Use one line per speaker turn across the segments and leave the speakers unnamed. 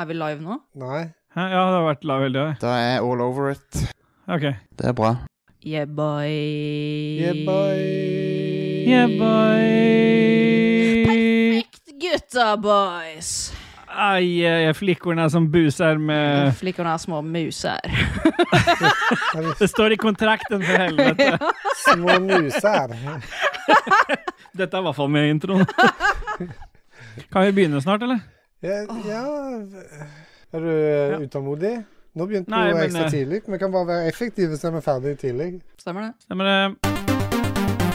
Er vi live nå?
Nei.
Hæ? Ja, det har vært live hele tida.
Da er jeg all over it.
OK.
Det er bra.
Yeah, boy.
Yeah, boy.
Yeah, boy.
Perfekt, gutta boys.
Ai, ai, flickorna som busar med
Flickorna er små mus her.
Det står i kontrakten, for helvete.
Små muser.
Dette er i hvert fall med i introen. Kan vi begynne snart, eller?
Ja, ja. Er du eh, utålmodig? Nå begynte
Nei,
du
men,
ekstra
eh,
tidlig. Vi kan bare være effektive så er vi ferdig tidlig.
Stemmer det?
Stemmer det?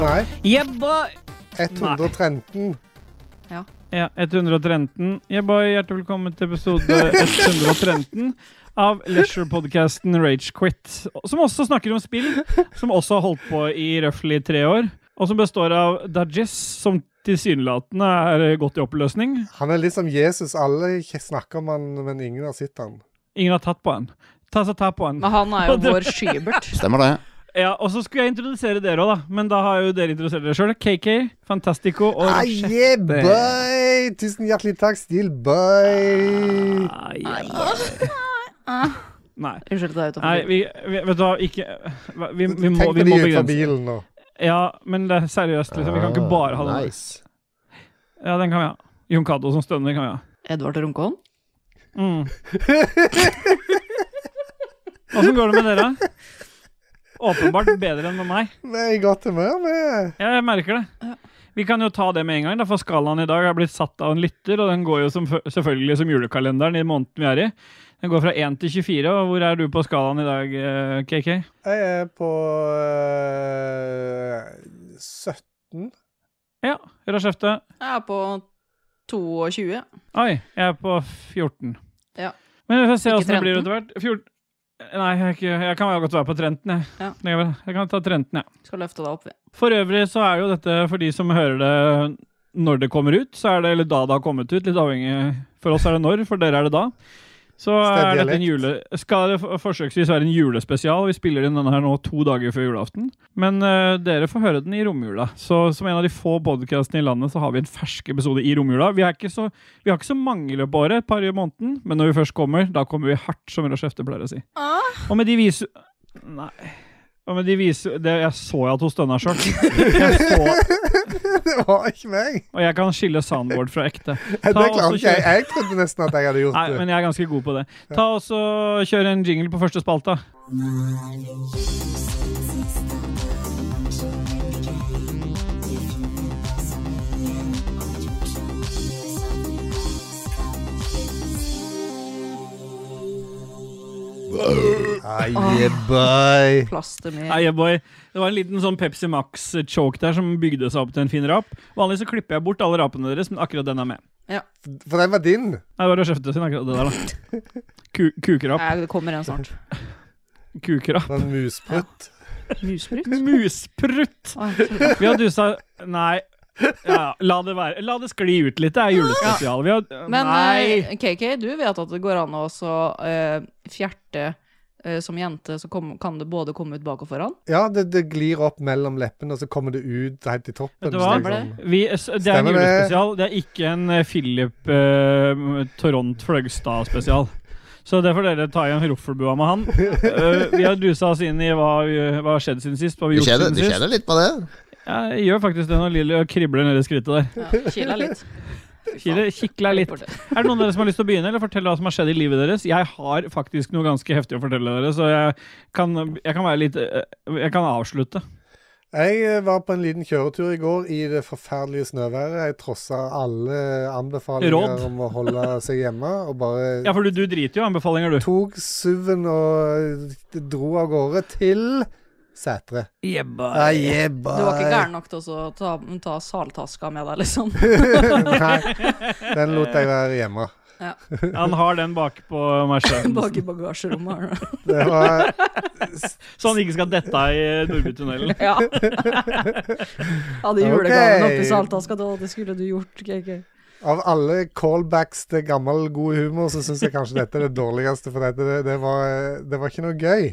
Nei.
Yeah, boy.
113.
Ja, 113. Yeah, boy. Hjertelig velkommen til episode 113 av Leisure-podkasten Ragequit, som også snakker om spill, som også har holdt på i røftlig tre år, og som består av Dajis, som tilsynelatende er godt i oppløsning.
Han er litt som Jesus. Alle k- snakker om han, men ingen har sett han.
Ingen har tatt på han. Ta så ta på han.
Men han er jo vår Skybert.
Stemmer det?
Ja, og så skulle jeg introdusere dere òg, da. Men da har jo dere introdusert dere sjøl. KK, Fantastico og
Ah,
Rochette.
yeah, boy! Tusen hjertelig takk, Steel Boy.
Ah, yeah. Nei.
Unnskyld, det er utenfor.
Nei, vi, vi Vet du hva, ikke hva- Vi, vi
Tenk
må, vi
på de
må
ut av
begrense.
bilen nå.
Ja, men det er seriøst, liksom. Vi kan ikke bare ha den.
Nice.
Ja, den kan vi ha. Jon Cato som stønner kan vi ha.
Edvard Runkeholm?
Mm. Åssen går det med dere? Åpenbart bedre enn med meg.
Vi er i godt humør, vi.
Ja, jeg merker
Ja.
det. Vi kan jo ta det med en gang, da, for skalaen i dag er blitt satt av en lytter, og den går jo som, fø- selvfølgelig som julekalenderen i måneden vi er i. Den går fra 1 til 24, og hvor er du på skalaen i dag, eh, KK?
Jeg er på eh, 17.
Ja, Rashefte.
Jeg er på 22.
Oi, jeg er på 14.
Ja.
Men vi får se
Ikke
åssen det
13?
blir etter hvert. 14 Nei, jeg, er ikke, jeg kan vel godt være på Trenten, jeg.
Ja.
Det kan jeg vel- Jeg kan ta Trenten, jeg.
Skal løfte deg opp. vi.
For øvrig så er jo dette, for de som hører det når det kommer ut, så er det, eller da det har kommet ut, litt avhengig For oss er det når, for dere er det da. Så er dette en jule, skal det for- forsøksvis være en julespesial. Vi spiller inn denne her nå to dager før julaften. Men eh, dere får høre den i romjula. Så som en av de få podkastene i landet, så har vi en fersk episode i romjula. Vi, er ikke så, vi har ikke så mange i løpet av året, et par i måneden, men når vi først kommer, da kommer vi hardt, som Rush Efte pleier å si.
Ah.
Og med de visu... Nei. Og med de visu... Det, jeg så jo at hun stønna sjøl. Jeg så-
Det var ikke meg.
Og jeg kan skille soundboard fra ekte.
Det
Ta og så
klarte ikke jeg.
kjør.
Jeg trodde nesten at jeg hadde gjort
Nei,
det.
men jeg er ganske god på det. Ta og så Kjør en jingle på første spalta.
Aie, bye.
Plaster med
Nei, yeah, boy. Det var en liten sånn Pepsi Max-choke der som bygde seg opp til en fin rap. Vanligvis så klipper jeg bort alle rapene deres, men akkurat den er med.
For den var din.
Nei, det var Røsjefte sin, akkurat det der, da. Ku kukerap.
Nei, Det kommer en snart.
Kukerap.
Den musprutt.
Musbruk?
Musprutt!
Å, jeg trodde-
Vi har dusa Nei. Ja, la det være. La det skli ut litt. Det er julespesial. Vi har
Men
Nei!
eh, KK, du vet at det går an å også, eh, fjerte eh, som jente, så kom, kan det både komme ut bak og foran.
Ja, det, det glir opp mellom leppene, og så kommer det ut helt i toppen.
Vet du hva?
så liksom-
Vi, s- det er en
Stemmer det.
julespesial. Det er ikke en eh, Philip eh, Toront Fløgstad-spesial. Så det får dere ta i en roffelbua med han. Eh, vi har dusa oss inn i hva, vi, hva har skjedd siden sist. Hva vi
Det
gjort
skjedde,
siden
det
sist.
skjedde litt på det.
Ja, jeg gjør faktisk det når Lilly eh, kribler nedi skrittet der.
Ja, Kila litt.
Kile, kikler litt. Er det noen av dere som har lyst til å begynne, eller fortelle hva som har skjedd i livet deres? Jeg har faktisk noe ganske heftig å fortelle dere, så jeg kan, jeg kan være litt eh, Jeg kan avslutte.
Jeg eh, var på en liten kjøretur i går i det forferdelige snøværet. Jeg trossa alle anbefalinger
Råd.
om å holde seg hjemme, og bare
Ja, for du, du driter jo i anbefalinger, du.
eh, tok SUV-en og dro av gårde til Sætre.
Jebba.
Ah, jebba.
Du var ikke gæren nok til å så ta, ta saltaska med deg, liksom?
Nei, den lot jeg være hjemme.
Han har den bak på Mercedesen,
Bak i bagasjerommet. har du-
Det var
så han ikke skal dette av i eh, Nordbytunnelen.
Ja. Hadde julegaven oppi saltaska, da, det skulle du gjort, KK.
Av alle callbacks til gammel, god humor, så syns jeg kanskje dette er det dårligste. For dette, det, det, var, det var ikke noe gøy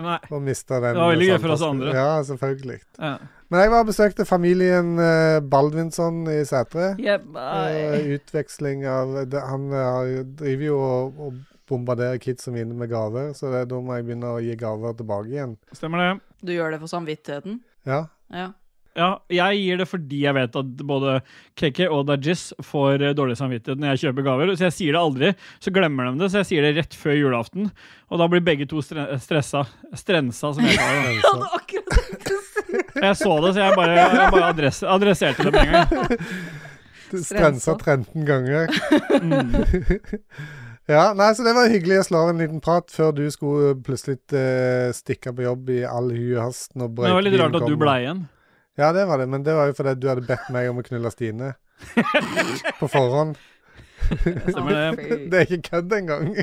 Nei.
å miste den.
Det var veldig gøy for oss
samtalen.
andre.
Ja, selvfølgelig.
Ja.
Men jeg var og besøkte familien eh, Baldvinsson i Sætre. Eh, Utveksling av det, Han eh, har jo- driver jo og, og bombarderer kidsa mine med gaver, så det, da må jeg begynne å gi gaver tilbake igjen.
Stemmer det.
Du gjør det for samvittigheten?
Ja.
Ja.
Ja, jeg gir det fordi jeg vet at både KK og Dajis får eh, dårlig samvittighet når jeg kjøper gaver. Så jeg sier det aldri, så glemmer de det. Så jeg sier det rett før julaften. Og da blir begge to stre stressa. Strensa, som jeg kaller det.
Jeg hadde akkurat
Jeg så det, så jeg bare, jeg bare adress adresserte det med en gang.
Strensa
Strensa.
13 ganger. ja, nei, så det var hyggelig å slå av en liten prat før du skulle plutselig eh, stikke på jobb i all hu og hast. når
Det var litt
brøytebilen
rart at
kom.
du blei igjen.
Ja, det var det, men det var jo fordi du hadde bedt meg om å knulle Stine. på forhånd.
Stemmer det.
Det er ikke kødd engang.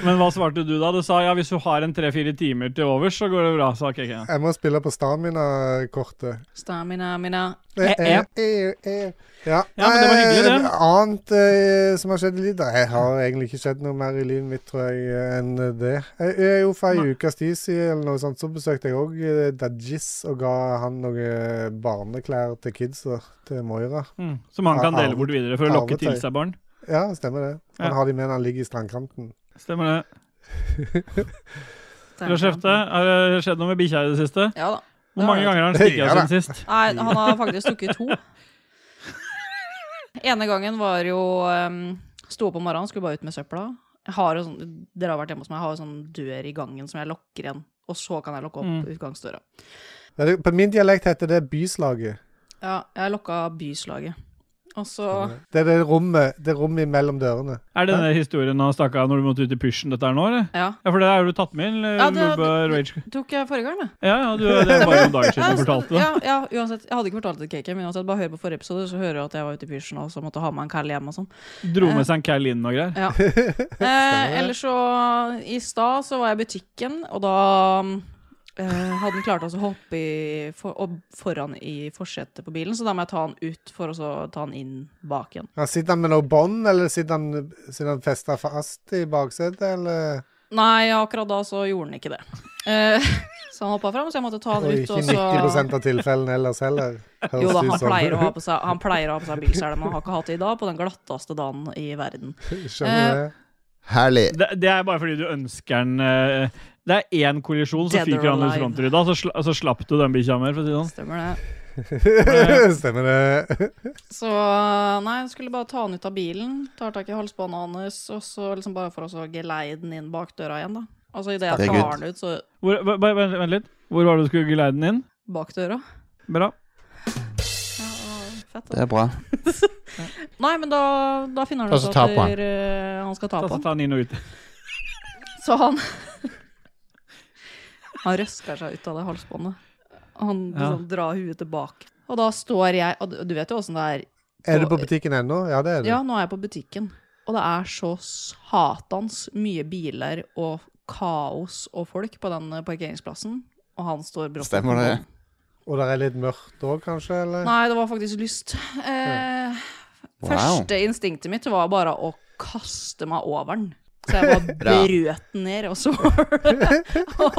Men hva svarte du da? Du sa ja, hvis du har en tre-fire timer til overs, så går det bra. sa KK.
Jeg må spille på stamina-kortet.
Stamina, mina.
Eh,
Eh, eh.
eh, eh. Ja.
Ja, men det var hyggelig, det.
Eh, Annet eh, som har skjedd i livet Jeg har egentlig ikke skjedd noe mer i livet mitt, tror jeg, eh, enn det. Jeg, jeg, jo, for ei ukes tid siden eller noe sånt, så besøkte jeg òg eh, Dajis og ga han noen barneklær til kidsa, til Moira.
Mm. Som han kan
Ja,
dele bort videre for å lokke til
arvetøy.
seg barn.
Ja, stemmer det. Han
Ja.
har de med når han ligger i strandkanten.
Stemmer det. Lars Hefte, har det skjedd noe med bikkja i det siste?
Ja da.
Hvor mange ganger har han stukket
Ja da.
av siden sist?
Nei, han har faktisk stukket to. Ene gangen var jo um, Sto opp om morgenen, skulle bare ut med søpla. Jeg har jo sånn, dere har vært hjemme hos meg, jeg har jo sånn dør i gangen som jeg lukker igjen. Og så kan jeg lukke opp
Mm.
utgangsdøra.
Ja, det- På min dialekt heter det byslaget.
Ja, jeg lukka byslaget. Og så
Det er det rommet, det rommet mellom dørene.
Er det denne historien han stakk av når du måtte ut i pysjen, dette her nå, eller?
Ja.
Ja, for det har du tatt med inn?
Ja,
Ja,
det-
Rage.
Tok jeg forrige gang, det.
Ja, ja, du, det er bare noen dager
Ja,
siden du fortalte
ja,
det.
ja, uansett. Jeg hadde ikke fortalt det til Kake, men uansett, bare hør på forrige episode, så hører du at jeg var ute i pysjen og så måtte ha med en kall hjem og sånn.
Dro med seg en Cal inn og greier.
Ja. Eh, ellers så I stad så var jeg i butikken, og da mm, eh, hadde den klart å hoppe i, for, opp foran i forsetet på bilen, så da må jeg ta den ut for å så ta den inn bak igjen.
Ja, sitter han med noe bånd, eller sitter han, sitter han festa fast i baksetet, eller
Nei, akkurat da så gjorde den ikke det. Eh, så han hoppa fram, så jeg måtte ta
Og
den ut.
ikke
Og
90
så
av tilfellene ellers heller. høres
jo da,
det ut
han
som.
pleier å ha på seg Han pleier å ha på seg bilselg, men han har ikke hatt det i dag på den glatteste dagen i verden.
Skjønner det.
Herlig.
Det, det er bare fordi du ønsker den eh, Det er én kollisjon, så
Dead or
fyker han ut
alive.
frontruta, så, sla, så slapp du den bikkja mer, for å si det sånn.
Stemmer det. Eh.
Stemmer det.
Så nei, jeg skulle bare ta han ut av bilen, tar tak i halsbåndet hans, og så liksom bare for å så geleie den inn bak døra igjen, da. Og så idet jeg
Herregud.
tar han ut, så
Hvor, bare- bare vent, vent litt. Hvor var det du skulle geleide den inn?
bak døra.
Bra.
Ja, og fett,
Det
da.
er bra.
Nei, men da, da finner han
Og så
ut at
ta på han.
eh, han skal ta
Ta,
på
så
han.
ta den inn og ut.
Så han Han røsker seg ut av det halsbåndet. Han
Ja.
liksom drar huet tilbake. Og da står jeg Og du- du vet jo åssen det er.
Er du på butikken ennå? Ja, det er du.
Ja, nå er jeg på butikken. Og det er så satans mye biler og kaos og folk på den eh, parkeringsplassen. Og han står brått
Stemmer det.
utenfor.
Og det er litt mørkt òg, kanskje? eller?
Nei, det var faktisk lyst. Eh,
Wow.
Første instinktet mitt var bare å kaste meg over den. Så jeg bare
Bra.
brøt den ned, og så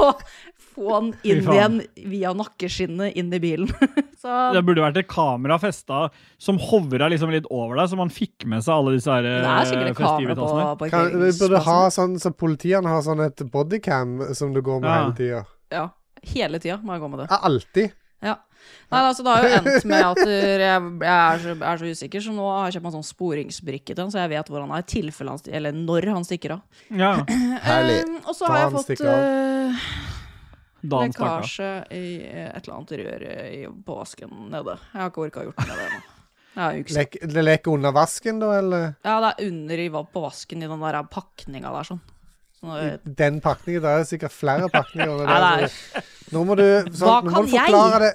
Og få den inn
Fy
igjen
faen.
via nakkeskinnet inn i bilen. Så
Det burde vært et kamera festa som hovra liksom litt over deg, så man fikk med seg alle disse her
det
eh,
er sikkert et kamera på
festivitasene.
Kan, vi burde ha
parkeringsplassen.
sånn så politiene har sånn et bodycam som du går med
Ja.
hele tida.
Ja, hele tida må jeg gå med det.
Ja, Alltid.
Ja. Nei, altså, det har jo endt med at uh, jeg, jeg er, så, er så usikker, så nå har jeg kjøpt meg sånn sporingsbrikke til han, så jeg vet hvor han er, i tilfelle han sti- Eller når han stikker av.
Ja,
Herlig.
Eh, og så
Da
har jeg
han
fått
stikker av.
eh,
da han stakk av.
lekkasje i eh, et eller annet rør eh, i, på vasken nede. Jeg har ikke orka å gjort noe med det ennå. Det er en uke siden.
Lek, det leker under vasken, da, eller?
Ja, det er under i, på vasken i den der pakninga der, sånn. Sånn,
I
eh,
den pakningen. Det er sikkert flere pakninger. under
Nei,
der,
det
så-
er
Nå må du,
Hva
sånn, nå må
kan
du
jeg?
forklare det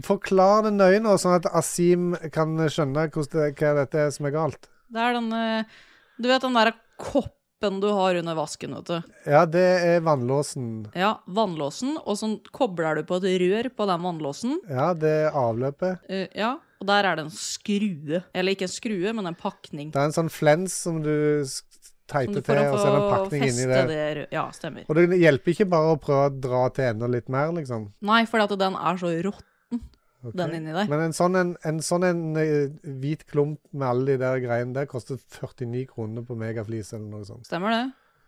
Forklar det nøye nå, sånn at Asim kan skjønne hvordan det, hva dette er som er galt.
Det er den eh, Du vet den derre koppen du har under vasken, vet du.
Ja, det er vannlåsen.
Ja, vannlåsen, og så kobler du på et rør på den vannlåsen.
Ja, det er avløpet.
Eh, ja, og der er det en skrue. Eller ikke en skrue, men en pakning.
Det er en sånn flens som du s-
Som du
teiper
får
til, og så er det en
å
pakning inni
feste
der.
det rø- Ja, stemmer.
Og det hjelper ikke bare å prøve å dra til enda litt mer, liksom.
Nei, for at den er så rått,
Ok.
den inni der.
Men en sånn en, en, sånn en eh, hvit klump med alle de der greiene der koster 49 kroner på megaflis eller noe sånt.
Stemmer det?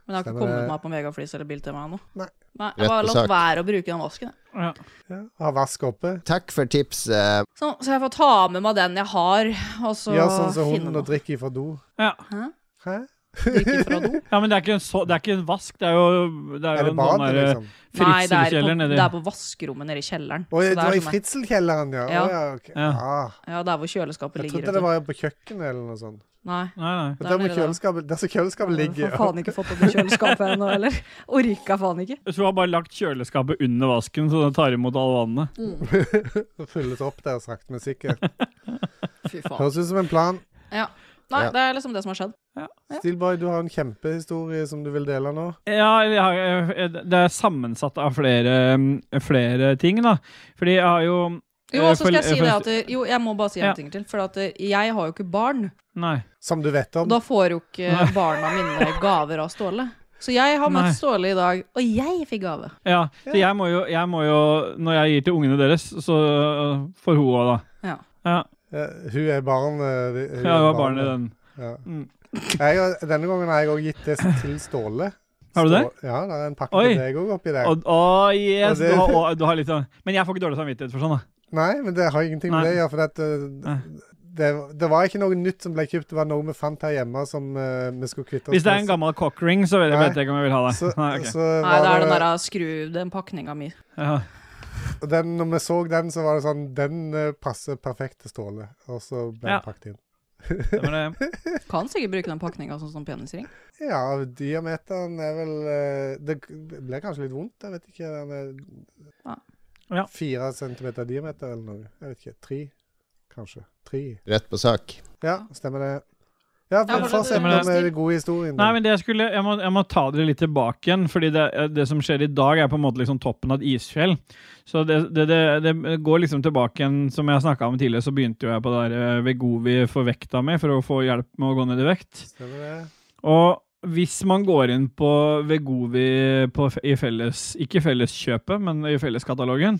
Men jeg har ikke
Stemmer
kommet
det.
meg på megaflis eller biltema ennå.
Nei.
Nei,
Rett
jeg bare
og
latt
sak.
være å bruke den vasken. jeg.
Ja.
Ja, Har vask oppe.
Takk for eh, tipset.
Så, så jeg får ta med meg den jeg har, og så
Gjør sånn som
finne
hunden og
noe.
drikker ifra do.
Ja.
Hæ?
Drikke fra do.
ja, men det er ikke en, så, det er ikke en vask. Det er jo, det er
Er
jo
det
noen
badet,
der,
liksom?
Nei, det er, på,
Fritzelkjeller nedi.
det er på vaskerommet nede i kjelleren.
Å,
Så
det
det er
var i
sånn-
fritzelkjelleren, ja.
Ja.
Å, ja, ok.
Ja.
Ah,
Ja, der hvor kjøleskapet
jeg
ligger.
trodde
vet
det
du.
var på kjøkkenet eller noe sånt.
Nei.
Nei, nei.
Det
Det
er
er med
nede der.
kjøleskapet, der som kjøleskapet ligger.
Jeg har faen ikke fått opp i kjøleskapet ennå, eller? Orka faen ikke.
Jeg tror jeg har bare lagt kjøleskapet under vasken, så det tar imot all vannet.
og Fylles opp der sakte, men sikkert.
Fy faen.
Høres ut som en plan.
Nei,
Ja.
det er liksom det som har skjedd.
Steelboy, du har en kjempehistorie som du vil dele nå.
Ja, jeg har, jeg- det er sammensatt av flere, mm, flere ting, da. Fordi jeg har jo
Jo,
Eh,
og så skal
for-
jeg si
for-
det at Jo, jeg må bare si en
Ja.
ting til. For at eh, jeg har jo ikke barn.
Nei.
Som du vet om.
Da får jo ikke
Nei.
barna mine gaver av Ståle. Så jeg har
Nei.
møtt Ståle i dag, og jeg fikk gave.
Ja, så jeg må jo, jeg må jo Når jeg gir til ungene deres, så øh, får hun òg,
Ja.
da. Ja,
Eh, hun er barn. eh, vi- hun
ja, det
er
var barn i den.
Ja.
Mm.
Jeg, har- denne gangen har jeg òg gitt det til Ståle.
Har du det?
Stå- Ja, det er en pakke
Oi.
til deg òg oppi der.
Å, å, yes!
Og det-
Du har, å, du har litt sånn Men jeg får ikke dårlig samvittighet for sånn, da.
Nei, men det har ingenting med
Nei.
det å gjøre. For at, eh, det, det var ikke noe nytt som ble kjøpt, det var noe vi fant her hjemme som eh, vi skulle kvitte oss
Hvis det er en gammel cockring, så vet jeg,
Nei.
vet jeg ikke om jeg vil ha det.
Så,
Nei, ok.
Nei,
så var
det er den
det-
der skru den pakninga mi.
ja.
og den, når vi så den, så var det sånn Den eh, passer perfekt til Ståle. Og så ble
Ja.
den pakket inn.
det var det.
Kan sikkert bruke den pakninga sånn som penisring.
Ja, diameteren er vel eh, Det k- ble kanskje litt vondt, jeg vet ikke. Den
Ja.
er
Ja.
fire centimeter diameter eller noe. Jeg vet ikke. Tre, kanskje. Tre.
Rett på sak.
Ja, stemmer det. Ja,
Ja,
for fortsett
stemmer
nå
det.
med den gode historien.
Nei, men det jeg, skulle, jeg, må, jeg må ta dere litt tilbake igjen, fordi det, det som skjer i dag, er på en måte liksom toppen av et isfjell. Så det, det, det, det går liksom tilbake igjen, som jeg snakka om tidligere, så begynte jo jeg på det der eh, Vegovi for vekta mi, for å få hjelp med å gå ned i vekt.
Stemmer det.
Og hvis man går inn på Vegovi på, f- i felles, ikke felleskjøpet, men i felleskatalogen,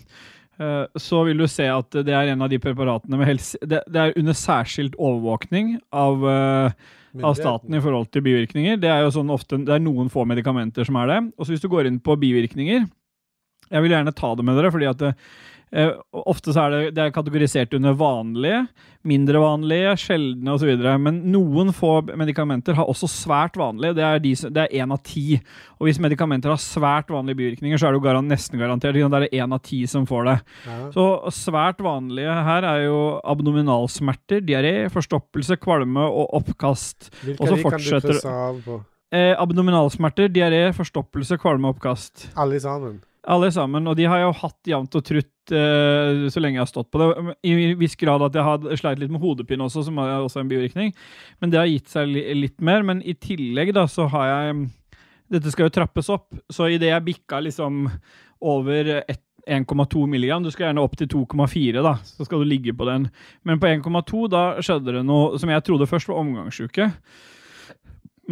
eh, så vil du se at det er en av de preparatene med helse... Det, det er under særskilt overvåkning av eh, av staten i forhold til bivirkninger. Det er jo sånn ofte, det er noen få medikamenter som er det. Og så hvis du går inn på bivirkninger Jeg vil gjerne ta det med dere, fordi at det, eh, ofte så er det, det er kategorisert under vanlige, mindre vanlige, sjeldne osv. Men noen få medikamenter har også svært vanlige. Det er de som- det er én av ti. Og hvis medikamenter har svært vanlige bivirkninger, så er det jo garan, nesten garantert. ikke sant? Da er det én av ti som får det.
Ja.
Så svært vanlige her er jo abdominalsmerter, diaré, forstoppelse, kvalme og oppkast.
Hvilke
Og så
av de kan du
fortsetter-
krysse av på?
Eh, abdominalsmerter, diaré, forstoppelse, kvalme og oppkast.
Alle sammen?
Alle sammen. Og de har jeg jo hatt jevnt og trutt eh, så lenge jeg har stått på det. I viss grad at jeg har sleit litt med hodepine også, som er også en bivirkning. Men det har gitt seg li litt mer. Men i tillegg da, så har jeg Dette skal jo trappes opp. Så idet jeg bikka liksom over et- 1,2 milligram, du skal gjerne opp til 2,4 da, så skal du ligge på den. Men på 1,2 da skjedde det noe som jeg trodde først var omgangsuke.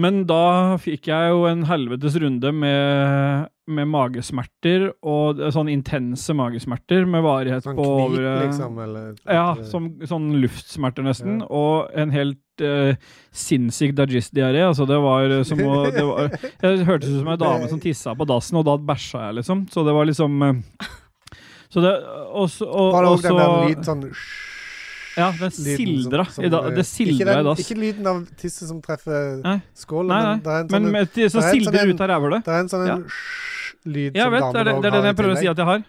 Men da fikk jeg jo en helvetes runde med, med magesmerter, og det- sånn intense magesmerter med varighet
Sånn
på over
knip,
eh,
liksom? Eller,
Ja,
eller-
som, sånn luftsmerter nesten,
Ja.
og en helt eh, sinnssyk dajis-diaré. Altså, det var eh, som å det var, Jeg hørtes ut som ei dame som tissa på dassen, og da bæsja jeg, liksom. Så det var liksom eh, Så det Og så og-
Var det
og
òg den
så-
der lyden sånn
Ja, den
lyden som-
sildra.
som-
i da, det
Ikke,
sildra i
den,
dass.
ikke lyden av tisset som treffer
Nei.
skålen,
Nei,
men
nei.
det er en sånn
Men med, til- så
det er en sånn
sildrer
en-
ut av rævhølet.
det er en sånn
Ja.
en lyd
Jeg
som
vet, det er,
damen
det-
òg
det er den
har i
jeg prøver å si
tillegg.
at jeg har.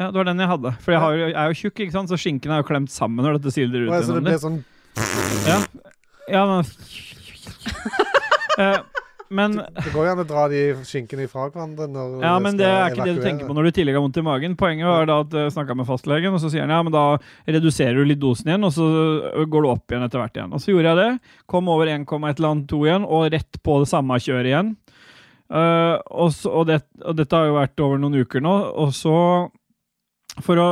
Ja, det var den jeg hadde. For jeg, har, jo- jeg er jo tjukk, ikke sant, så skinken er jo klemt sammen når dette sildrer ut.
Og så det sånn- blir
gjennom det.
sånn
Ja, ja men Eh, Men
Det går jo an å dra de skinkene ifra hverandre når
Ja, men det er
skal
ikke det du
evakuere.
tenker på når du i tillegg har vondt i magen. Poenget var da at jeg snakka med fastlegen, og så sier han ja, men da reduserer du litt dosen igjen, og så eh, går du opp igjen etter hvert igjen. Og så gjorde jeg det. Kom over 1,2 igjen, og rett på det samme kjøret igjen. Eh, og, så, og, det, og dette har jo vært over noen uker nå, og så for å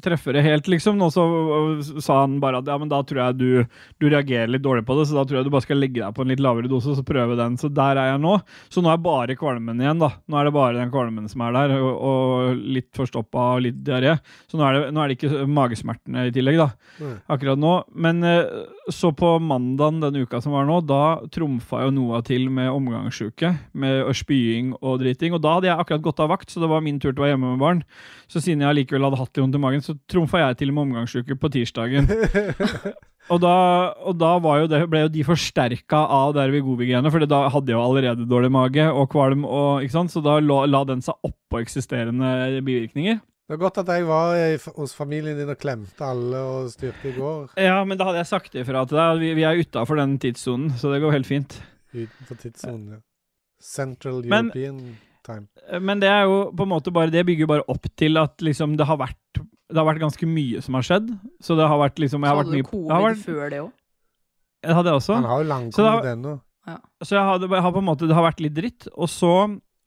treffe det helt, liksom, nå så og sa han bare at ja, men da tror jeg du, du reagerer litt dårlig på det, så da tror jeg du bare skal legge deg på en litt lavere dose og så prøve den. Så der er jeg nå. Så nå er bare kvalmen igjen, da. Nå er det bare den kvalmen som er der, og, og litt forstoppa og litt diaré. Så nå er, det, nå er det ikke magesmertene i tillegg, da.
Mm.
Akkurat nå. Men eh, så på mandagen den uka som var nå, da trumfa jo Noah til med omgangssjuke. Med å spying og driting. Og da hadde jeg akkurat gått av vakt, så det var min tur til å være hjemme med barn. Så siden jeg allikevel hadde hatt litt vondt i magen, så trumfa jeg til med omgangssjuke på tirsdagen.
Mm.
Og da, og da var jo det, ble jo de forsterka av Dervigovi-greiene, for da hadde jeg jo allerede dårlig mage og kvalm, og, ikke sant? så da la, la den seg oppå eksisterende bivirkninger.
Det var godt at jeg var i, f- hos familien din og klemte alle og styrte i går.
Ja, men da hadde jeg sagt ifra til deg. Vi, vi er utafor den tidssonen, så det går helt fint.
Utenfor tidssonen. ja. Central
Men-
European time.
Men det er jo på en måte bare Det bygger jo bare opp til at liksom det har vært det har vært ganske mye som har skjedd. Så det har vært liksom jeg har vært
hadde
mye,
du
jeg har
covid
vært,
før det òg?
jeg hadde jeg også.
Han har jo
Sånn. Så da-
langkommet ennå.
Så jeg hadde, jeg har på en måte, det har vært litt dritt. Og så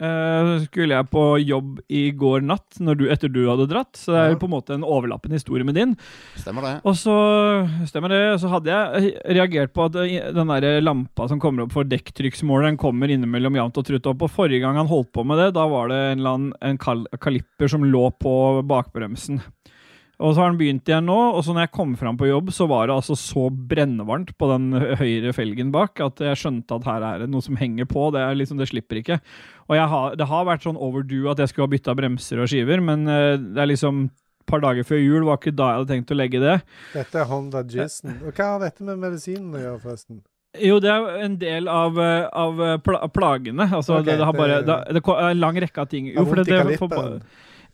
eh, skulle jeg på jobb i går natt, når du, etter du hadde dratt. Så det er
Ja.
jo på en måte en overlappende historie med din.
Stemmer det.
Og så stemmer det, så hadde jeg reagert på at eh, den der lampa som kommer opp for dekktrykksmåleren, kommer innimellom jevnt og trutt opp. Og forrige gang han holdt på med det, da var det en, eller annen, en kal kaliper som lå på bakbremsen. Og så har den begynt igjen nå, og så når jeg kom fram på jobb, så var det altså så brennvarmt på den høyre felgen bak at jeg skjønte at her er det noe som henger på. Det, er liksom, det slipper ikke. Og jeg har, det har vært sånn overdue at jeg skulle ha bytta bremser og skiver, men eh, det er liksom et par dager før jul var ikke da jeg hadde tenkt å legge det.
Dette er Honda Jizzen. Og hva har dette med medisinen å gjøre, forresten?
Jo, det er jo en del av, eh, av eh, pla plagene. Altså,
Ok,
det, det har
det-
bare det, det ko- er en lang rekke av ting.
Har
Jo, for
vondt
det,
i
det,
kalipperen.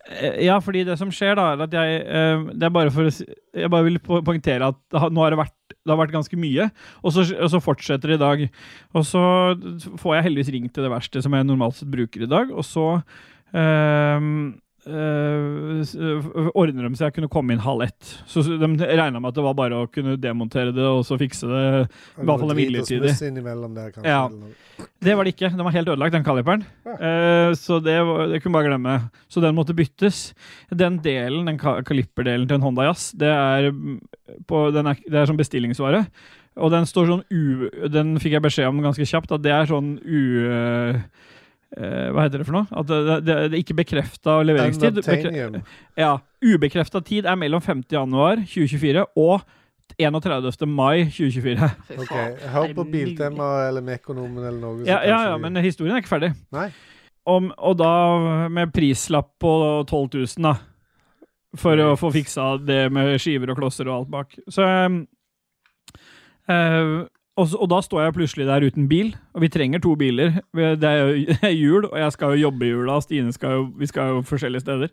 Eh, ja, fordi det som skjer, da, er at jeg eh, Det er bare for å si Jeg bare vil po- poengtere at det har, nå har det vært det har vært ganske mye, og så, og så fortsetter det i dag. Og så får jeg heldigvis ringt til det verste som jeg normalt sett bruker i dag, og så ehm, eh, s- eh, ordner de så jeg kunne komme inn halv ett. Så så de regna med at det var bare å kunne demontere det og så fikse det
Og
I hvert fall
noe drit
en
og
midlertidig.
smuss innimellom der, kanskje.
Ja.
eller noe.
det var det ikke. Den var helt ødelagt, den kaliperen.
Ja.
Eh, så det, var, det kunne bare glemme. Så den måtte byttes. Den delen, den ka- kaliperdelen til en Honda Jazz, det er, mm, på, den er, det er sånn bestillingsvare. Og den står sånn u... Den fikk jeg beskjed om ganske kjapt, at det er sånn u... eh, hva heter det for noe? At det, det, det er ikke bekrefta leveringstid. Bekre,
Unobtainium.
ja, Ubekrefta tid er mellom 5. januar 2024 og 31. mai 2024.
Fy
Ok,
faen.
Hør
Er
på
det mulig?
Biltema eller Mekonomen eller noe. så
Ja, ja,
kanskje
ja,
de-
men historien er ikke ferdig.
Nei.
Om, og da med prislapp på 12 000, da. For å få fiksa det med skiver og klosser og alt bak. Så um, eh, og, så- og da står jeg plutselig der uten bil, og vi trenger to biler. Vi- Det er jo jul, og jeg skal jo jobbe i jula, og Stine skal jo, vi skal jo forskjellige steder.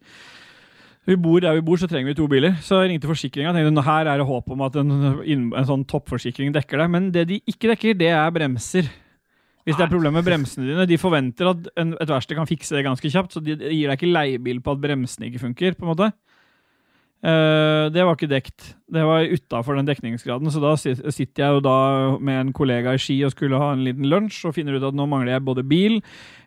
Vi bor der vi bor, så trenger vi to biler. Så jeg ringte forsikringa og tenkte nå her er det håp om at en, inn- en sånn toppforsikring dekker det. Men det de ikke dekker, det er bremser. Hvis det er problemer med bremsene dine, De forventer at en, et verksted kan fikse det ganske kjapt, så de de gir deg ikke leiebil på at bremsene ikke funker. på en måte. Eh, det var ikke dekt. Det var utafor den dekningsgraden. Så da sit- sitter jeg jo da med en kollega i Ski og skulle ha en liten lunsj, og finner ut at nå mangler jeg både bil,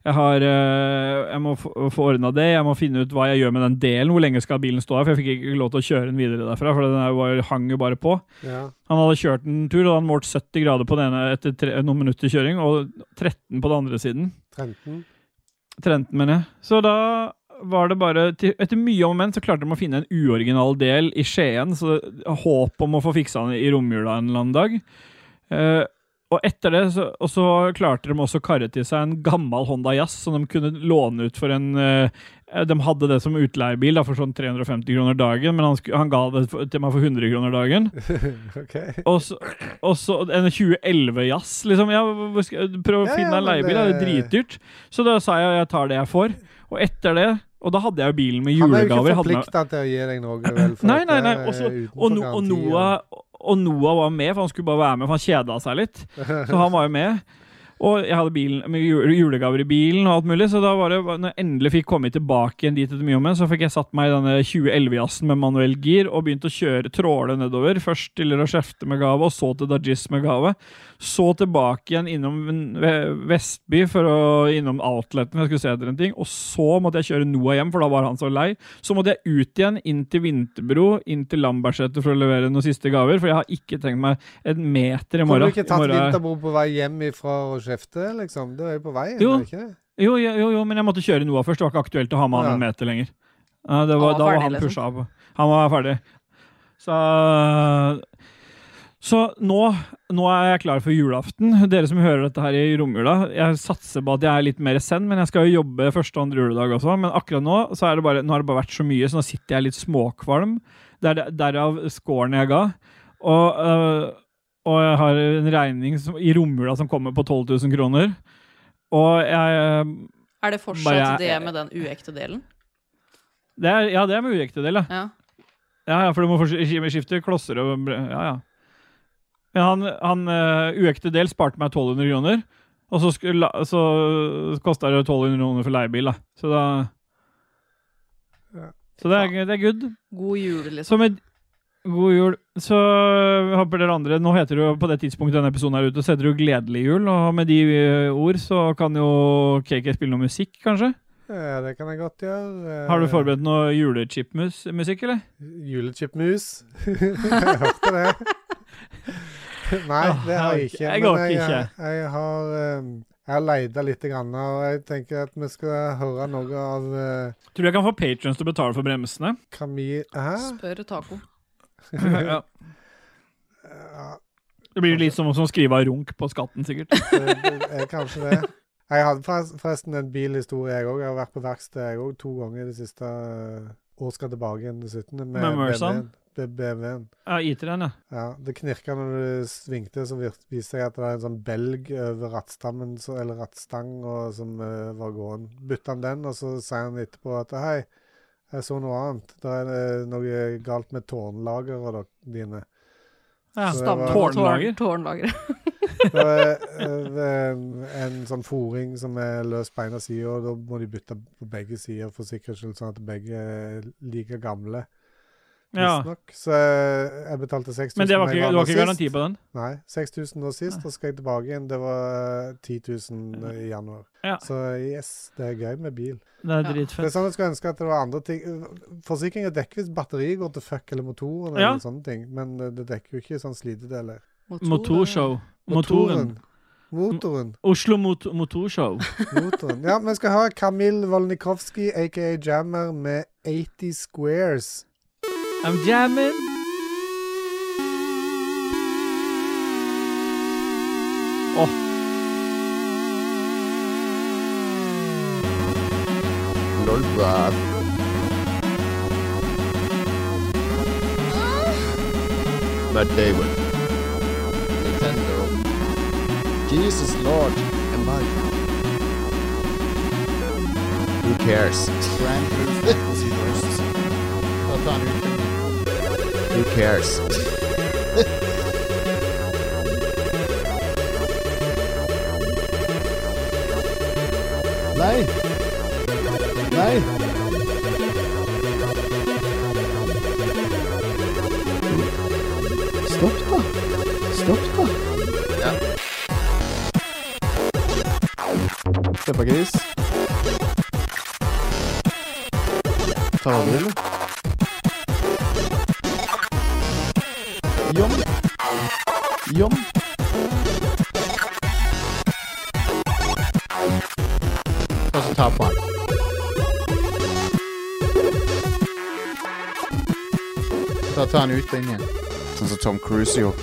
jeg, har, eh, jeg må få få ordna det, jeg må finne ut hva jeg gjør med den delen, hvor lenge skal bilen stå her, for jeg fikk ikke lov til å kjøre den videre derfra, for den er jo bare, hang jo bare på.
Ja.
Han hadde kjørt en tur, og han målt 70 grader på den ene etter tre, noen minutter kjøring, og 13 på den andre siden.
Trenten.
13, mener jeg. Så da var det bare til, Etter mye om og men så klarte de å finne en uoriginal del i Skien. Så det- håp om å få fiksa den i romjula en eller annen dag. Eh, og etter det så, og så klarte de også å karre til seg en gammel Honda Jazz som de kunne låne ut for en eh, De hadde det som utleiebil da, for sånn 350 kroner dagen, men han, sku- han ga det for- til meg for 100 kroner dagen.
OK.
Og så, og så en 2011-jazz, liksom. Ja, hvor skal jeg- prøv å
Ja, ja,
finne en
men
leiebil, det... det er
det-
dritdyrt. Så da sa jeg jeg tar det jeg får. Og etter det Og da hadde jeg jo bilen med
Han er jo ikke
julegaver. jeg hadde med-
forplikta til å gi deg noe, vel? for
Nei, nei,
dette
nei.
er
Og, så,
utenfor
og, no, og,
garantien.
Noah, og Noah var med, for han skulle bare være med, for han kjeda seg litt. Så han var jo med. Og jeg hadde bilen, med jule- julegaver i bilen og alt mulig, så da var det, når jeg endelig fikk komme tilbake igjen dit etter mye om igjen, så fikk jeg satt meg i denne 2011-jazzen med manuell gir og begynt å kjøre tråle nedover. Først til Rochefte med gave, og så til Dajis med gave. Så tilbake igjen innom Ve- Vestby for å innom outleten, for jeg skulle se etter en ting. Og så måtte jeg kjøre Noah hjem, for da var han så lei. Så måtte jeg ut igjen, inn til Vinterbro, inn til Lambertseter for å levere noen siste gaver, for jeg har ikke tenkt meg en meter i
Kunne
morgen.
du ikke
I
tatt
morgen er-
vinterbro på vei hjem ifra Rochefte, liksom? Da er jeg på vei,
Jo.
er det ikke det?
Jo, jo, jo, jo, men jeg måtte kjøre Noah først. Det var ikke aktuelt å ha med han
Ja.
en meter lenger. Eh, Det var,
Han var
da var
ferdig,
han
liksom.
pusha av. Han var ferdig. Så, så nå, nå er jeg klar for julaften. Dere som hører dette her i romjula, jeg satser på at jeg er litt mer send, men jeg skal jo jobbe første og andre juledag også. Men akkurat nå så er det bare, nå har det bare vært så mye, så nå sitter jeg litt småkvalm. Det er der- derav scoren jeg ga. Og, øh, og jeg har en regning som, i romjula som kommer på 12 000 kroner. Og jeg øh,
Er det
Bare
fortsatt
jeg-
det med den uekte delen?
det er, Ja, det er med uekte del, ja.
Ja.
Ja, ja, for du må forsk- sk- skifte klosser og bre- Ja, ja. Men han, han eh, uekte del sparte meg 1200 kroner. Og så, skulle, så kosta det 1200 kroner for leiebil, da. Så da
Ja.
Så det er, det er good.
God jul, liksom.
Så med God jul. Så eh, håper dere andre Nå heter det jo på det tidspunktet denne episoden er ute, så heter det jo Gledelig jul. Og med de eh, ord så kan jo KK spille noe musikk, kanskje?
Ja, det kan jeg godt gjøre. Eh,
Har du forberedt noe julechipmusikk, eller?
Julechipmus. jeg hørte det. Nei,
Åh,
det har jeg ikke.
jeg orker- jeg orker
men jeg,
ikke.
jeg har um, jeg har leita litt, grann, og jeg tenker at vi skal høre noe av eh,
Tror du jeg kan få patrons til å betale for bremsene?
Camille Hæ?
Spør taco.
ja.
Ja,
Det blir litt som å skrive av runk på skatten, sikkert.
Eh,
det det er kanskje det. Jeg hadde forres- forresten en bilhistorie, jeg òg. Jeg har vært på verksted jeg også, to ganger det siste eh, år skal tilbake igjen den 17. Med,
Med Mercan?
BMW-en. BMW-en.
Ja, IT-en, ja.
Ja, det knirka når du svingte, så vir- viste jeg at det er en sånn belg over rattstammen, så, eller rattstang, og, som eh, var gåen. Bytta han den, og så sier han etterpå at hei, jeg så noe annet. Da er det noe galt med tårnlagrene dine.
ja.
Så det var-
Tårnlager.
Tårnlager.
Da er eh, det er en sånn foring som er løs på ene sida, og da må de bytte på begge sider for sikkerhets skyld, sånn at begge er like gamle,
Ja.
visstnok. Så eh, jeg betalte 6000
Men det
en
var ikke,
gang
du
nå
har ikke
sist.
garanti på den?
Nei, 6000 nå sist, og så skal jeg tilbake igjen. Det var eh, 10 000 eh, i januar.
Ja.
Så yes, det er gøy med bil.
Det
Ja.
er
Det er
dritfett.
sånn jeg skulle ønske at det var andre ting. Forsikring og dekker hvis batteriet går til fuck eller motoren
Ja.
eller sånne ting, men eh, det dekker jo ikke sånn slitedeler.
Motorshow. Motoren.
Motoren.
Oslo mot Motorshow.
Motoren. Ja, vi skal ha Kamil Volnikovskij, aka Jammer, med 80 Squares.
I'm jamming. Åh.
Lol, bra. Matt Damon. Nintendo. Jesus Lord. and my- Who cares? Hva faen er det? Who cares? Nei. Nei. Stopp, da. Stopp, da. Ja. Peppergris. Tar du det, eller? Jom. Jom. Og så taper han. Da tar han ut den igjen.
Sånn som Tom Cruise gjorde.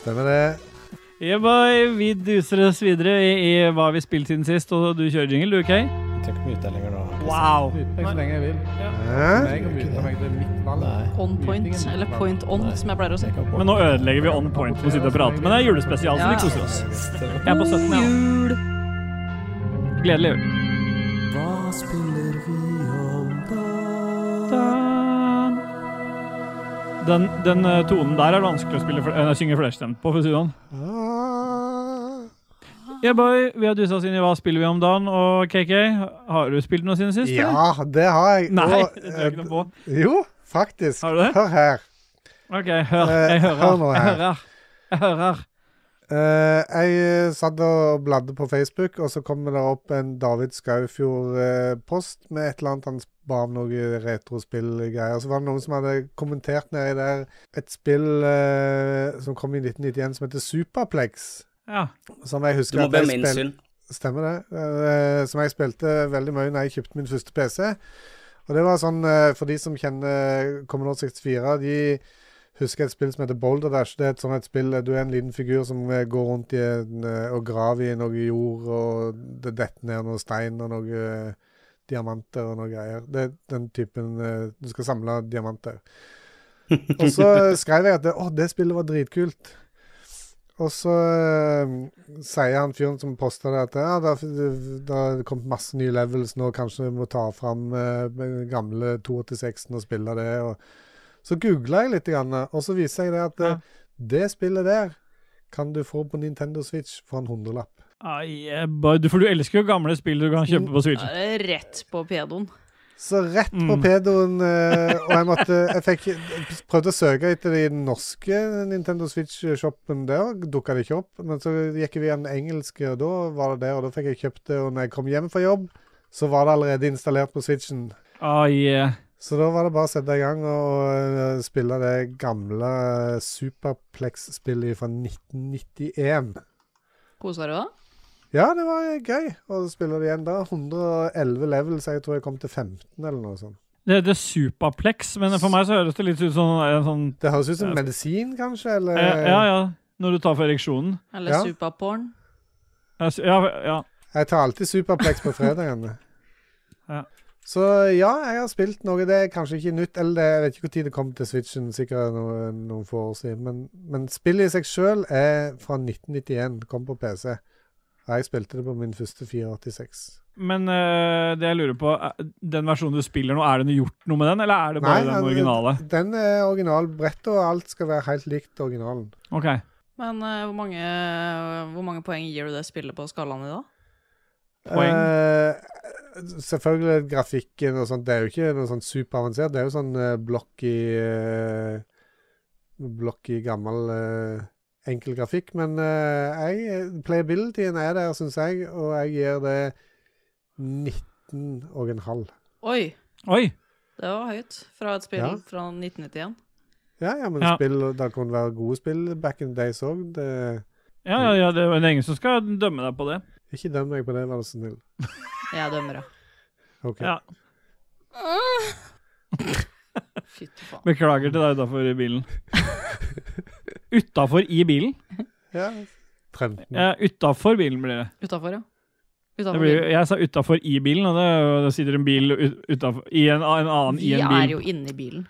Stemmer det?
Yeah, boy. Vi duser oss videre i, i hva vi spilte siden sist, og du kjører jingle, du, OK?
Trenger ikke mye uttellinger nå.
Wow.
lenge jeg vil.
Hæ?
Jeg kan bytte meg til mitt valg.
On point, eller point on, som jeg pleier å si.
Men nå ødelegger vi on point med å sitte og prate. Men det er julespesial, så vi koser oss. Jeg er på 17, ja.
Jul!
Gledelig jul. Hva spiller vi om da? Den, den eh, tonen der er det vanskelig å spille, fl- eh, synge flerstemt på, for å si det sånn.
Ah.
Yeah, boy, vi har dusa oss inn i hva spiller vi om dagen, og KK, har du spilt noe siden sist? eller?
Ja, det har jeg.
Nei,
Og,
det tror jeg ikke noe på.
eh, jo, faktisk.
Har du det?
Hør her.
OK, hør.
Eh,
Jeg
hør
hører.
nå
Jeg
her.
hører. Jeg hører.
Eh, jeg eh, satt og bladde på Facebook, og så kommer det opp en David Skaufjord-post med et eller annet han ba om noe retrospillgreier. Så var det noen som hadde kommentert nedi der et spill eh, som kom i 1991 som heter Superplex.
Ja.
Som jeg
Du
husker
må be om
jeg spil-
innsyn.
Stemmer det. Eh, som jeg spilte veldig mye når jeg kjøpte min første PC. Og det var sånn, eh, for de som kjenner Commodore 64, de husker et spill som heter Boulder Dash. Det er et sånt et spill der du er en liten figur som eh, går rundt i en, eh, og graver i noe jord, og det detter ned noe stein og noe eh, diamanter og noe greier. Det er den typen eh, Du skal samle diamanter. Og så skrev jeg at det, å, det spillet var dritkult. Og så eh, sier han fyren som posta det, at ja, det har- det har kommet masse nye levels nå, kanskje vi må ta fram eh, den gamle 286-en og spille det. Og så googla jeg litt, grann, og så viser jeg det at eh,
Ja.
det spillet der kan du få på Nintendo Switch for en hundrelapp.
Ai, eh, boy, du- for du elsker jo gamle spill du kan kjøpe på Switch.
Da er det Rett på pedoen.
Så rett på
Mm.
pedoen, eh, og jeg måtte Jeg fikk, prøvde å søke etter det i den norske Nintendo Switch-shoppen der, dukka det ikke opp. Men så gikk vi via den engelske, og da var det der, og da fikk jeg kjøpt det. Og når jeg kom hjem fra jobb, så var det allerede installert på Switchen.
Ai, eh,
Så da var det bare å sette i gang og eh, spille det gamle eh, Superplex-spillet fra 1991.
Koser du deg?
Ja, det var gøy å spille det igjen da. 111 levels, jeg tror jeg kom til 15 eller noe sånt.
det heter Supaplex, men for meg så høres det litt ut som en sånn
Det høres ut som
Ja.
medisin, kanskje? Eller?
eh, Ja, ja. Når du tar for ereksjonen.
Eller
Ja.
supaporn?
Ja, su- ja, ja.
Jeg tar alltid Superplex på fredagene.
Ja.
Så ja, jeg har spilt noe. Det er kanskje ikke nytt. Eller det, jeg vet ikke når det kom til Switchen, sikkert noen, noen få år siden. Men, men spillet i seg sjøl er fra 1991. Kom på PC. Jeg spilte det på min første 486.
Men eh, det jeg lurer på, er- den versjonen du spiller nå, er det noe gjort noe med den, eller er det bare
Nei,
den
han-
originale?
Den er original. Brettet og alt skal være helt likt originalen.
Ok.
Men eh, hvor, mange, eh, hvor mange poeng gir du det spillet på skalaen i dag?
Poeng.
Eh, selvfølgelig grafikken og sånt. Det er jo ikke noe sånn superavansert. Det er jo sånn eh, blokk i eh, Blokk i gammel eh, enkel grafikk. Men eh, jeg, playabilityen er der, syns jeg, og jeg gir det 19 og en halv.
Oi,
Oi!
det var høyt. Fra et spill
Ja.
fra 1991.
Ja, ja, men
Ja.
spill Det kunne være gode spill back in the days òg. Det-
Ja, ja, ja, det er det er ingen som skal dømme deg på det.
Ikke døm meg på det, vær så snill.
Jeg dømmer,
Ok.
Ja.
ja. Fytti faen.
Beklager til deg utafor bilen. utafor i bilen?
Ja. 13.
Ja, utafor bilen blir det.
Utafor, ja.
det
Utenfor
blir,
bilen.
jeg sa utafor i bilen, og det, er jo- det sitter en bil utafor I en, en annen
Vi
i en
er
bil.
jo inne i bilen.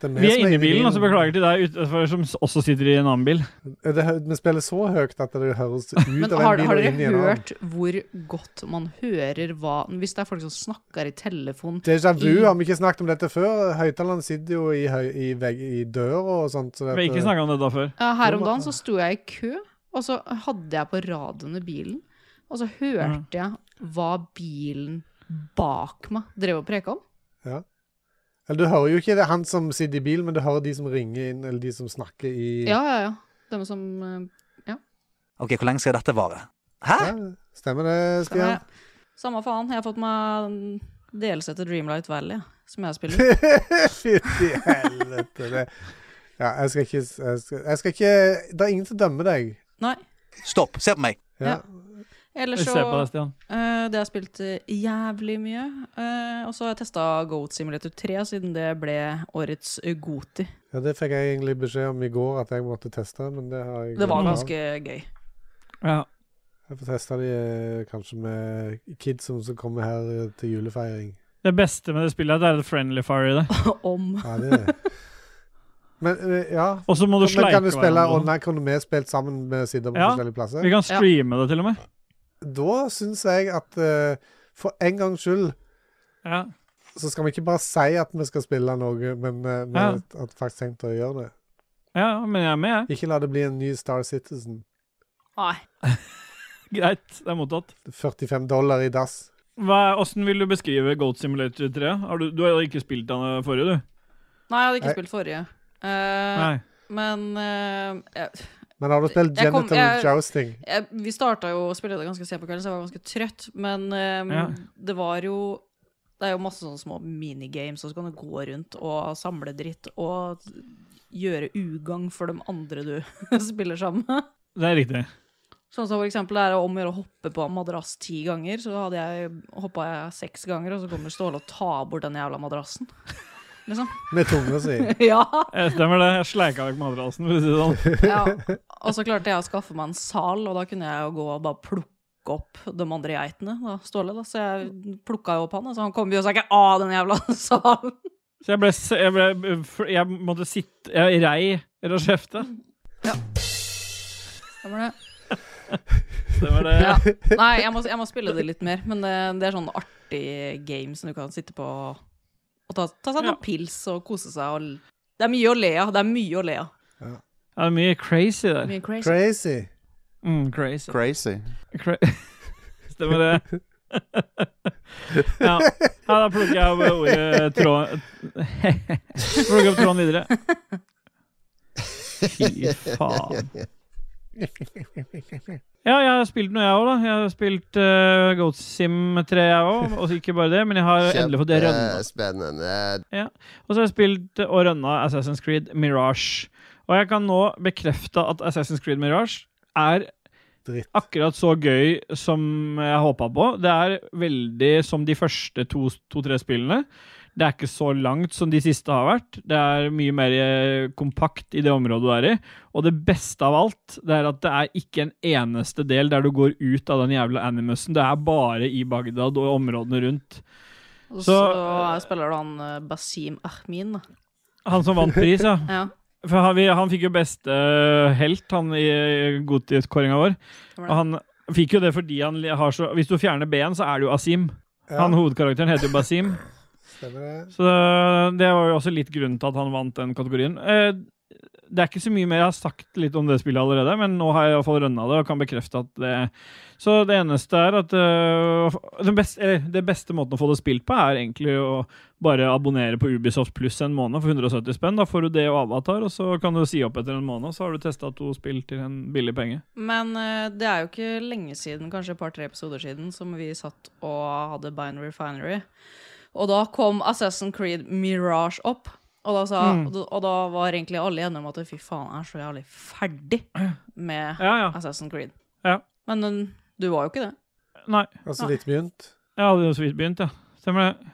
Det
Vi er
som
inne i bilen, og så beklager til deg utenfor, som s- også sitter i en annen bil.
Eh, Det, hø- vi spiller så høyt at det høres ut av en
Men
bil
har, har
og inn i
dere
en annen.
hørt hvor godt man hører hva Hvis det er folk som snakker i telefon
Déjà vu
I-
har vi ikke snakket om dette før. Høyttaleren sitter jo i, høy, i, vegg, i døra og sånt. Så
Vi
det,
har ikke snakka om det da før.
Ja, Eh, Her om
Jo,
dagen
men-
så sto jeg i kø, og så hadde jeg på radioen i bilen, og så hørte jeg hva bilen bak meg drev og preka om.
eller, du hører jo ikke det er han som sitter i bilen, men du hører de som ringer inn, eller de som snakker i
Ja, ja, ja. Dem som eh,
Ok, hvor lenge skal dette vare? Hæ?
Ja, Stemmer det, Stian?
Nei, Samme faen, jeg har fått meg en delelse til Dreamlight Valley, som jeg spiller.
Fytti helvete. Det. Ja, jeg skal ikke jeg skal, jeg skal ikke Det er ingen som dømmer deg.
Nei.
Stopp, se på meg.
Ja.
Ja. Ellers
Jeg
så
ser på deg, Stian.
eh, Det har jeg spilt eh, jævlig mye. eh, og så har jeg testa Goat Simulator 3, siden det ble årets eh, Goti.
ja, det fikk jeg egentlig beskjed om i går at jeg måtte teste, men det har jeg
Det var
glemt.
ganske gøy.
Ja.
Jeg får teste de eh, kanskje med kids som, som kommer her eh, til julefeiring.
Det beste med det spillet er at det er et friendly fire i det.
Om
Ja, det Men eh, ja
Og så må du
Men
sleike
kan du spille
hverandre.
online? Kunne vi spilt sammen med sider på
Ja.
forskjellige plasser?
Vi kan streame det, til og med.
Da syns jeg at eh, for en gangs skyld
Ja.
så skal vi ikke bare si at vi skal spille noe, men eh, vi
Ja.
har at faktisk tenkt å gjøre det.
Ja, men jeg er med, jeg.
Ikke la det bli en ny Star Citizen.
Nei.
Greit, det er mottatt.
45 dollar i dass.
Hva, hvordan vil du beskrive Goat Simulator 3? Har du, du har ikke spilt den eh, forrige, du?
Nei, jeg hadde ikke
Nei.
spilt forrige. Eh,
Nei.
men eh, jeg,
Men har du spilt
Jeg kom-
Genital
jeg-
Jousting?
jeg, vi starta jo å spille det ganske sent på kvelden, så jeg var ganske trøtt. Men eh,
Ja.
det var jo Det er jo masse sånne små minigames, og så kan du gå rundt og samle dritt og gjøre ugagn for de andre du spiller sammen med.
Det er riktig.
Sånn som for eksempel er det om å gjøre å hoppe på en madrass ti ganger. Så hadde jeg hoppa jeg seks ganger, og så kommer Ståle og tar bort den jævla madrassen. Liksom.
Med tunga si.
Ja.
Jeg stemmer det. Jeg sleika vekk madrassen, for å si det sånn.
ja. Og så klarte jeg å skaffe meg en sal, og da kunne jeg jo gå og bare plukke opp de andre geitene. Da, Ståle, da. Så jeg plukka jo opp han, da, så han kom jo og sa ikke 'av den jævla salen'.
Så jeg ble, s- jeg ble for- Jeg måtte sitte Jeg rei eller og kjefte.
Stemmer det?
Stemmer det?
Ja. Nei, jeg må, jeg må spille det litt mer, men det, det er sånn artig game som du kan sitte på og ta, ta seg noen
Ja.
pils og kose seg. Og, l- det er mye å le av. Det er mye å le av.
Ja, Det er mye crazy der.
Mye crazy.
Crazy.
Mm, crazy.
Crazy.
Cra Stemmer det. ja. ja, da plukker jeg opp ordet tråd Plukker opp tråden videre. Fy faen. Ja, jeg har spilt noe, jeg òg. Jeg har spilt uh, Goat Sim 3, jeg òg. Og ikke bare det, men jeg har endelig fått
eh,
rønna.
Kjempespennende.
Og så har jeg spilt og rønna Assassin's Creed Mirage. Og jeg kan nå bekrefte at Assassin's Creed Mirage er
Dritt.
akkurat så gøy som jeg håpa på. Det er veldig som de første to-tre spillene. Det er ikke så langt som de siste har vært. Det er mye mer eh, kompakt i det området du er i. Og det beste av alt det er at det er ikke en eneste del der du går ut av den jævla animusen. Det er bare i Bagdad og områdene rundt.
Og så,
Så-
spiller du han eh, Basim Ahmin. da.
Han som vant pris, ja.
Ja,
For han, vi, han fikk jo beste helt, han i Godtidskåringa vår. Og han fikk jo det fordi han li- har så Hvis du fjerner B-en, så er det jo Asim.
Ja,
Han hovedkarakteren heter jo Basim.
stemmer det.
Så det var jo også litt grunnen til at han vant den kategorien. Eh, Det er ikke så mye mer jeg har sagt litt om det spillet allerede, men nå har jeg iallfall rønna det og kan bekrefte at det Så det eneste er at eh, den beste, eller, det beste måten å få det spilt på, er egentlig å bare abonnere på Ubisoft pluss en måned for 170 spenn. Da får du det og Avatar, og så kan du si opp etter en måned, og så har du testa to spill til en billig penge.
Men eh, det er jo ikke lenge siden, kanskje et par-tre episoder siden, som vi satt og hadde Binary Finery. Og da kom Assassin's Creed Mirage opp. Og da, sa,
Mm.
og da- og da var egentlig alle enige om at fy faen, jeg er så jævlig ferdig med
Ja, ja.
Assassin's Creed.
Ja.
Men den- du var jo ikke det.
Nei,
Altså litt begynt.
jeg hadde jo så vidt begynt, ja. Stemmer det.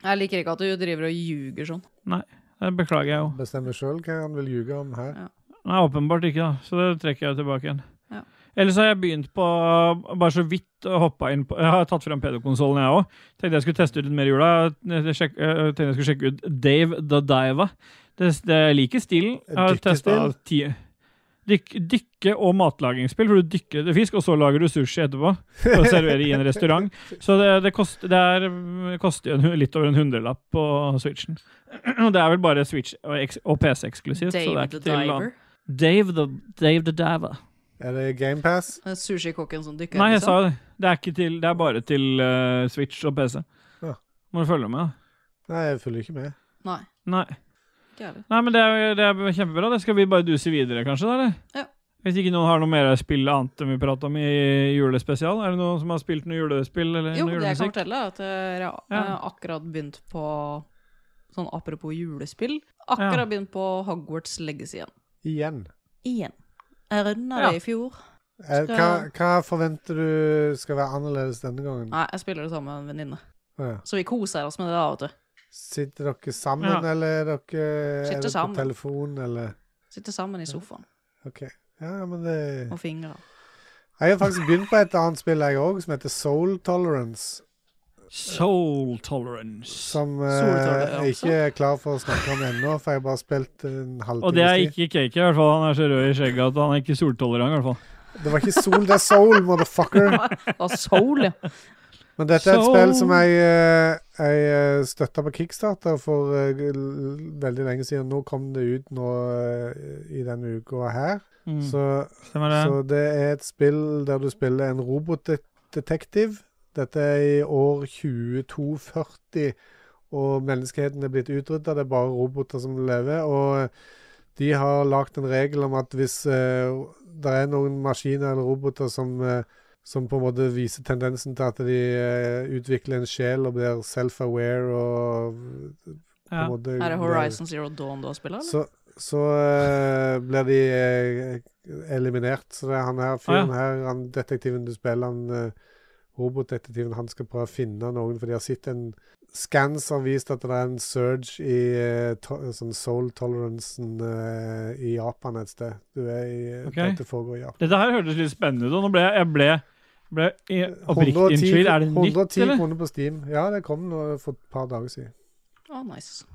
Jeg liker ikke at du driver og ljuger sånn.
Det beklager jeg jo.
Bestemmer sjøl hva han vil ljuge om her.
Nei, åpenbart ikke, da. Så det trekker jeg jo tilbake igjen.
Ja.
Ellers har jeg begynt på Bare så vidt hoppa inn på Jeg har tatt fram PD-konsollen, jeg òg. Tenkte jeg skulle teste ut litt mer i jula. Jeg sjek- eh, Tenkte jeg skulle sjekke ut Dave the Diva. Det, det jeg liker stilen. Jeg har
Dykkespill?
testet ti- Dykk, dykke- og matlagingsspill, for du dykker etter fisk, og så lager du sushi etterpå. Og serverer i en restaurant. Så det, det, kost, det er, mm, koster jo en hu- litt over en hundrelapp på Switchen. Og det er vel bare Switch og, eks- og PC eksklusivt.
Dave
så det er
the
ikke til
Diver.
Dave the, Dave the Diver.
Er det GamePass?
Den Eh, Sushikokken som dykker liksom.
Nei,
etter
jeg
seg.
sa jo det. Det er, ikke til, det er bare til eh, Switch og PC.
Ja.
Må du følge med, da.
Nei, jeg følger ikke med.
Nei,
Nei,
ikke jeg heller.
Nei men det er, det er kjempebra. Det skal vi bare duse videre, kanskje? da, eller?
Ja.
Hvis ikke noen har noe mer spill annet enn vi prata om i julespesial? Er det noen som har spilt noe julespill eller
Jo, det jeg
noe
kan
julemusikk?
fortelle, er at eh, jeg har
Ja.
akkurat begynt på Sånn apropos julespill. Akkurat
Ja.
begynt på Hogwarts Legacy igjen.
Igjen.
Igjen. Jeg runda
Ja.
det i fjor.
Eh, Hva,
Skal-
hva forventer du skal være annerledes denne gangen?
Nei, jeg spiller det sammen med en venninne.
Å ja.
Så vi koser oss med det, da, vet du.
Sitter dere sammen,
Ja.
eller er dere er
Sitter
det på
sammen.
telefon, eller
Sitter sammen i sofaen
OK. Ja, men det
og fingrer.
Jeg har faktisk begynt på et annet spill, jeg òg, som heter Soul Tolerance.
Soul Tolerance.
Som eh,
Soul Tolerance.
jeg ikke er klar for å snakke om ennå, for jeg har bare spilt en halvtime.
Og det er
siden.
ikke cake, i hvert fall. Han er så rød i skjegget at han er ikke soltolerant. i hvert fall.
Det var ikke sol, det er soul, motherfucker.
Og soul, ja.
Men dette er et
So-
spill som jeg, eh, jeg eh, støtta på Kickstarter for eh, l- veldig lenge siden. Nå kom det ut nå eh, i denne uka her.
Mm.
Så,
Stemmer det.
så det er et spill der du spiller en robotdetektiv. Dette er i år 2240, og menneskeheten er blitt utrydda. Det er bare roboter som lever. og de har lagt en regel om at hvis eh, det er noen maskiner eller roboter som, eh, som på en måte viser tendensen til at de eh, utvikler en sjel og blir self-aware og på
Ja.
en måte
Er det Horizon Zero Dawn du har spilt, eller?
Så, så eh, blir de eh, eliminert. Så det er han her fyren her, han detektiven du spiller, han eh, robotdetektiven, han skal prøve å finne noen, for de har sett en Scans har vist at det er en surge i eh, to sånn soul tolerancen eh, i Japan et sted. Du er i, eh,
Ok.
Dette foregår i Japan.
Dette her hørtes litt spennende ut, og nå ble jeg, jeg ble, ble i- oppriktig
110
i tvil. Er det nytt,
110
eller?
kroner på Steam. Ja, det kom nå for et par dager siden.
Å, nice.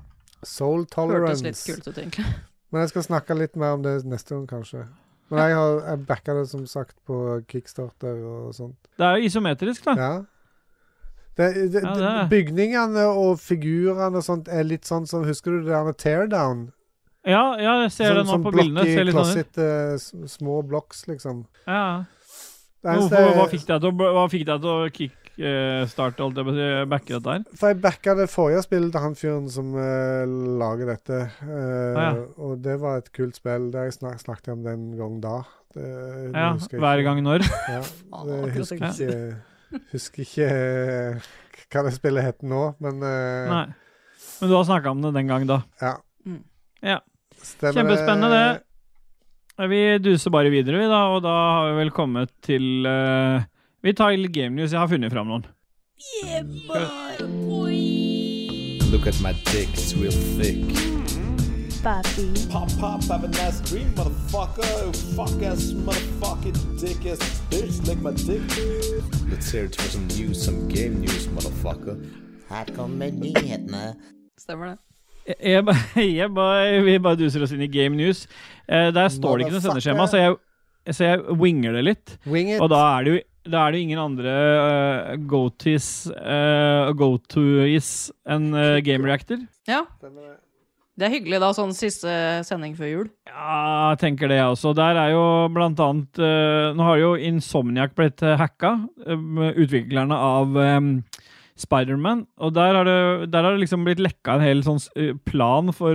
Hørtes
Soul
litt
tolerance.
kult ut, egentlig.
Men jeg skal snakke litt mer om det neste gang, kanskje. Men jeg har jeg backa det som sagt på kickstarter og sånt.
Det er jo isometrisk, da.
Ja. Det, det,
Ja, det er.
Bygningene og figurene og sånt er litt sånn som Husker du det der med teardown?
Ja, ja jeg ser
Sånn
det nå
som
på
blokk
bildene.
i
Ser litt sånn ut.
Closet, eh, s- små blocks, liksom.
Ja.
Det
Men
eneste-
Hvorfor, hva fikk deg til å, bl- hva fikk deg til å kickstarte, holdt jeg på å si, backe dette her?
For jeg backa det forrige spillet til han fyren som eh, lager dette. Eh,
Ah, ja.
Og det var et kult spill. Det har jeg snak snakket om den gang da. Det, det
Ja,
husker jeg
hver
ikke.
gang når.
Ja,
Faen,
det
akkurat
husker
det.
ikke Husker ikke eh, hva det spillet het nå, men eh,
Nei. Men du har snakka om det den gang, da.
ja.
Mm.
Ja.
Stemmer
Kjempespennende,
eh,
det. Vi duser bare videre, vi, da. Og da har vi vel kommet til eh, Vi tar litt game news. Jeg har funnet fram noen.
Look at my dick, it's real thick.
Papi,
Pop, pop, have a nice dream, motherfucker. Fuck ass, motherfucking dick ass bitch, lick my dick.
Let's hear it for some news, some game news, motherfucker.
her kommer nyhetene.
Stemmer det.
Jeg, jeg, E, ba- jeg, ba- vi bare duser oss inn i game news. Eh, der står det ikke noe sendeskjema, så jeg, så jeg winger det litt.
Wing it.
Og da er det jo da er det jo ingen andre uh, go-tos enn eh, Game Reactor.
Ja. Det er hyggelig, da. Sånn siste sending før jul.
Ja, jeg tenker det jeg også. Der er jo blant annet eh, Nå har jo Insomniac blitt eh, hacka, eh, utviklerne av eh, Spiderman. Og der har, det, der har det liksom blitt lekka en hel sånn s- eh, plan for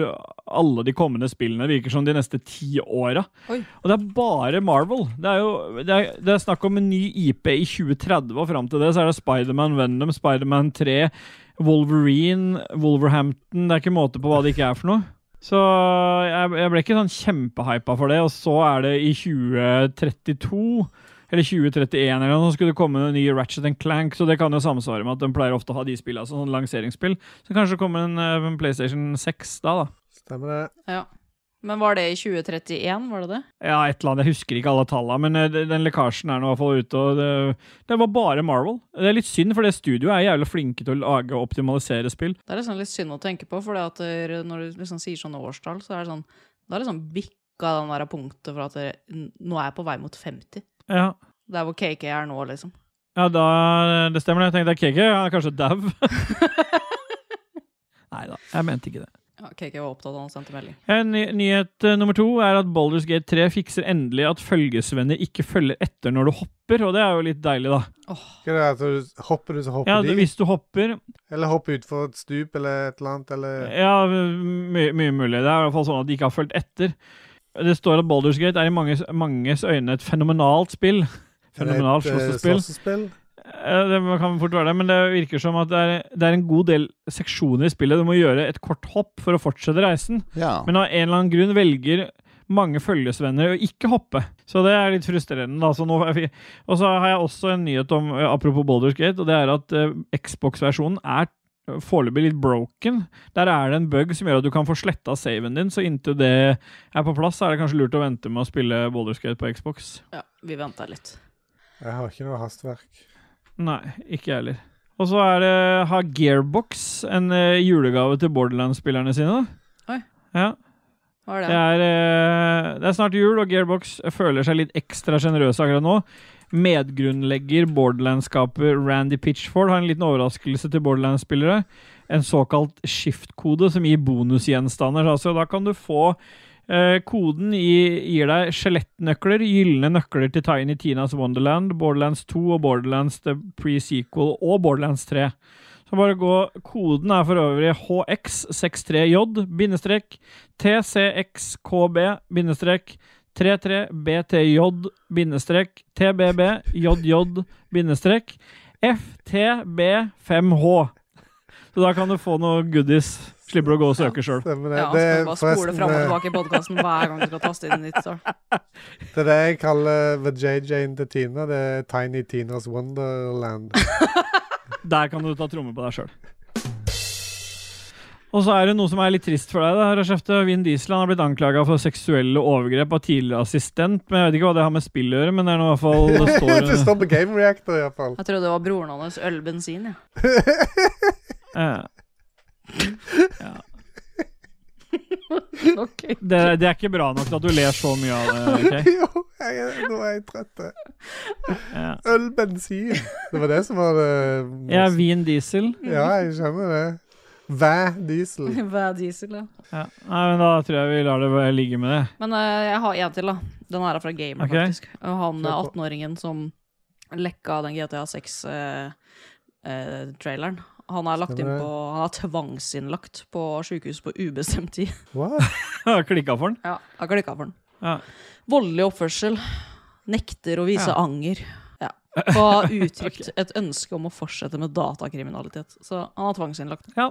alle de kommende spillene. Det Virker som de neste ti åra.
Oi.
Og det er bare Marvel. Det er jo det er, det er snakk om en ny IP i 2030, og fram til det så er det Spiderman Venom, Spiderman 3, Wolverine, Wolverhampton Det er ikke måte på hva det ikke er for noe. Så jeg, jeg ble ikke sånn kjempehypa for det. Og så er det i 2032 eller 2031 eller noe, så skulle det komme en ny Ratchet Clank, så det kan jo samsvare med at den pleier ofte å ha de spillene, altså sånn lanseringsspill. Så kanskje det kommer en, eh, en PlayStation 6 da, da.
Stemmer det.
Ja. Men var det i 2031, var det det?
Ja, et eller annet. Jeg husker ikke alle tallene, men eh, det- den lekkasjen er nå i hvert fall ute. Og det, det var bare Marvel. Det er litt synd, for det studioet er jævlig flinke til å lage og optimalisere spill.
Det er liksom litt synd å tenke på, for når du liksom sier sånne årstall, så er det sånn Da er liksom bikka den der punktet for at det, n- nå er jeg på vei mot 50.
Ja,
Der hvor KK er nå, liksom.
ja da, det stemmer det. Jeg tenkte KK han er kanskje dau. Nei da, jeg mente ikke det.
Ja, KK var opptatt av å sende melding.
En ny nyhet eh, nummer to er at Baldur's Gate 3 fikser endelig at følgesvenner ikke følger etter når du hopper, og det er jo litt deilig, da.
Hva er det at du hopper du, så hopper
Ja,
de?
Hvis du hopper
Eller hopper utfor et stup eller et eller annet, eller
Ja, my mye mulig. Det er i hvert fall sånn at de ikke har fulgt etter. Det står at Baldur's Gate er i manges, manges øyne et fenomenalt spill. Fenomenalt
et, eh,
slåssespill.
slåssespill.
Eh, Det kan fort være det, men det virker som at det er, det er en god del seksjoner i spillet. Du må gjøre et kort hopp for å fortsette reisen,
Ja.
men av en eller annen grunn velger mange følgesvenner å ikke hoppe. Så det er litt frustrerende. Da. Så nå, og så har jeg også en nyhet om, eh, apropos Baldur's Gate, og det er at eh, Xbox-versjonen er foreløpig litt broken. Der er det en bug som gjør at du kan få sletta saven din, så inntil det er på plass, så er det kanskje lurt å vente med å spille Baldur's Gate på Xbox.
Ja, vi venta litt.
Jeg har ikke noe hastverk.
Nei, ikke jeg heller. Og så er det har Gearbox en eh, julegave til Borderlands-spillerne sine. da.
Oi.
Ja,
Hva er
det
det?
er, eh, det er snart jul, og Gearbox føler seg litt ekstra sjenerøse akkurat nå. Medgrunnlegger Borderlands-skaper Randy Pitchford har en liten overraskelse til Borderlands-spillere. En såkalt skift-kode som gir bonusgjenstander. Altså, da kan du få eh, Koden i, gir deg skjelettnøkler, gylne nøkler til Tiny Tinas Wonderland, Borderlands 2 og Borderlands The Pre-Sequel og Borderlands 3. Så bare gå Koden er for øvrig HX63J bindestrek TCXKB bindestrek 33BTJ bindestrek TBB JJ bindestrek FTB5H. Så da kan du få noe goodies. Slipper du å gå og søke sjøl.
Stemmer det.
Ja,
det,
skal du bare spole
forresten,
fram og
eh,
tilbake i podkasten hver gang du skal taste inn ditt svar.
det er det jeg kaller The JJ-en til Tina. Det er Tiny Tinas Wonderland.
Der kan du ta tromme på deg sjøl. Og så er det noe som er litt trist for deg. da, herre Skjefte. Vin Diesel han har blitt anklaga for seksuelle overgrep av tidligere assistent. Men Jeg vet ikke hva det har med spill å gjøre, men det er nå i hvert fall det
det
står,
står på Game Reactor iallfall.
Jeg trodde det var broren hans ølbensin, jeg.
eh,
Ja. Ok.
det, det er ikke bra nok til at du ler så mye av det. ok?
Jo, jeg, er- nå er jeg trøtt. eh. jeg.
Ja.
Øl, bensin. Det var det som var det
Jeg er Vin Diesel.
Ja, jeg skjønner det. Væ diesel.
Hva er diesel, ja.
Ja. Nei, men Da tror jeg vi lar det bare ligge med det.
Men eh, jeg har en til, da. Den her er fra Gamer,
Ok.
faktisk. Og han eh,
Kjør på.
18-åringen som lekka den GTA 6-traileren. eh, han er lagt inn
Stemmer det.
på Han er tvangsinnlagt på sjukehus på ubestemt tid.
What?
Klikka for den.
Ja, har klikka for den.
Ja.
Voldelig oppførsel. Nekter å vise anger. Ja. Og har uttrykt et ønske om å fortsette med datakriminalitet. Så han er tvangsinnlagt.
Ja.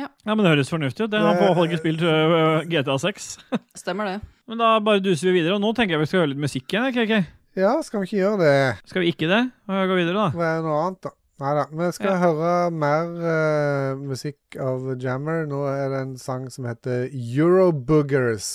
Ja.
men Det høres fornuftig ut. Det Han får ikke spilt øh, GTA 6.
Stemmer det.
Men da bare duser vi videre. Og nå tenker jeg vi skal høre litt musikk igjen. ikke, ikke?
Ja, skal vi ikke gjøre det?
Skal vi ikke det? Og Gå videre, da.
Hva er noe annet, da? Nei da. Vi skal
Ja.
høre mer eh, musikk av Jammer. Nå er det en sang som heter Euroboogers.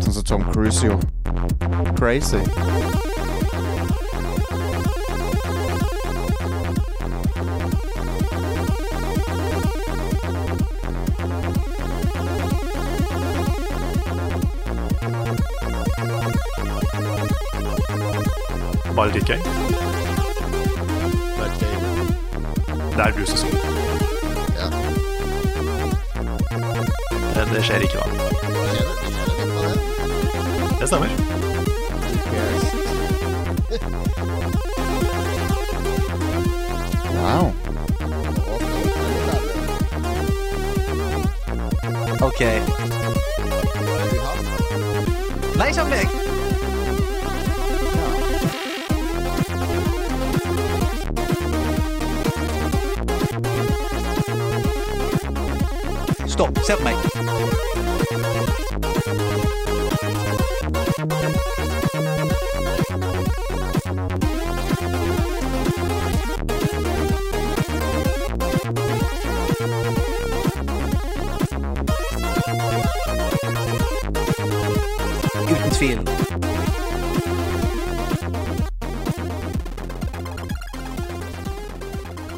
Sådan som Tom Cruise jo. Crazy.
Baltic Gay. Det er du som sier det.
Ja.
Men det skjer ikke, da. Det stemmer.
Wow.
OK. Nei, ikke av meg. Stopp. Se på meg. Uten tvil.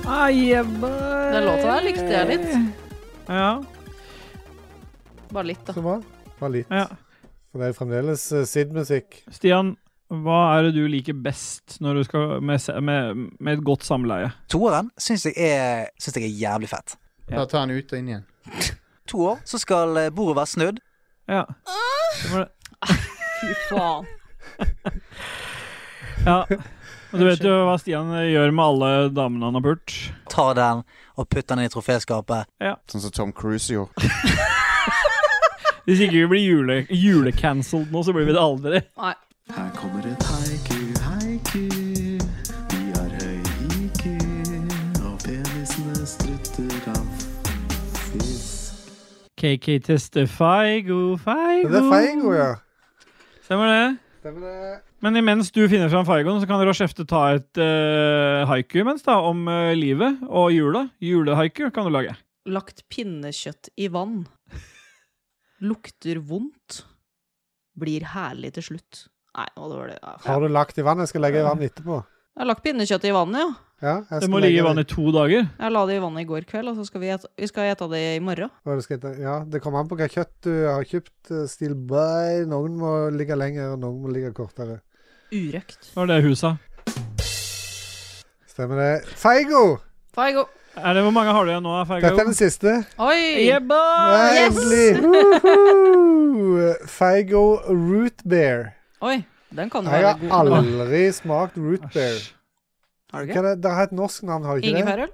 Den låta der likte jeg litt.
Ja,
Bare litt, da.
Som var, var litt.
ja.
For det er fremdeles eh, Sid-musikk.
Stian, hva er det du liker best når du skal med, se- med, med et godt samleie?
Toeren syns jeg, er- syns jeg er jævlig fett.
Bare ta den ut og inn igjen.
To år, så skal eh, bordet være snudd.
Ja. Det var det.
Fy faen.
ja. Og du vet jo hva Stian gjør med alle damene han har pult.
Ta den og putt den inn i troféskapet.
Sådan som Tom Cruise jo.
Hvis ikke vi blir jule, julecancelled nå, så blir vi det aldri.
Nei.
Her kommer et haiku, haiku. Vi har høy IQ, og penisene strutter av fisk.
KK tester feigo, feigo.
Men det er Feigo, ja.
Stemmer det.
Stemmer det.
Men imens du finner fram feigoen, så kan dere og Skjefte ta et eh, haiku mens da, om eh, livet og jula. Julehaiku kan du lage.
Lagt pinnekjøtt i vann. Lukter vondt. blir herlig til slutt. Nei, nå var det ja.
Har du lagt i vannet? Jeg skal legge i vannet etterpå.
Jeg har lagt pinnekjøttet i vannet, ja.
Ja, jeg
Det
skal
må ligge i
legge
vannet i to dager.
Jeg la det i vannet i går kveld, og så skal vi et, vi skal ete det i morgen.
Hva du skal hete? Ja, det kommer an på hva kjøtt du har kjøpt. eh, Steel by. Noen må ligge lenger, og noen må ligge kortere.
Urøkt.
Det var det huset.
Stemmer det. Feigo!
Feigo.
Er det Hvor mange har du igjen nå? Fergo?
Dette er den siste.
Oi!
Jebba!
Nei,
Ah, yes!
Endelig! Woohoo! Feigo root beer.
Oi, den kan jo
Jeg
være
har
god.
aldri smakt root bear.
Æsj.
Har du
Hva
ikke?
er det? det har et norsk navn, har det ikke det?
Ingefærøl?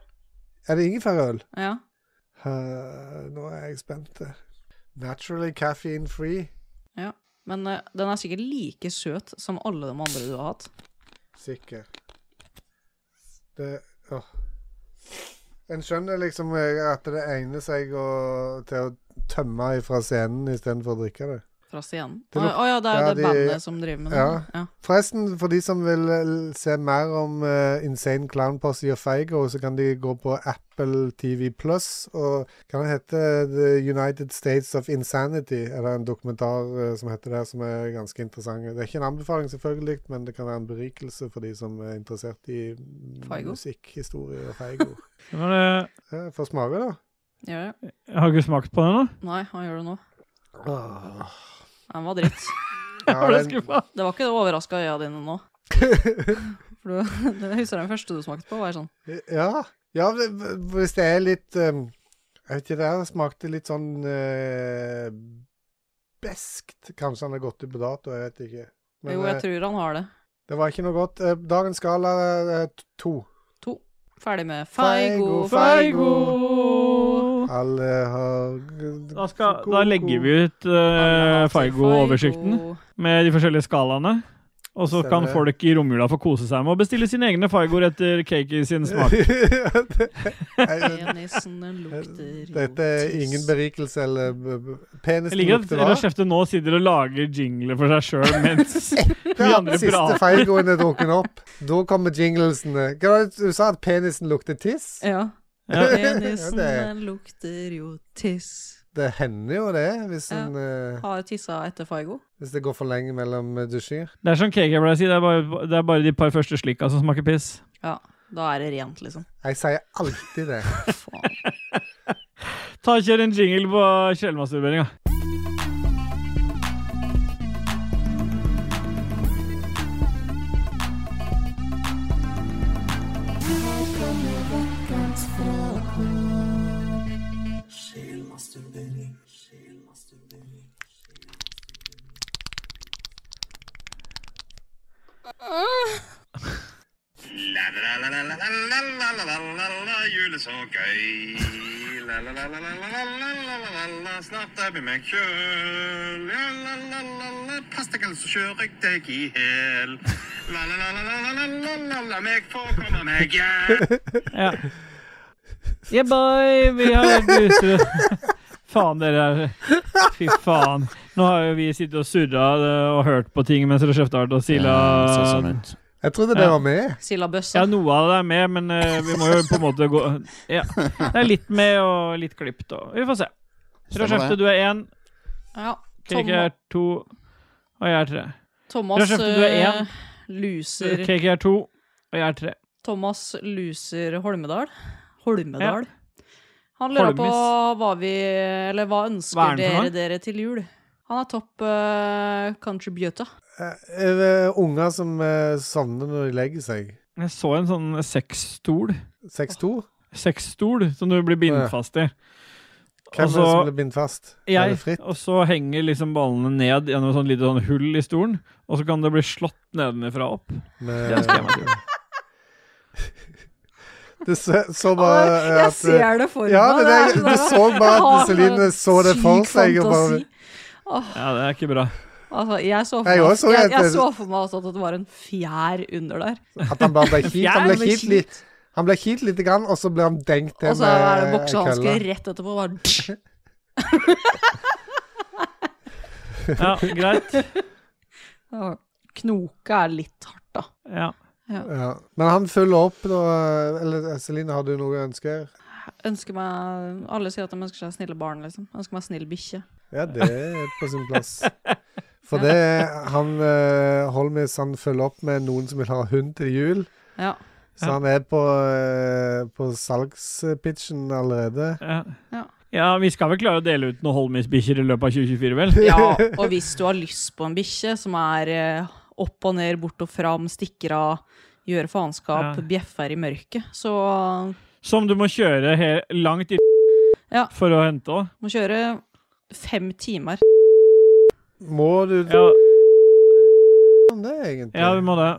Er det ingefærøl?
Ja.
Eh, nå er jeg spent. Naturally caffeine free.
Men eh, den er sikkert like søt som alle de andre du har hatt.
Sikker. Det åh. En skjønner liksom eh, at det egner seg å, til å tømme fra scenen istedenfor å drikke det.
Fra scenen.
Det
Å
luk-
å ja, det er jo
ja,
det
de-
bandet som driver med det.
ja.
Ja.
Forresten, for de som vil eh, se mer om eh, Insane Clown Posse og Feigo, så kan de gå på Apple TV Plus og kan det hete eh, The United States of Insanity? Er det en dokumentar eh, som heter det, som er ganske interessant? Det er ikke en anbefaling, selvfølgelig, men det kan være en berikelse for de som er interessert i
Feigo?
musikkhistorie og Feigo.
Det var det-
Ja, Få smake, da.
Gjør det?
Jeg har ikke smakt på den ennå.
Nei, hva gjør du nå? Den var dritt.
Ja,
Var du
den,
skuffa?
Det var ikke det overraska øya dine nå. For du, jeg husker den første du smakte på, var sånn
ja, ja, v- v- hvis det er litt um, Jeg vet ikke, det her smakte litt sånn eh, beskt. Kanskje han har gått ut på dato, jeg vet ikke. Men
Jo,
eh,
jeg tror han har det.
det var ikke noe godt. Eh, Dagens skala er eh, to.
To. Ferdig med
Feigo,
Feigo,
Feigo!
Alle har
Da, skal, da legger vi ut eh, Feigo-oversikten med de forskjellige skalaene. Og så
Ser
kan
det.
folk i romjula få kose seg med å bestille sine egne Feigoer etter cake i sin smak.
Smak.
Penisene lukter jo
Dette er
tiss.
ingen berikelse eller b- b- Penisen
Jeg liker at
lukter hva?
Lars Hefte nå sitter og lager jingler for seg sjøl mens
Det
Vi
er
andre
den siste
prater.
feilgående er drukket opp. Da kommer jinglesene. Hva var det Du sa at penisen lukter tiss?
Ja.
Ja.
Ja,
Penisene lukter jo tiss.
Det hender jo det, hvis,
Ja.
en, eh,
Har tissa etter Feigo.
hvis det går for lenge mellom eh, dusjer.
Det er som cake jeg pleier å si, det er bare, det er bare de par første slikka som smaker piss.
Ja. Da er det rent, liksom.
Jeg sier alltid det.
Faen.
Ta og Kjør en jingle på kjelemasturberinga.
Snart er vi meg kjøl. Ja, la, la, la, la. Pass deg, ellers så kjører jeg deg i hæl. La, la, la, la, la, la, la, la, la meg få komme meg. Ja.
Ja. Yeah, boy, vi har vært ute. Faen, dere er Fy faen. Nå har jo vi sittet og surra eh, og hørt på ting mens dere kjefta hardt og sila
ser sånn ut.
Jeg trodde det
Ja.
var med.
Silla
Ja,
Bøssa.
noe av det er med, men eh, vi må jo på en måte gå Ja. Det er litt med og litt klipt og Vi får se. Tror
Stemmer
Skjefte,
det.
du er én.
Ja.
Cake er to. Og jeg er tre.
Thomas
Røsjefte, du er
eh,
én.
luser
Cake er to. Og jeg er tre.
Thomas luser Holmedal. Holmedal. Han lurer
Holmis.
på hva vi Eller hva ønsker
Hva er den
dere
for noe?
dere til jul? Han er topp uh, contributor.
Eh, Er det unger som eh, sovner når de legger seg?
Jeg så en sånn sexstol.
6-2?
Sexstol som du blir bindet
Ja.
fast i.
Hvem
Og
er det
så-
som blir bindt fast? Er det
Altså, Jeg,
fritt?
og så henger liksom ballene ned gjennom sånn lite sånn hull i stolen, og så kan det bli slått nedenfra opp.
Med-
Jeg skal hjem og
altså. Det så, så bare eh, at, eh,
det for
ja, men jeg, du så bare at Celine så det for seg. Og bare,
Ja, det er ikke bra.
Altså, jeg så for
Jeg
meg,
også så
jeg,
et-
jeg så for meg altså at det var en fjær under der.
At han bare ble kjipt. Han ble
Jeg
ble
kjipt litt. Han ble kjipt lite grann, og så ble han denkt det
Og så er det
med ei
boksehansker rett etterpå. Bare,
Ja, greit.
ja, knoka er litt hardt, da.
Ja.
Ja. Men han følger opp, da. Eller Celine, har du noe ønsker?
Ønsker meg, alle sier at de ønsker seg snille barn, liksom. Ønsker meg snill bikkje.
Ja, det er på sin plass. For det han eh, Holmis han følger opp med noen som vil ha hund til jul.
Ja.
Så han er på, eh, på salgspitchen allerede.
Ja. ja, vi skal vel klare å dele ut noen Holmis-bikkjer i løpet av 2024, vel?
Ja, og hvis du har lyst på en bikkje som er eh, opp og ned, bort og fram, stikker av, gjør faenskap,
Ja.
bjeffer i mørket, så eh,
Som du må kjøre he langt i
Ja.
for å hente òg.
må kjøre fem timer.
Må du
Ja,
om det, egentlig?
ja, vi må det.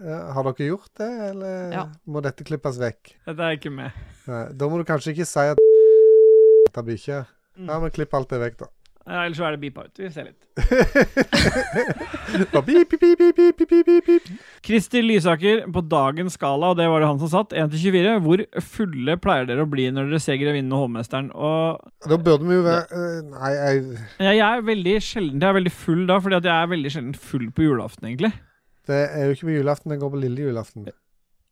Ja, Har dere gjort det, eller
Ja.
må dette klippes vekk?
Dette er ikke med.
Nei, da må du kanskje ikke si at tar bikkje. Ja, men klipp alt det vekk, da.
Ja, ellers så er det beepa ut. Vi ser litt.
Bare pip, pip, pip, pip, pip, pip, pip, pip.
Kristi Lysaker, på dagens skala, og det var det han som satt, 1 til 24, hvor fulle pleier dere å bli når dere ser Grevinnen og hovmesteren? Og
Da burde vi jo være eh, Nei, jeg,
ja, jeg er veldig sjelden jeg er veldig full da, fordi at jeg er veldig sjelden full på julaften, egentlig.
det er jo ikke på julaften, det går på lille julaften.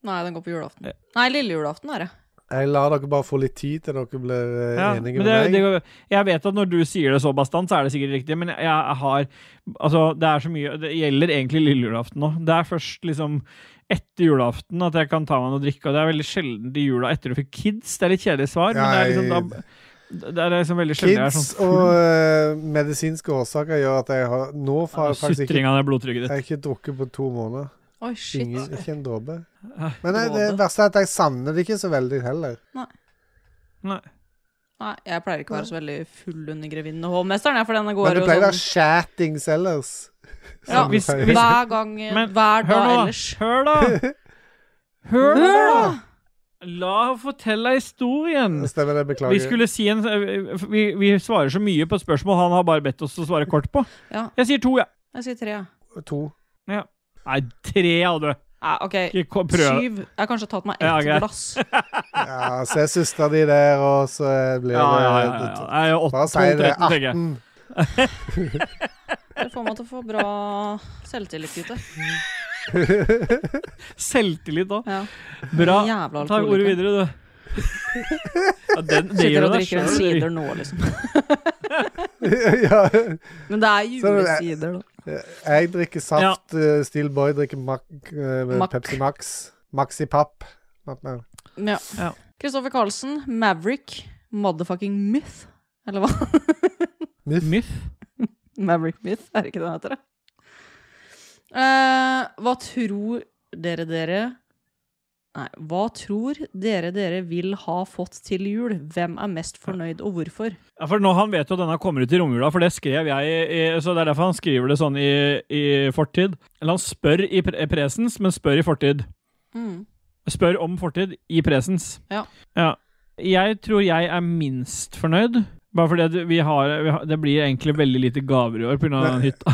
Nei, den går på julaften.
Ja.
Nei, lille julaften er det.
Jeg lar dere bare få litt tid til dere blir eh,
Ja, men
enige
det,
med
det,
meg.
går- jeg vet at når du sier det så bastant, så er det sikkert riktig, men jeg, jeg har Altså, det er så mye Det gjelder egentlig lille julaften nå. Det er først liksom etter julaften at jeg kan ta meg noe å drikke, og det er veldig sjelden til jula etter du fikk kids. Det er litt kjedelig svar, men det er liksom da, det er liksom veldig sjelden jeg er
Kids
sånn
og
full.
eh, medisinske årsaker gjør at jeg har Nå får jeg faktisk ikke
Sutring av det blodtrykket
Jeg
ditt.
har ikke drukket på to måneder.
Oi, shit.
Ingen, ikke en dråpe.
Nei.
Men det, det verste er at jeg savner det ikke så veldig heller.
Nei.
Nei, jeg pleier ikke å være så veldig full under Grevinnen og hovmesteren, jeg, for denne
Men
går
det
jo
pleier å
sånn
være chatings ellers.
ja,
Som
hvis-
det pleier.
hvis-
Hver gang, eh,
sånn, Men
hver
Hør
dag
nå,
ellers.
da. Hør, da. Hør, nå, da. La henne fortelle historien.
Stemmer det,
Vi
beklager.
skulle si en eh, vi, vi svarer så mye på et spørsmål han har bare bedt oss å svare kort på.
Ja.
Jeg sier to, jeg.
Jeg sier tre. ja.
To.
Nei, tre hadde du.
Nei, OK.
Ikke ko- prøv.
Syv. Jeg har kanskje tatt meg ett
Ja, greit.
glass.
Ja, se søstera di der, og så blir det
Ja, ja, ja. ja, ja. Nei, åtte,
Bare si det.
12, 13, tenker jeg.
18.
Det får meg til å få bra selvtillit, gutter.
Selvtillit òg.
Ja.
Bra.
Jævla
Ta ordet
alkoholiker.
videre, du. Ja, den, det
Sitter
gjør
og
du deg
drikker en
selv.
sider nå, liksom.
ja.
Men det Sånn er
Så er det-
julesider, da.
Eh, Jeg drikker saft. eh, Steel Boy drikker Mac, eh,
Mac.
Pepsi Max. Maxi Papp. Mapp, nei.
Ja.
Ja.
Kristoffer Carlsen, Maverick, motherfucking myth. Eller hva?
Myth.
Maverick Myth, er det ikke det han heter? det? Eh, hva tror dere dere Nei, hva tror dere dere vil ha fått til jul? Hvem er mest fornøyd, og hvorfor?
Ja, for nå Han vet jo at denne kommer ut i romjula, for det skrev jeg. I, i- så Det er derfor han skriver det sånn i, i fortid. Eller han spør i pre presens, men spør i fortid.
Mm.
Spør om fortid i presens.
Ja.
Jeg tror jeg er minst fornøyd. Bare fordi at vi har, vi har Det blir egentlig veldig lite gaver i år pga.
Nei.
hytta.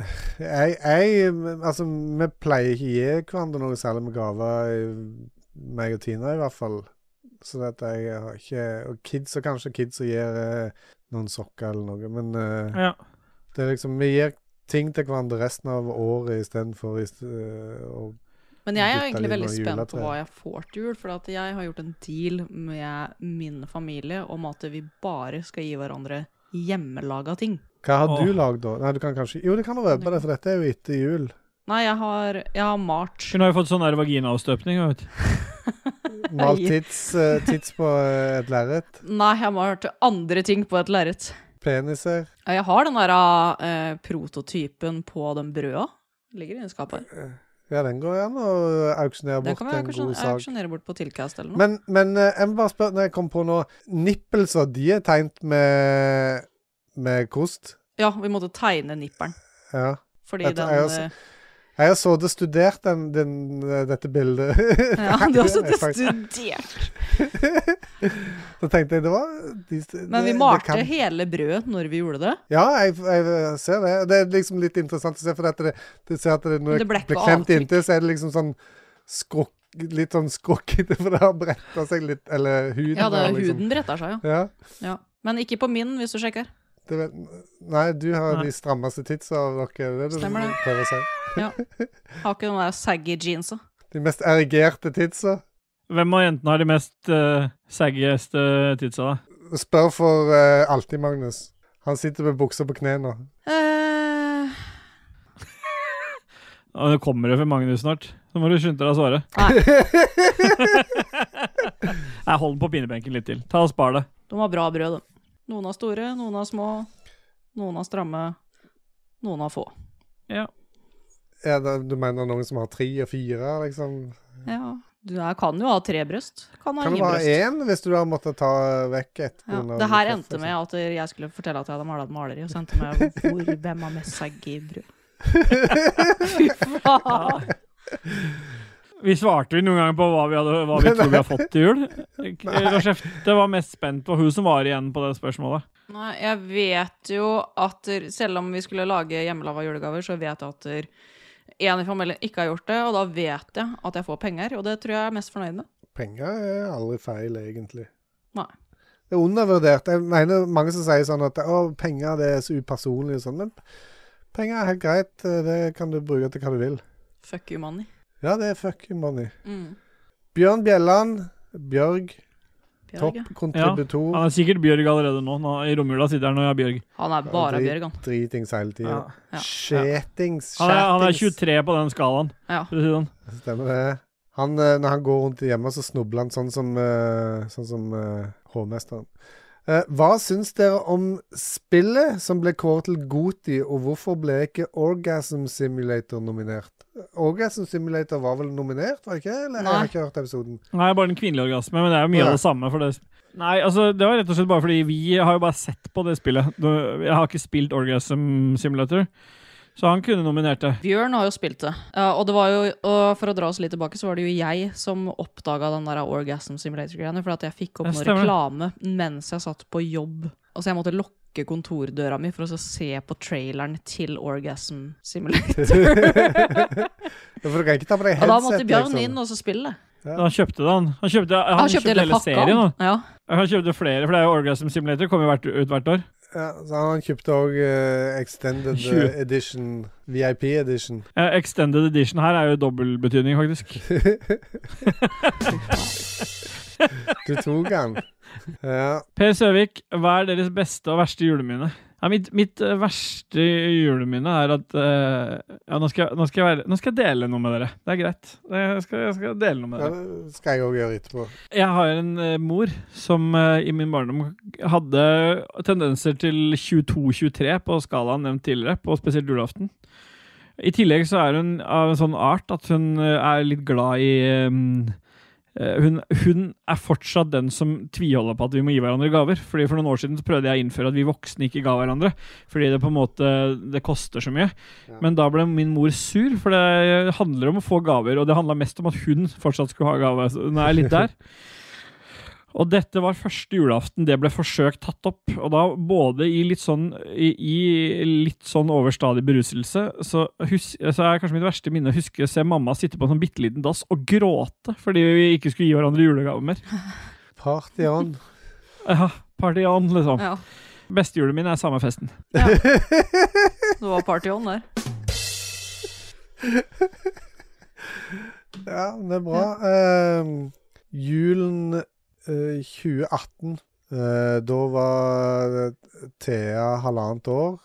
Jeg, jeg Altså, vi pleier ikke å gi hverandre noe særlig med gaver, i- meg og Tina i hvert fall. Så at jeg har ikke Og kids og kanskje kids som gir eh, noen sokker eller noe, men eh,
Ja.
det er liksom Vi gir ting til hverandre resten av året istedenfor uh, å
Men jeg er
Gutta
egentlig
vil
veldig
ha
spent på
juletre.
hva jeg får til jul. For at jeg har gjort en deal med min familie om at vi bare skal gi hverandre hjemmelaga ting.
Hva har du
Åh.
lagd, da? Nei, du kan kanskje Jo, du kan røpe det, for dette er jo etter jul.
Nei, jeg har, jeg har malt.
Hun har jo fått sånn der vaginaavstøpning. Vet. du.
Mal tits, eh, tits på eh, et lerret.
Nei, jeg har malt andre ting på et lerret.
Peniser.
Ja, Jeg har den der eh, prototypen på den brøda. Ligger inni skapet.
Ja, den går an å auksjonere
Den
bort
kan
til
vi
en god
auksjon-
sak.
auksjonere bort på Tilcast eller noe.
Men, men eh, jeg må bare spørre når jeg kom på nå Nippelser, de er tegnet med med kost.
ja, vi måtte tegne nipperen.
Ja.
Fordi
Dette
den
er også-
eh,
Jeg har sittet og studert den, den, eh, dette bildet.
Ja, du har
Nei,
sittet og
faktisk-
studert.
Så tenkte jeg det var de,
Men vi
det- det
malte
kan-
hele brødet når vi gjorde det.
Ja, jeg, jeg ser det. Det er liksom litt interessant å se, for dette, det, du ser at det,
Men
når
det
det
ble ikke
blir klemt
avtrykk.
inntil, så er det liksom sånn skrukk, litt sånn skrukkete, for det har bretta seg litt, eller huden.
Ja, det,
har liksom.
huden bretter seg, jo.
Ja,
Ja. Men ikke på min, hvis du sjekker.
det, vet- nei, du har
Nei.
de strammeste titsa av dere. Det er det
Stemmer det.
du prøver å si.
Har ikke den der saggy jeansa.
De mest erigerte titsa.
Hvem av jentene har de mest uh, saggieste tidsa, da?
Spør for eh, alltid, Magnus. Han sitter med buksa på kne nå.
Eh,
Ja, det kommer det fra Magnus snart. Så må du skynde deg å svare. Nei, hold den på pinebenken litt til. Ta og Spar det.
De har bra brød, de. Noen har store, noen har små, noen har stramme, noen har få.
Er det, du mener noen som har tre og fire, liksom?
Ja. Du er, kan jo ha tre bryst. Kan ha
Kan det
ingen
være
bryst.
én hvis du har måttet ta vekk ett?
Ja.
grunn av
Det her
kreft,
endte
liksom?
med at jeg skulle fortelle at jeg hadde mala et maleri, og så endte det med hvor, hvem har mest segg i brød? Fy faen!
Vi svarte jo noen ganger på hva vi, hadde, hva vi tror vi har fått til jul. Rasjef, det var mest spent på hun som var igjen på det spørsmålet.
Nei, jeg vet jo at der- selv om vi skulle lage hjemmelaga julegaver, så vet jeg at der en i familien ikke har gjort det, og da vet jeg at jeg får penger, og det tror jeg jeg er mest fornøyd med.
Penger er aldri feil, egentlig.
Nei.
Det er undervurdert. Jeg mener mange som sier sånn at å, penger det er så upersonlig og sånn, men penger er helt greit. Det kan du bruke til hva du vil.
Fuck you, money.
Ja, det er fucking money.
Mm.
Bjørn Bjelland, Bjørg,
Bjørg, ja.
topp kontributor.
Han er sikkert Bjørg allerede nå. nå I romjula sitter han og er Bjørg.
Han er bare
Drit-
Bjørg, han.
Dritings hele tida.
Ja.
Ja.
Skjetings.
Han er, han er
skjertings.
23 på den skalaen.
Ja.
for å si det sånn.
Stemmer det. Han, eh, når han går rundt hjemme, så snubler han sånn som, eh, sånn som eh, hovmesteren. Eh, hva syns dere om spillet som ble kåret til Goti, og hvorfor ble ikke Orgasm Simulator nominert? Orgasm Simulator var vel nominert, var det ikke? Eller jeg
Nei.
har ikke hørt episoden.
Nei, bare den kvinnelige orgasme, men det er jo mye
Ja.
av det samme. For det. Nei, altså, det var rett og slett bare fordi vi har jo bare sett på det spillet. Du- Jeg har ikke spilt Orgasm Simulator, så han kunne nominert det.
Bjørn har jo spilt det. Ja, og det var jo, og for å dra oss litt tilbake, så var det jo jeg som oppdaga den der orgasm simulator-greiene. For at jeg fikk opp
Det
noe
stemmer.
reklame mens jeg satt på jobb. Altså jeg måtte lukke kontordøra mi for å så se på traileren til orgasm simulator.
Ja, For du kan ikke ta på deg liksom.
og da måtte
headset,
Bjørn inn og så spille.
Men Han kjøpte det, han. Han kjøpte, han
liksom. Han kjøpte hele pakka.
serien.
han.
da.
Ja.
Han kjøpte flere, for det er jo Orgasm Simulator kommer jo hvert, ut hvert år.
Ja, så han kjøpte òg Extended eh,
Tjue.
Edition, VIP Edition.
Eh, extended edition her er jo dobbeltbetydning, faktisk.
Du tok han. Ja.
Per Søvik, hva er deres beste og verste juleminne? Ja, mitt, mitt eh, verste juleminne er at eh, ja, nå, skal, jeg- nå, skal jeg være, nå skal jeg dele noe med dere. Det er greit. Jeg skal, jeg skal dele noe med
ja,
dere.
det skal jeg òg gjøre etterpå.
Jeg har en eh, mor som eh, i min barndom hadde tendenser til 22-23 på skalaen nevnt tidligere, på spesielt julaften. I tillegg så er hun av en sånn art at hun eh, er litt glad i eh, eh, hun, hun er fortsatt den som tviholder på at vi må gi hverandre gaver. Fordi For noen år siden så prøvde jeg å innføre at vi voksne ikke ga hverandre. Fordi det på en måte det koster så mye. Men da ble min mor sur, for det handler om å få gaver. Og det handla mest om at hun fortsatt skulle ha gave. Så hun er litt der. Og dette var første julaften det ble forsøkt tatt opp. Og da både i litt sånn, i, i litt sånn overstadig beruselse, så, hus, så er kanskje mitt verste minne å huske å se mamma sitte på en sånn bitte liten dass og gråte fordi vi ikke skulle gi hverandre julegave mer.
Party on.
Ja, party on, liksom.
ja.
Bestejulen min er samme festen.
Det var party on der.
Ja, det er bra. Ehm, julen eh, 2018, eh, da var eh, Thea halvannet år.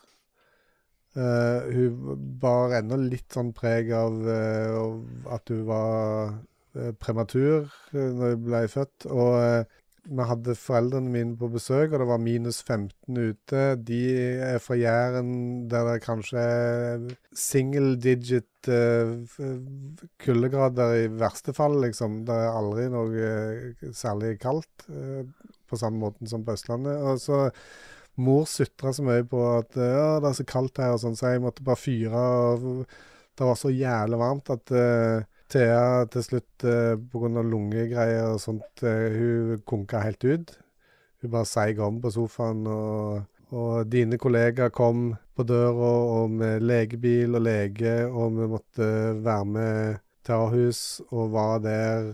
Eh, hun bar ennå litt sånn preg av eh, av at hun var eh, prematur uh, når hun ble født. Og eh, vi hadde foreldrene mine på besøk, og det var minus 15 ute. De er fra Jæren, der det kanskje er single digit eh, f- f- kuldegrader i verste fall, liksom. Det er aldri noe eh, særlig kaldt, eh, på samme måten som på Østlandet. Og så mor sutra så mye på at eh, ja, det er så kaldt her, og sånn, så jeg måtte bare fyre. og Det var så jævlig varmt at eh, Thea til slutt, eh, på grunn av lungegreier og sånt, eh, hun konka helt ut. Hun bare seig om på sofaen, og, og dine kollegaer kom på døra, og med legebil og lege, og vi måtte være med til Ahus og var der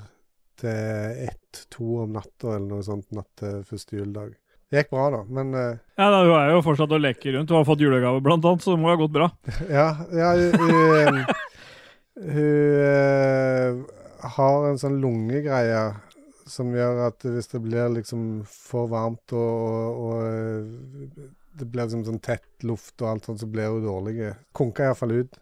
til ett-to om natta eller noe sånt natt til første juledag. Det gikk bra, da, men eh,
Ja, da, Hun er jo fortsatt og leker rundt. Hun har fått julegave, blant annet, så det må jo ha gått bra.
Ja, ja hun, hun eh, har en sånn lungegreie som gjør at hvis det blir liksom for varmt og, og eh, det blir liksom sånn tett luft og alt sånt, så blir hun dårlig. Konka iallfall ut.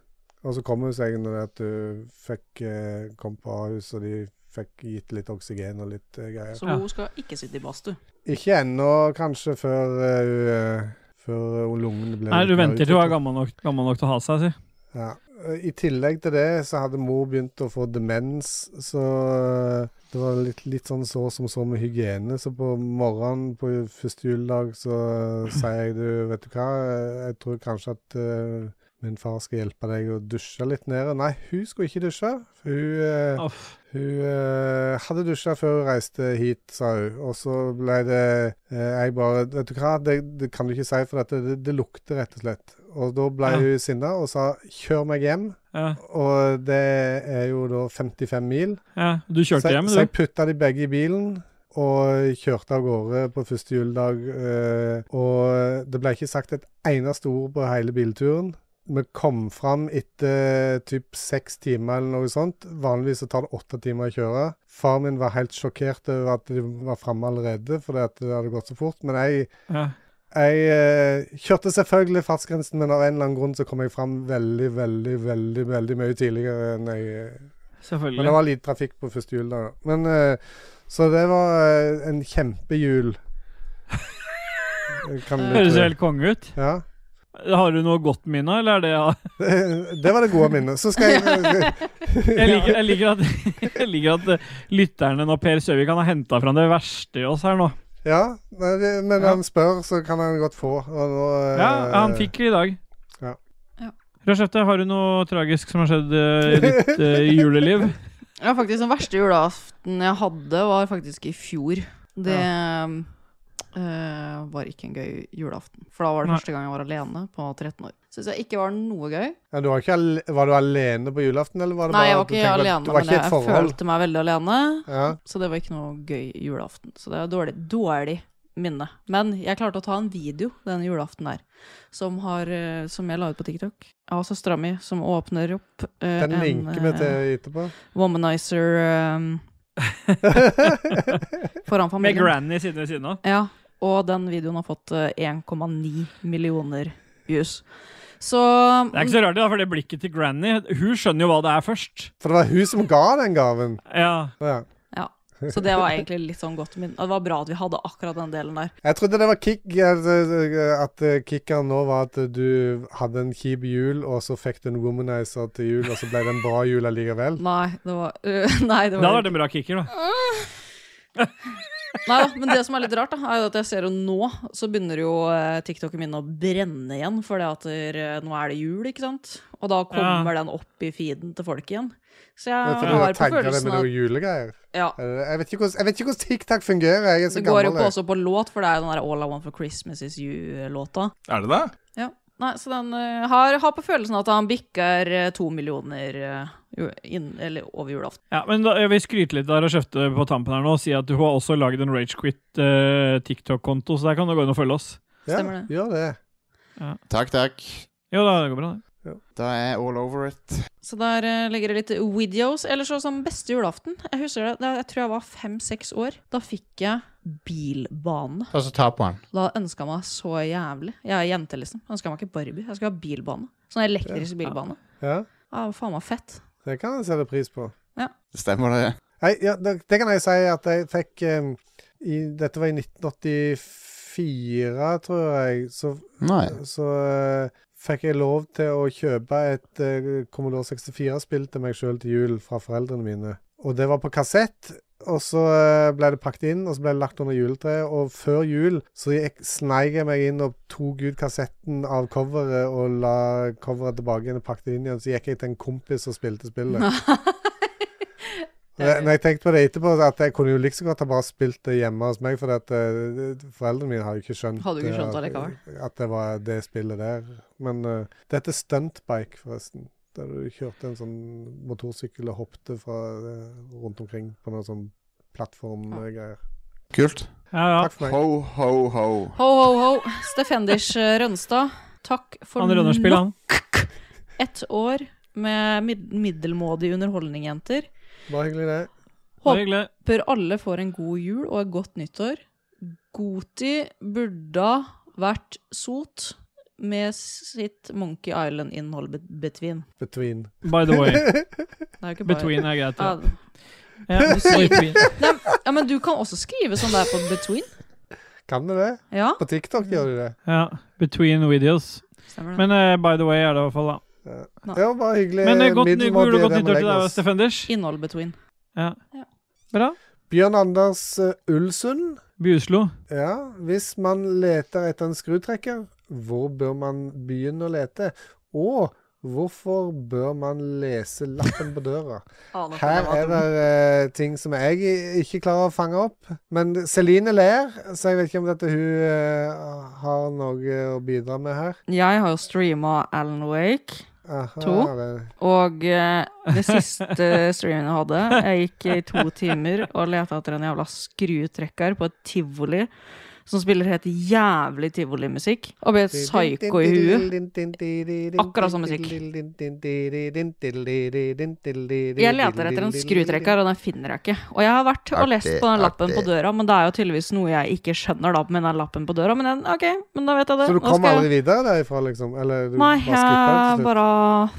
Og så kom hun seg når det at du fikk eh, kom på Ahus, og de fikk gitt litt oksygen og litt eh, greier.
Så hun skal ikke sitte i badstue.
Ikke ennå, kanskje, før, eh, hun, eh, før eh, lungene ble
Nei, du
litt mer
venter til du er
utviklet.
gammel nok, gammel nok til å ha seg, si.
Ja. I tillegg til det så hadde mor begynt å få demens, så eh, det var litt, litt sånn så som så med hygiene. Så på morgenen på første juledag så eh, sier jeg du, vet du hva, eh, jeg tror kanskje at eh, min far skal hjelpe deg å dusje litt nede. Nei, hun skulle ikke dusje. For hun, eh,
Uff.
hun eh, hadde dusja før hun reiste hit, sa hun. Og så ble det eh, Jeg bare Vet du hva, det, det kan du ikke si, for dette, det, det lukter rett og slett. Og da ble
Ja.
hun sinna og sa 'kjør meg hjem'.
Ja,
Og det er jo da 55 mil.
ja. Du kjørte
så,
hjem,
Så jeg
du?
putta de begge i bilen. Og kjørte av gårde på første juledag. eh, Og det ble ikke sagt et eneste ord på hele bilturen. Vi kom fram etter typ seks timer eller noe sånt. Vanligvis så tar det åtte timer å kjøre. Far min var helt sjokkert over at de var framme allerede, fordi at det hadde gått så fort. Men jeg
Ja.
jeg eh, kjørte selvfølgelig fartsgrensen, men av en eller annen grunn så kom jeg fram veldig, veldig, veldig veldig mye tidligere enn jeg eh, Men det
Selvfølgelig.
var lite trafikk på første jul da. Men, eh, så det var eh, en kjempejul. Det Kan du
Høres
tro.
jo helt konge ut.
Ja.
Har du noe godt minne, eller er det ja?
Det, det var det gode minnet. Så skal jeg
Jeg liker, jeg liker, at, jeg liker at eh, lytterne og Per Søvik kan ha henta fram det verste i oss her nå.
Ja, nei, det- men
Ja.
han spør, så kan han godt få. Og nå, eh,
Ja, han fikk det i dag.
Ja.
Ja.
Rashefte, har du noe tragisk som har skjedd eh, i ditt eh, juleliv?
Ja, faktisk Den verste julaften jeg hadde, var faktisk i fjor. Det um, eh, var ikke en gøy julaften. For da var det
Nei.
første gang jeg var alene på 13 år. Syns jeg ikke var noe gøy.
ja, du var, ikke al var du alene på julaften, eller var det
Nei, jeg
bare
var
at du
ikke
tenkte at
alene,
Du var
men
ikke i
jeg
et forhold?
følte meg veldig alene.
Ja.
Så det var ikke noe gøy julaften. Så det er dårlig, dårlig minne. Men jeg klarte å ta en video den julaften der, som, har, eh, som jeg la ut på TikTok. Av søstera mi, som åpner opp eh,
Den
en
linker vi
eh,
til etterpå.
womanizer eh, foran
Med
familien.
Granny siden ved siden av?
Ja, og den videoen har fått eh, 1,9 millioner views. Så
Det er ikke så rart, da, for det blikket til Granny Hun skjønner jo hva det er først.
For det var hun som ga den gaven.
Ja.
Ja.
Så det var egentlig litt sånn godt minne. Det var bra at vi hadde akkurat den delen der.
Jeg trodde det var kick, altså, at eh, kickeren nå var at du hadde en kjip jul, og så fikk du en womanizer til jul, og så ble det en bra jul allikevel.
Nei, det var Nei, det
Det hadde
var
vært en bra kicker, da.
Nei da, men det som er litt rart, da, er jo at jeg ser jo nå, så begynner jo eh, TikToken min å brenne igjen. For det at eh, nå er det jul, ikke sant? Og da kommer den opp i feeden til folk igjen. Så Ah, jeg
For du
har på
tagga det med
følelsen
noen
at
julegreier.
ja,
Er det- Jeg vet ikke hvordan- jeg vet ikke hvordan TikTok fungerer. Jeg er så
Det går jo
gammel.
på
jeg.
også på låt, for det er jo den der All I Want for Christmas Is You-låta.
Er det det?
Ja. Nei, så den eh, har, har på følelsen at han bikker eh, to millioner eh, jo- inn, eller over julaften.
Ja, men da, Jeg vil skryte litt av Rashefte på tampen her nå og si at hun har også lagd en Ragequit uh, TikTok-konto, så der kan du gå inn og følge oss.
Stemmer det.
Ja, gjør det.
Takk, takk.
Jo da, det går bra, det.
Da er jeg all over it.
Så der eh, ligger det litt videos. Eller så som beste julaften. Jeg husker det, da jeg tror jeg var fem-seks år. Da fikk jeg bilbane.
Ta så ta på den.
Da ønska jeg meg så jævlig. Jeg er jente, liksom. Ønska meg ikke Barbie. Jeg skulle ha bilbane. Sånn elektrisk bilbane.
Ja,
Ja, det var faen meg fett.
det kan jeg sette pris på.
Det stemmer, det.
Nei, ja, det, det kan jeg si at jeg fikk eh, i, Dette var i 1984, tror jeg. Så,
Nei.
så eh, fikk jeg lov til å kjøpe et eh, Commodore 64-spill til meg sjøl til jul fra foreldrene mine. Og det var på kassett. Og så eh, ble det pakket inn, og så ble det lagt under juletreet. Og før jul så gikk, sneik jeg meg inn og tok ut kassetten av coveret og la coveret tilbake igjen og pakket det inn igjen. Så gikk jeg til en kompis og spilte spillet. Når jeg- når jeg tenkte på det etterpå, at jeg kunne jo like så godt ha bare spilt det hjemme hos meg, for at eh, foreldrene mine hadde jo ikke skjønt,
Hadde jo ikke
eh,
skjønt
at-
allikevel.
at det var det spillet der. Men eh, det heter stuntbike, forresten. Der du kjørte en sånn motorsykkel og hoppte fra, eh, rundt omkring på noen sånn plattformgreier.
Kult.
Ja, ja.
Takk for meg.
Ho, ho, ho.
Ho, ho, ho. Stefenders eh, Rønstad, takk for
Han Rønnerspill, han.
ett år med mid middelmådig underholdning, jenter.
Bare hyggelig, det.
Det var hyggelig.
Håper alle får en god jul og et godt nyttår. Goti burde vært sot, med sitt Monkey Island-innhold be- between.
Between.
By the way.
Det er jo ikke bare-
Between er greit.
Ja,
Ja. Ja, between.
ja, men du kan også skrive sånn der på between.
Kan du det?
Ja,
På TikTok gjør de det.
ja, between videos.
stemmer det.
Men eh, by the way er det i hvert fall, da.
Nei.
Det var bare hyggelig.
Men eh, godt, ny,
middelmådig
god, godt
det vi
nyttår til
legger
deg,
oss.
Stefenders.
Innhold between.
Ja.
Ja.
Bra.
Bjørn Anders eh, Ulsund.
Bjuslo.
Ja, hvis man leter etter en skrutrekker, hvor bør man begynne å lete? Og hvorfor bør man lese lappen på døra? Her er det eh, ting som jeg i- ikke klarer å fange opp. Men Celine ler, så jeg vet ikke om dette hun eh, har noe å bidra med her.
Jeg har jo streama Alan Wake,
Aha,
To.
det-
og eh, det siste streamen jeg hadde Jeg gikk i to timer og leta etter en jævla skrutrekker på et tivoli som spiller helt jævlig tivolimusikk, og ble psycho i huet. Akkurat sånn musikk. Jeg leter etter en skrutrekker, og den finner jeg ikke. Og jeg har vært og lest
Artig,
på den lappen på
artig.
døra, men det er jo tydeligvis noe jeg ikke skjønner da med den lappen på døra. Men den, ok, men da vet jeg det.
Så du
Nå
kom
skal jeg-
aldri videre derifra, liksom? Eller du
Nei,
bare skippa
jeg
den til
bare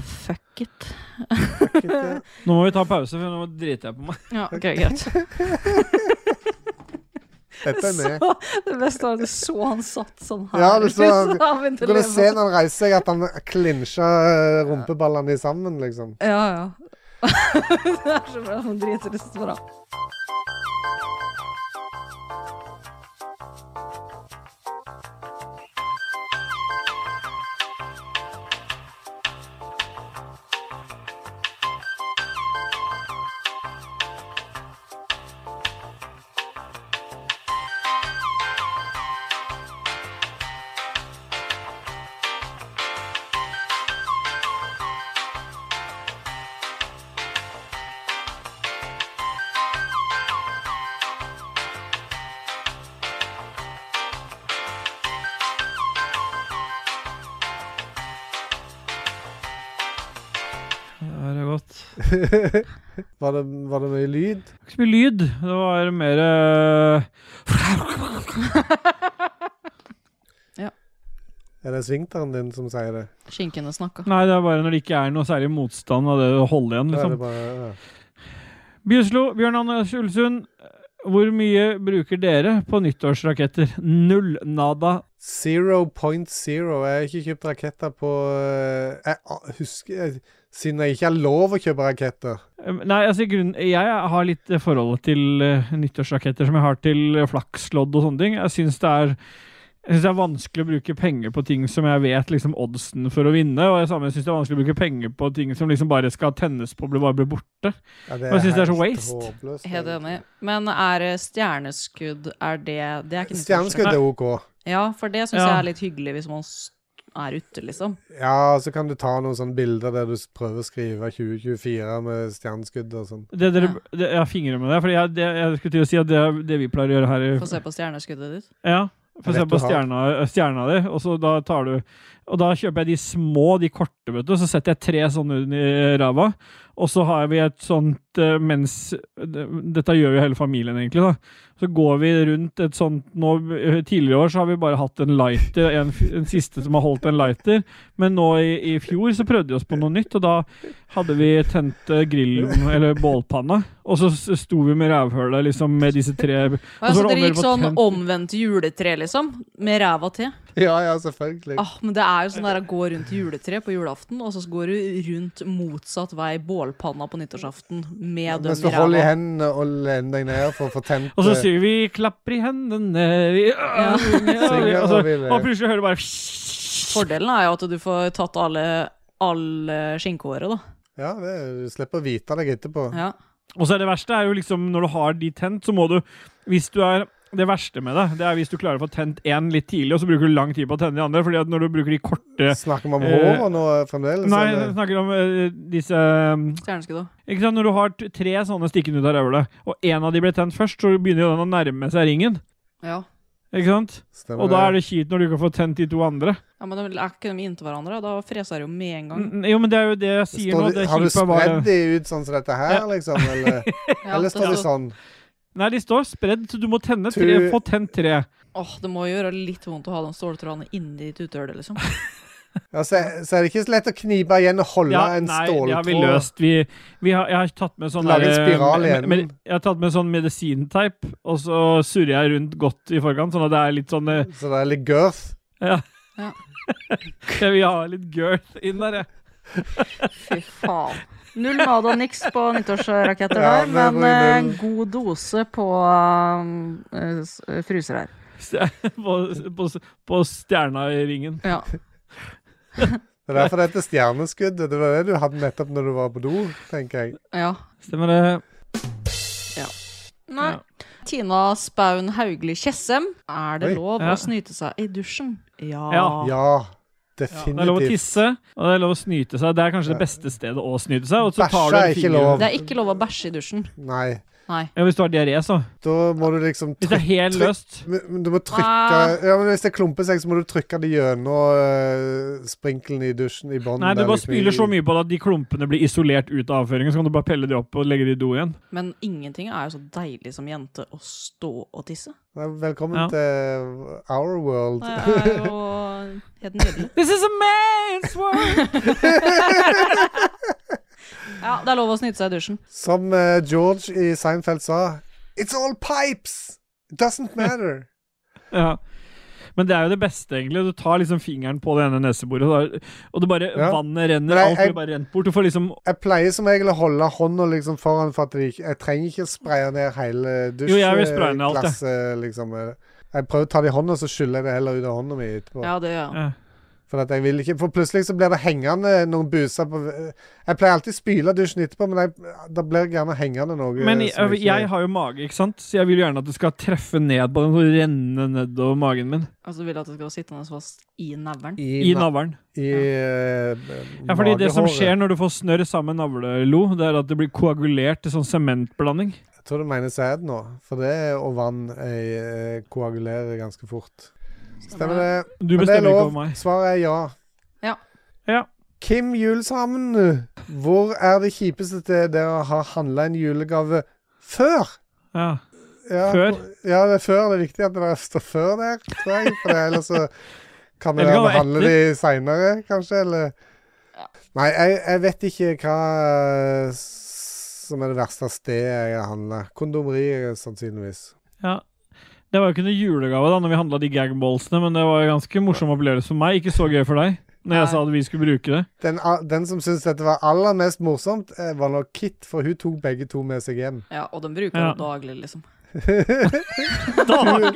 fuck it.
slutt? Ja.
Nå må vi ta pause, for nå driter jeg på meg.
Ja, ok, greit.
Dette er med.
Så, det beste var at du så han satt sånn her.
Ja, du så han-
liksom, han begynte
Du
å
kunne
leve.
se når han reiser seg, at han klinsja eh, rumpeballene sammen, liksom.
Ja, ja. det er så bra. Han driter i bra.
Det er godt.
Var det, var det mye lyd?
Det var ikke så mye lyd. Det var mer eh,
Er det svingteren din som sier det?
Skinkene snakka.
Nei, det er bare når det ikke er noe særlig motstand av det å holde igjen,
Da er
liksom.
det bare ja.
Bjuslo, Bjørn Anders Ulsund. Hvor mye bruker dere på nyttårsraketter? Null nada.
0.0. Jeg har ikke kjøpt raketter på eh, Jeg a- husker jeg, Siden jeg ikke har lov å kjøpe raketter.
Eh, Nei, altså i grunnen, jeg har litt eh, forhold til eh, nyttårsraketter som jeg har til eh, flakslodd og sånne ting. Jeg syns det er jeg synes det er vanskelig å bruke penger på ting som jeg vet liksom oddsen for å vinne. Og jeg samme syns det er vanskelig å bruke penger på ting som liksom bare skal tennes på og bli- bare bli borte.
Ja, det
Jeg synes det er så
helt
waste.
håpløst,
Helt
egentlig.
enig. Men er eh, stjerneskudd Er det Det er ikke nytt
Stjerneskudd er OK.
årsrekord. Ja, for det syns
Ja.
jeg er litt hyggelig hvis man s- er ute, liksom.
Ja, så kan du ta noen sånne bilder der du s- prøver å skrive 2024 med stjerneskudd og sånn.
Det dere, det, jeg har fingre med det, for jeg, det, jeg skulle til å si at det, er det vi pleier å gjøre her i
Få se på stjerneskuddet ditt.
Ja. Få
Jeg
se
vet
på
du har.
stjerna, eh, stjerna di, og så da tar du Og da kjøper jeg de små, de korte, vet du, og så setter jeg tre sånne under ræva. Og så har vi et sånt eh, mens Dette gjør jo hele familien, egentlig, da. Så går vi rundt et sånt nå eh, Tidligere år så har vi bare hatt en lighter, en, f- en siste som har holdt en lighter. Men nå i, i fjor så prøvde vi oss på noe nytt, og da hadde vi tent eh, grillen, eller bålpanna. Og så s- sto vi med rævhølet, liksom, med disse tre
Og altså,
var det
dere gikk
omvendt
sånn
på
omvendt juletre, liksom? Med ræva til?
Ja, ja, selvfølgelig.
Ah, men det er jo sånn der å gå rundt juletre på julaften, og så går du rundt motsatt vei bålpanna på nyttårsaften med
Mens
dem
du
i
holder i
ræva.
hendene og lener deg ned for å få tent
Og så
eh,
sier vi 'klapper i hendene' vi, ja.
Synger,
og, så,
og vi ler.
og plutselig hører du bare
Fordelen er jo at du får tatt alle, alle skinkehåret, da.
Ja, det, du slipper å vite deg etterpå.
Ja.
Og så er det verste er jo liksom når du har de tent, så må du Hvis du er det verste med det, det er hvis du klarer å få tent én litt tidlig, og så bruker du lang tid på å tenne de andre. fordi at når du bruker de korte
Snakker vi om
Eh,
håret nå eh, fremdeles?
Nei, jeg
eller?
snakker om eh, disse eh,
Stjerneskudd òg.
Ikke sant, Når du har t- tre sånne stikkende ut av rævla, og én av de ble tent først, så begynner jo den å nærme seg ringen.
Ja.
Ikke sant?
Stemmer
Og da er det kjipt når du ikke får tent de to andre.
ja, men da er ikke de inntil hverandre, da freser de jo med en gang.
Mm, Jo, men det er jo det jeg sier
Står
nå.
de-
Det
Har du
kjipe er bare-
spredd de ut sånn som dette her, liksom? Eller,
Ja,
eller
det
står de
så-
sånn?
Nei, de står spredd, så du må tenne tre,
Tu-
få tent tre.
Åh, det må jo gjøre litt vondt å ha den ståltråden inni tutehullet, liksom.
Ja, så, så er det ikke så lett å knipe igjen og holde en
nei,
ståltråd.
det har vi løst. Vi, vi har, jeg har tatt med sånn
Lag en
der,
spiral
eh,
igjen.
men- Jeg har tatt med sånn medisinteip, og så surrer jeg rundt godt i forkant, sånn at det er litt sånn eh,
Så det er litt girth.
Ja.
Ja.
jeg vil ha litt girth inn der, jeg.
Fy faen. Null nåde og niks på nyttårsraketter
Ja,
der,
det var
men
jo
eh,
null.
god dose på um, eh, s- eh, fryser her.
Stjer- På, på, på stjerna i ringen.
Ja.
Det er derfor det heter stjerneskuddet. Det var det du hadde nettopp når du var på do, tenker jeg.
ja.
Stemmer det?
Nei.
Ja.
Tina Spaun Hauglie Tjessem, er det
Oi.
lov
Ja.
å snyte seg i dusjen? Ja.
Ja.
Ja,
Det er lov å
definitivt.
tisse, og det er lov å snyte seg. Det er kanskje det beste stedet å snyte seg. Og så tar du
Bæsje
en
er ikke
finger.
lov.
Det er ikke lov å bæsje i dusjen.
Nei.
Nei.
Ja, hvis du har diaré, så.
Da må du liksom
Hvis det er
trykke
helt
trykk-
løst.
men- men Du må trykke
Ah.
Ja, men Hvis det klumper seg, så må du trykke det gjennom eh, sprinkelen i dusjen i bånn.
Nei, du
der,
bare
liksom, i-
spyler så mye på det at de klumpene blir isolert ut av avføringen. Så kan du bare pelle de opp og legge de i do igjen.
Men ingenting er jo så deilig som jente å stå og tisse.
Nei, Velkommen
Ja.
til Our World.
Det er jo helt nydelig.
This is a man's world!
Ja, det er lov å snyte seg i dusjen.
Som eh, George i Seinfeld sa It's all pipes! It doesn't matter.
ja. Men det er jo det beste, egentlig. Du tar liksom fingeren på det ene neseboret, og da- og det bare
Ja.
vannet renner.
Men jeg-
alt blir
jeg-
bare rent bort. Du får liksom
Jeg pleier som regel å holde hånda liksom foran, for at det ikke, jeg trenger ikke spraye ned hele
Jo, jeg vil spraye ned alt, jeg.
dusjglasset. Liksom. Jeg prøver å ta det i hånda, så skyller jeg det heller ut av hånda mi etterpå.
Ja, det ja.
ja.
For, at jeg vil ikke, for plutselig så blir det hengende noen buser på Jeg pleier alltid å spyle dusjen etterpå, men jeg, da blir det gjerne hengende noe.
Men jeg,
som ikke-
jeg har jo mage, ikke sant? Så jeg vil jo gjerne at det skal treffe ned på den og renne nedover magen min.
Altså vil at det skal være sittende fast i neveren.
I
i, na-
navlen.
i eh,
Ja, fordi det som
magehåret.
skjer når du får snørr sammen navlelo, det er at det blir koagulert til sånn sementblanding.
Jeg tror du mener sæd nå, for det og vann eh, koagulerer ganske fort. Stemmer det?
Du
Men det er
bestemmer ikke
lov.
over meg.
Svaret er ja.
Ja.
Ja.
Kim Julsamen, hvor er det kjipeste til dere har handla en julegave før?
Ja.
Ja,
Før?
Ja, det er før. Det er viktig at det står før der, tror jeg. For det- ellers så kan
Eller
dere
kan det være
behandle de seinere, kanskje. Eller Nei, jeg, jeg vet ikke hva eh, som er det verste stedet jeg har handla. Kondomeriet, sannsynligvis.
ja. Det var jo ikke noe julegave da når vi handla de gagballsene, men det var jo ganske morsom opplevelse for meg. Ikke så gøy for deg, når
Nei.
jeg sa at vi skulle bruke det.
Den, a- den som syntes dette var aller mest morsomt, eh, var nok Kit, for hun tok begge to med seg hjem.
Ja, og den bruker
Ja.
den daglig, liksom.
Daglig.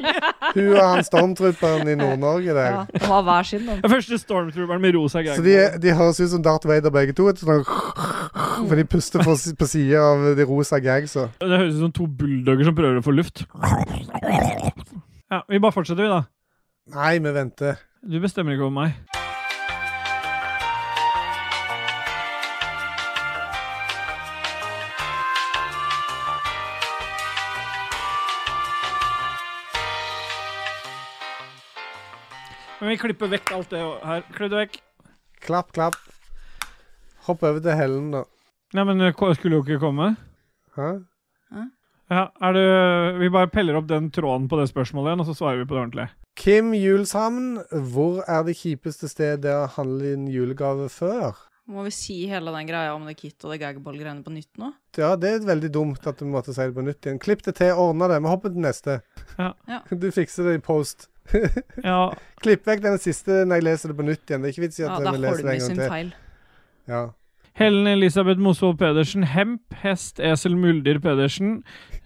Hun og han stormtrooperen i Nord-Norge der.
Ja, de har hver sin, den.
Den første stormtrooperen med rosa
Så de,
gagball.
de høres ut som Darth Vader begge to. Et sånt, for de puster på, si- på sida av de rosa gagsa.
Det høres ut som to bulldogger som prøver å få luft. Ja, Vi bare fortsetter, vi, da.
Nei, vi venter.
Du bestemmer ikke over meg. Men vi klipper vekk alt det her. Klipp det vekk.
Klapp, klapp. Hopp over til Hellen, da.
Nei, men eh, K- skulle jo ikke komme.
Hæ?
Ja, er det, Vi bare peller opp den tråden på det spørsmålet igjen, og så svarer vi på det ordentlig.
Kim Julshamn, hvor er det kjipeste stedet dere handler inn julegave før?
Må vi si hele den greia om det kit og det gagball-greiene på nytt nå?
Ja, det er veldig dumt at du måtte si det på nytt igjen. Klipp det til, ordna det. Vi hopper til neste.
Ja.
Ja.
Du fikser det i post.
Ja,
Klipp vekk den siste når jeg leser det på nytt igjen. Det er ikke vits i
Ja,
at
det
vi
er
leser det
Holmi
en
sin
gang til.
feil.
Ja.
Helen Elisabeth Mosvold Pedersen, hemp, hest, esel, muldyr Pedersen,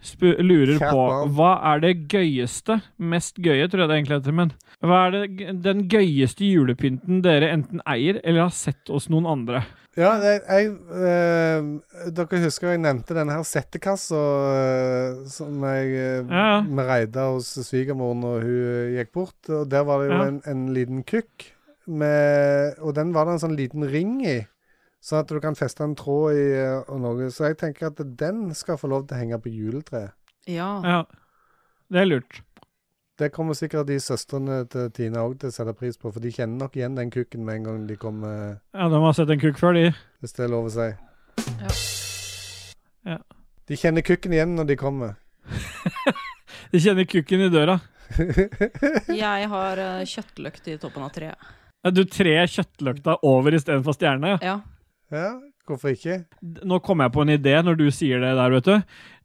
spu- lurer
Kjært
på
barn.
hva er det gøyeste, mest gøye, tror jeg det egentlig heter, men hva er det, g- den gøyeste julepynten dere enten eier eller har sett hos noen andre?
Ja, jeg, jeg, eh, dere husker jeg nevnte denne her settekassa eh, som jeg eh,
Ja, ja.
vi reide hos svigermoren når hun eh, gikk bort. Og der var det jo
Ja.
en, en liten kukk, med, og den var det en sånn liten ring i. Sånn at du kan feste en tråd i eh, og noe. Så jeg tenker at den skal få lov til å henge på juletreet.
Ja.
Ja, det er lurt.
Det kommer sikkert de søstrene til Tina òg til å sette pris på, for de kjenner nok igjen den kukken med en gang de kommer,
Ja, de har sett en kuk før, de.
hvis det er lov å si.
Ja.
Ja.
De kjenner kukken igjen når de kommer.
De kjenner kukken i døra.
Jeg har eh, kjøttløkt i toppen av treet.
Ja, Du tre kjøttløkta over istedenfor stjerne. ja.
Ja.
Ja, hvorfor ikke?
Nå kom jeg på en idé når du sier det der, vet du.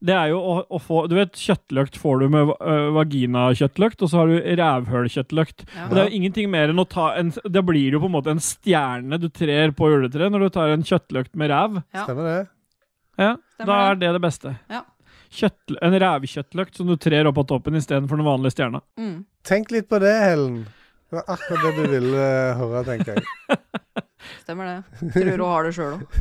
Det er jo å, å få Du vet, kjøttløkt får du med ø, vaginakjøttløkt, og så har du rævhølkjøttløkt.
Ja.
Og det er jo ingenting mer enn å ta en Da blir det jo på en måte en stjerne du trer på juletreet når du tar en kjøttløkt med ræv.
Ja.
Stemmer det?
Ja,
Stemmer
da er
det.
det det beste.
Ja.
Kjøttlø- en rævkjøttløkt som du trer opp av toppen istedenfor den vanlige stjerna.
Mm.
Tenk litt på det, Helen. Det var akkurat det du ville eh, høre, tenker jeg.
Stemmer det. Tror hun har det sjøl òg.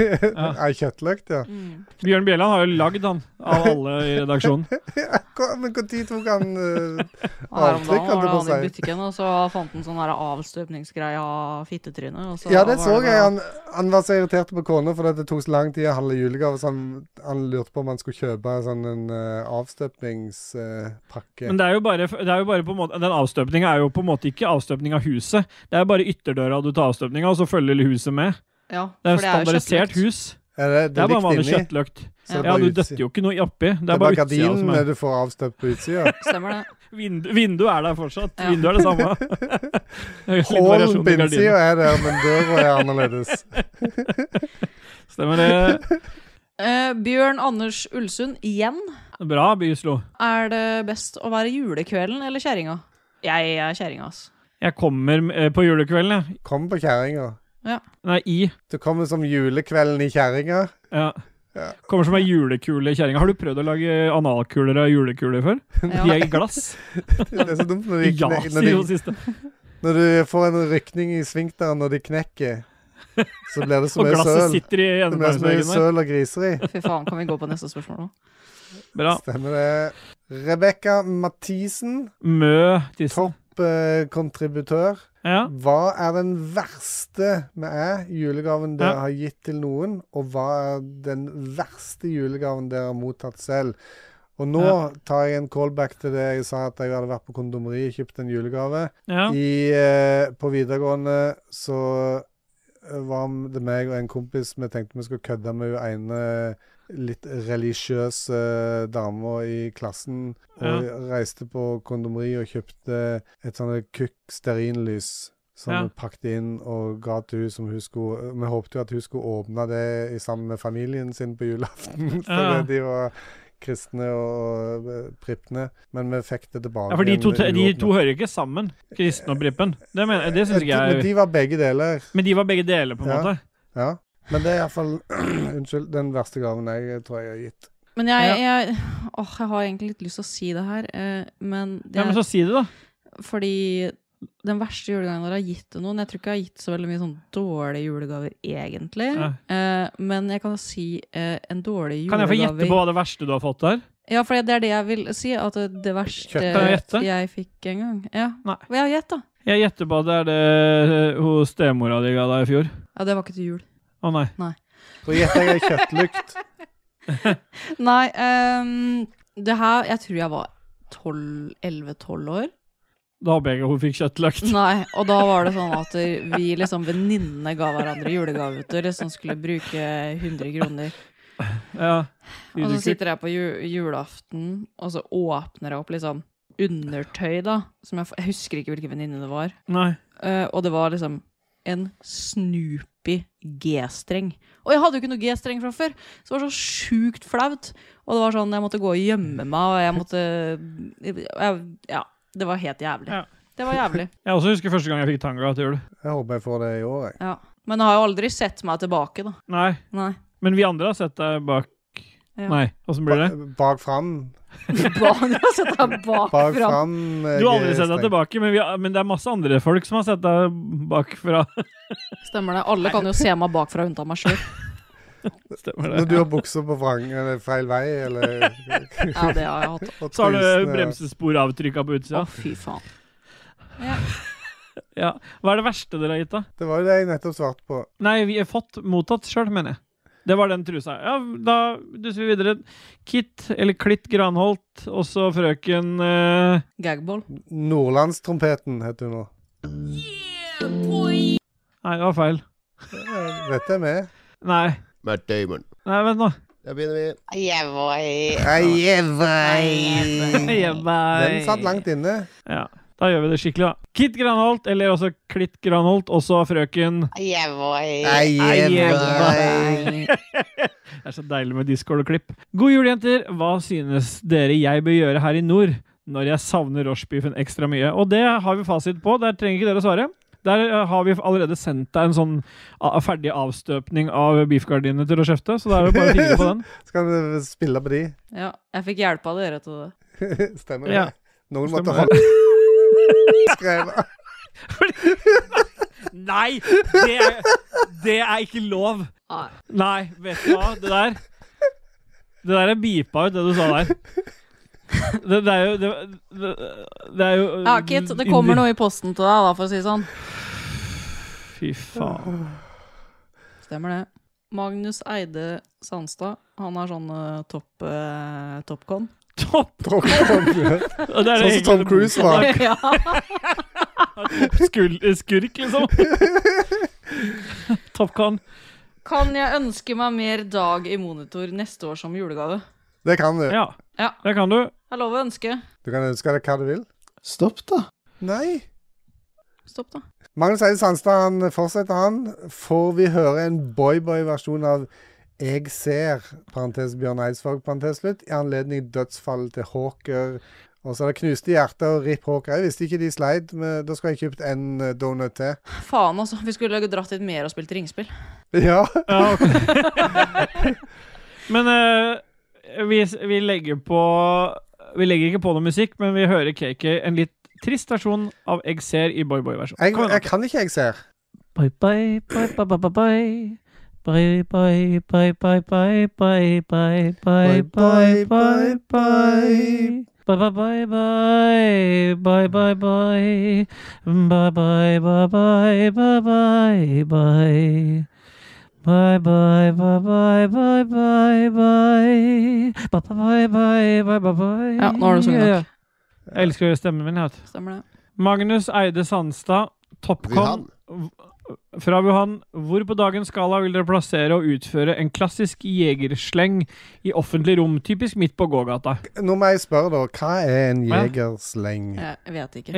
Ei kjøttløkt, ja.
Mm.
Bjørn Bjelland har jo lagd han, av alle i redaksjonen.
Hvor- Men når tok han eh,
Her om dagen
Avtrykk, holdt
var
jeg
det
på å
han i
si.
butikken, og så fant han sånn her avstøpningsgreie av fittetrynet. og
Ja, det
var
så jeg.
da-
Han, han var så irritert på kona fordi det tok så lang tid å handle julegave, så han, han lurte på om han skulle kjøpe sånn en avstøpningspakke.
Men det er jo bare, det er jo bare på en måte, den avstøpninga er jo på en måte ikke avstøpning av huset. Det er bare ytterdøra du tar avstøpninga, og så følger huset med.
Ja,
Det er
for jo
standardisert
kjøttløkt.
hus.
er det,
Det er bare vanlig
inni.
kjøttløkt.
så det er
Ja,
bare
du
utsi-
døtter jo ikke noe oppi.
Det er bare
utsida som
gardinene
er
du får avstøpt på utsida.
Stemmer det.
Vind, Vinduet er der fortsatt.
Ja.
Vinduet er det samme. Det er litt
Hålen
variasjon
på
i gardinene.
innsida er der, men døra er annerledes.
Stemmer det.
Eh, Bjørn Anders Ulsund, igjen.
Bra, Byslo.
Er det best å være julekvelden eller kjerringa? Jeg er kjerringa, ass.
Jeg kommer eh, på julekvelden, jeg.
Kom på kjerringa.
Nei, i.
Du kommer som julekvelden i kjerringa.
Ja.
Ja.
Kommer som ei julekule i kjerringa. Har du prøvd å lage analkuler av julekuler før? De
Ja.
er i glass.
Det er så dumt når, de
Ja,
kne-
sier
når,
hun
de,
siste.
når du får en rykning i svinkteren når de knekker. Så blir det så
Og
mye
glasset
søl.
sitter i
Det blir så mye
endebærsveggen der.
søl og griseri.
Fy faen, kan vi gå på neste spørsmål nå?
Bra.
Stemmer det. Rebekka Mathisen, eh,
Mø tissen.
kontributør.
Ja.
Hva er den verste med æ julegaven dere
Ja.
har gitt til noen, og hva er den verste julegaven dere har mottatt selv? Og nå
Ja.
tar jeg en callback til det jeg sa, at jeg hadde vært på kondomeriet og kjøpt en julegave.
ja.
I, eh, på videregående så eh, var det meg og en kompis vi tenkte vi skulle kødde med hun ene litt religiøse dama i klassen. Og reiste på kondomeri og kjøpte et sånt kukk-stearinlys som
Ja.
vi pakket inn og ga til hun som hun skulle Vi håpte jo at hun skulle åpne det i sammen med familien sin på julaften, fordi
Ja.
de var kristne og eh, pripne. Men vi fikk det tilbake.
ja, for de to,
igjen
de
uåpnet.
to hører jo ikke sammen, kristen og prippen. Det, mener, det synes ikke
Men
jeg
Eh, de var begge deler.
Men de var begge deler, på en
Ja.
måte.
Ja. Men det er iallfall Unnskyld, den verste gaven jeg tror jeg har gitt.
Men jeg, jeg Åh, jeg har egentlig litt lyst til å si det her, eh, men det
Ja, men så si det, da.
Fordi den verste julegaven dere har gitt til noen Jeg tror ikke jeg har gitt så veldig mye sånn dårlige julegaver, egentlig. Eh, men jeg kan jo si eh, en dårlig
Kan
julegave
jeg få gjette på hva det verste du har fått der?
Ja, for det er det jeg vil si. At det- det verste
Kjøtt.
Kan jeg gjette?
jeg fikk en gang Ja,
Nei.
Hva jeg har gjett, da.
Jeg gjetter på at det er det eh, hun stemora di ga deg i fjor.
Ja, det var ikke til jul.
Å nei.
Så gjetter jeg ei kjøttlukt.
Nei, ehm, det her Jeg tror jeg var 12, 11-12 år.
Da håper jeg ikke hun fikk kjøttløkt.
Nei, og da var det sånn at vi liksom venninnene ga hverandre julegaveter som skulle bruke 100 kroner.
Ja.
Og så sitter jeg på ju julaften, og så åpner jeg opp liksom undertøy, da. Som jeg, f- jeg husker ikke hvilken venninne det var.
Nei.
Eh, og det var liksom en Snoopy G-streng. Og jeg hadde jo ikke noe G-streng fra før, så det var så sjukt flaut. Og det var sånn, jeg måtte gå og gjemme meg, og jeg måtte jeg, Ja, det var helt jævlig.
Ja.
Det var jævlig.
Jeg også husker første gang jeg fikk tanga til jul.
Jeg håper jeg får det i år, jeg.
Ja. Men jeg har jo aldri sett meg tilbake, da.
Nei.
Nei.
Men vi andre har sett deg bak
Ja.
Nei, åssen blir det?
Ba- Bak fram.
Barn har sett deg bak altså,
Bak
fram.
fram. eh,
Du har aldri sett
streng.
deg tilbake, men, vi, har- men det er masse andre folk som har sett deg bakfra.
Stemmer det. Alle kan jo se meg bakfra unntatt meg sjøl.
Stemmer
Når du har buksa på vrang, eller feil vei, eller
Ja, det har jeg hatt.
og
Så har du
trusene-
bremsesporavtrykka
Å,
på utsida.
fy faen.
Ja. Hva er det verste dere har gitt, da?
Det var jo det jeg nettopp svarte på.
Nei, vi har fått mottatt sjøl, mener jeg. Det var den trusa. Ja, da duser vi videre. Kit, eller Klitt Granholt, og så frøken eh,
Gagball.
Nordlandstrompeten heter hun nå.
Nei, det var feil.
Eh, Dette er med.
Nei.
Matt Damon.
Nei, vent nå.
Da begynner vi.
Ajevoi.
Ajevoi. Den satt langt inne.
Ja. Da gjør vi det skikkelig, da. Kit Granholt, eller også Klitt Granholt, også frøken
Ajevoi.
Ajevoi. Det er så deilig med Discord og klipp. God jul, jenter. Hva synes dere jeg bør gjøre her i nord når jeg savner rochebeefen ekstra mye? Og det har vi fasit på. Der trenger ikke dere å svare. Der eh, har vi allerede sendt deg en sånn a- ferdig avstøpning av beefgardinene til å kjefte, så da er det bare å fingre på den.
Skal vi spille på de?
Ja, jeg fikk hjelp av dere til det.
Stemmer det?
Ja.
Noen
Stemmer
måtte
det.
holde Skrevet.
Nei! Det er, det er ikke lov. Nei, vet du hva? Det der Det der er beepa ut, det du sa der. Det, det er jo det, det, det er jo
Ja, Kit, det kommer noe i posten til deg, da, for å si det sånn.
Fy faen.
Stemmer det. Magnus Eide Sandstad, han har sånn eh, topp eh, Topcon.
Tom Cruise.
Og det er
Sånn
det
som Tom
egentlig
Cruise var.
motsatte.
Ja.
Skul, skurk, liksom. Topcon.
Kan jeg ønske meg mer dag i monitor neste år som julegave?
Det kan du.
Ja.
Ja.
Det kan du.
Jeg lover å ønske.
Du kan ønske deg hva du vil.
Stopp, da.
Nei.
Stopp, da.
Magnus Eide Sandstad han fortsetter, han. Får vi høre en boyboy-versjon av Jeg ser, parentes Bjørn Eidsvåg, parentes slutt, i anledning dødsfallet til Hawker. Og så er det knuste hjerter og Rip Hawker. Jeg visste ikke de sleit, men da skulle jeg kjøpt en eh, donut til.
Faen, altså. Vi skulle dratt hit mer og spilt ringspill.
Ja.
Ja, ok. men eh, vi, vi legger på Vi legger ikke på noe musikk, men vi hører KK en litt trist versjon av Egg ser i Boy Boy-versjon.
Jeg, jeg kan ikke Jeg ser.
Bye, bye, bye, bye, bye, bye, bye. Bye, bye, bye, bye, bye, bye, bye, bye, bye, bye, bye. Bye, bye, bye, bye. Bye, bye, bye. Bye, bye, bye, bye, bye, bye, bye. Bye, bye, bye, bye, bye, bye, bye. Bye, bye, bye, bye, bye, bye.
Ja, nå har du sunget nok.
Ja, ja. Jeg elsker stemmen min. Jeg, vet du.
Stemmer det.
Magnus Eide Sandstad, Topcon v- fra Wuhan. Hvor på dagens skala vil dere plassere og utføre en klassisk jegersleng i offentlig rom, typisk midt på gågata?
Nå må jeg spørre, da. Hva er en
Hva?
jegersleng?
Jeg vet ikke.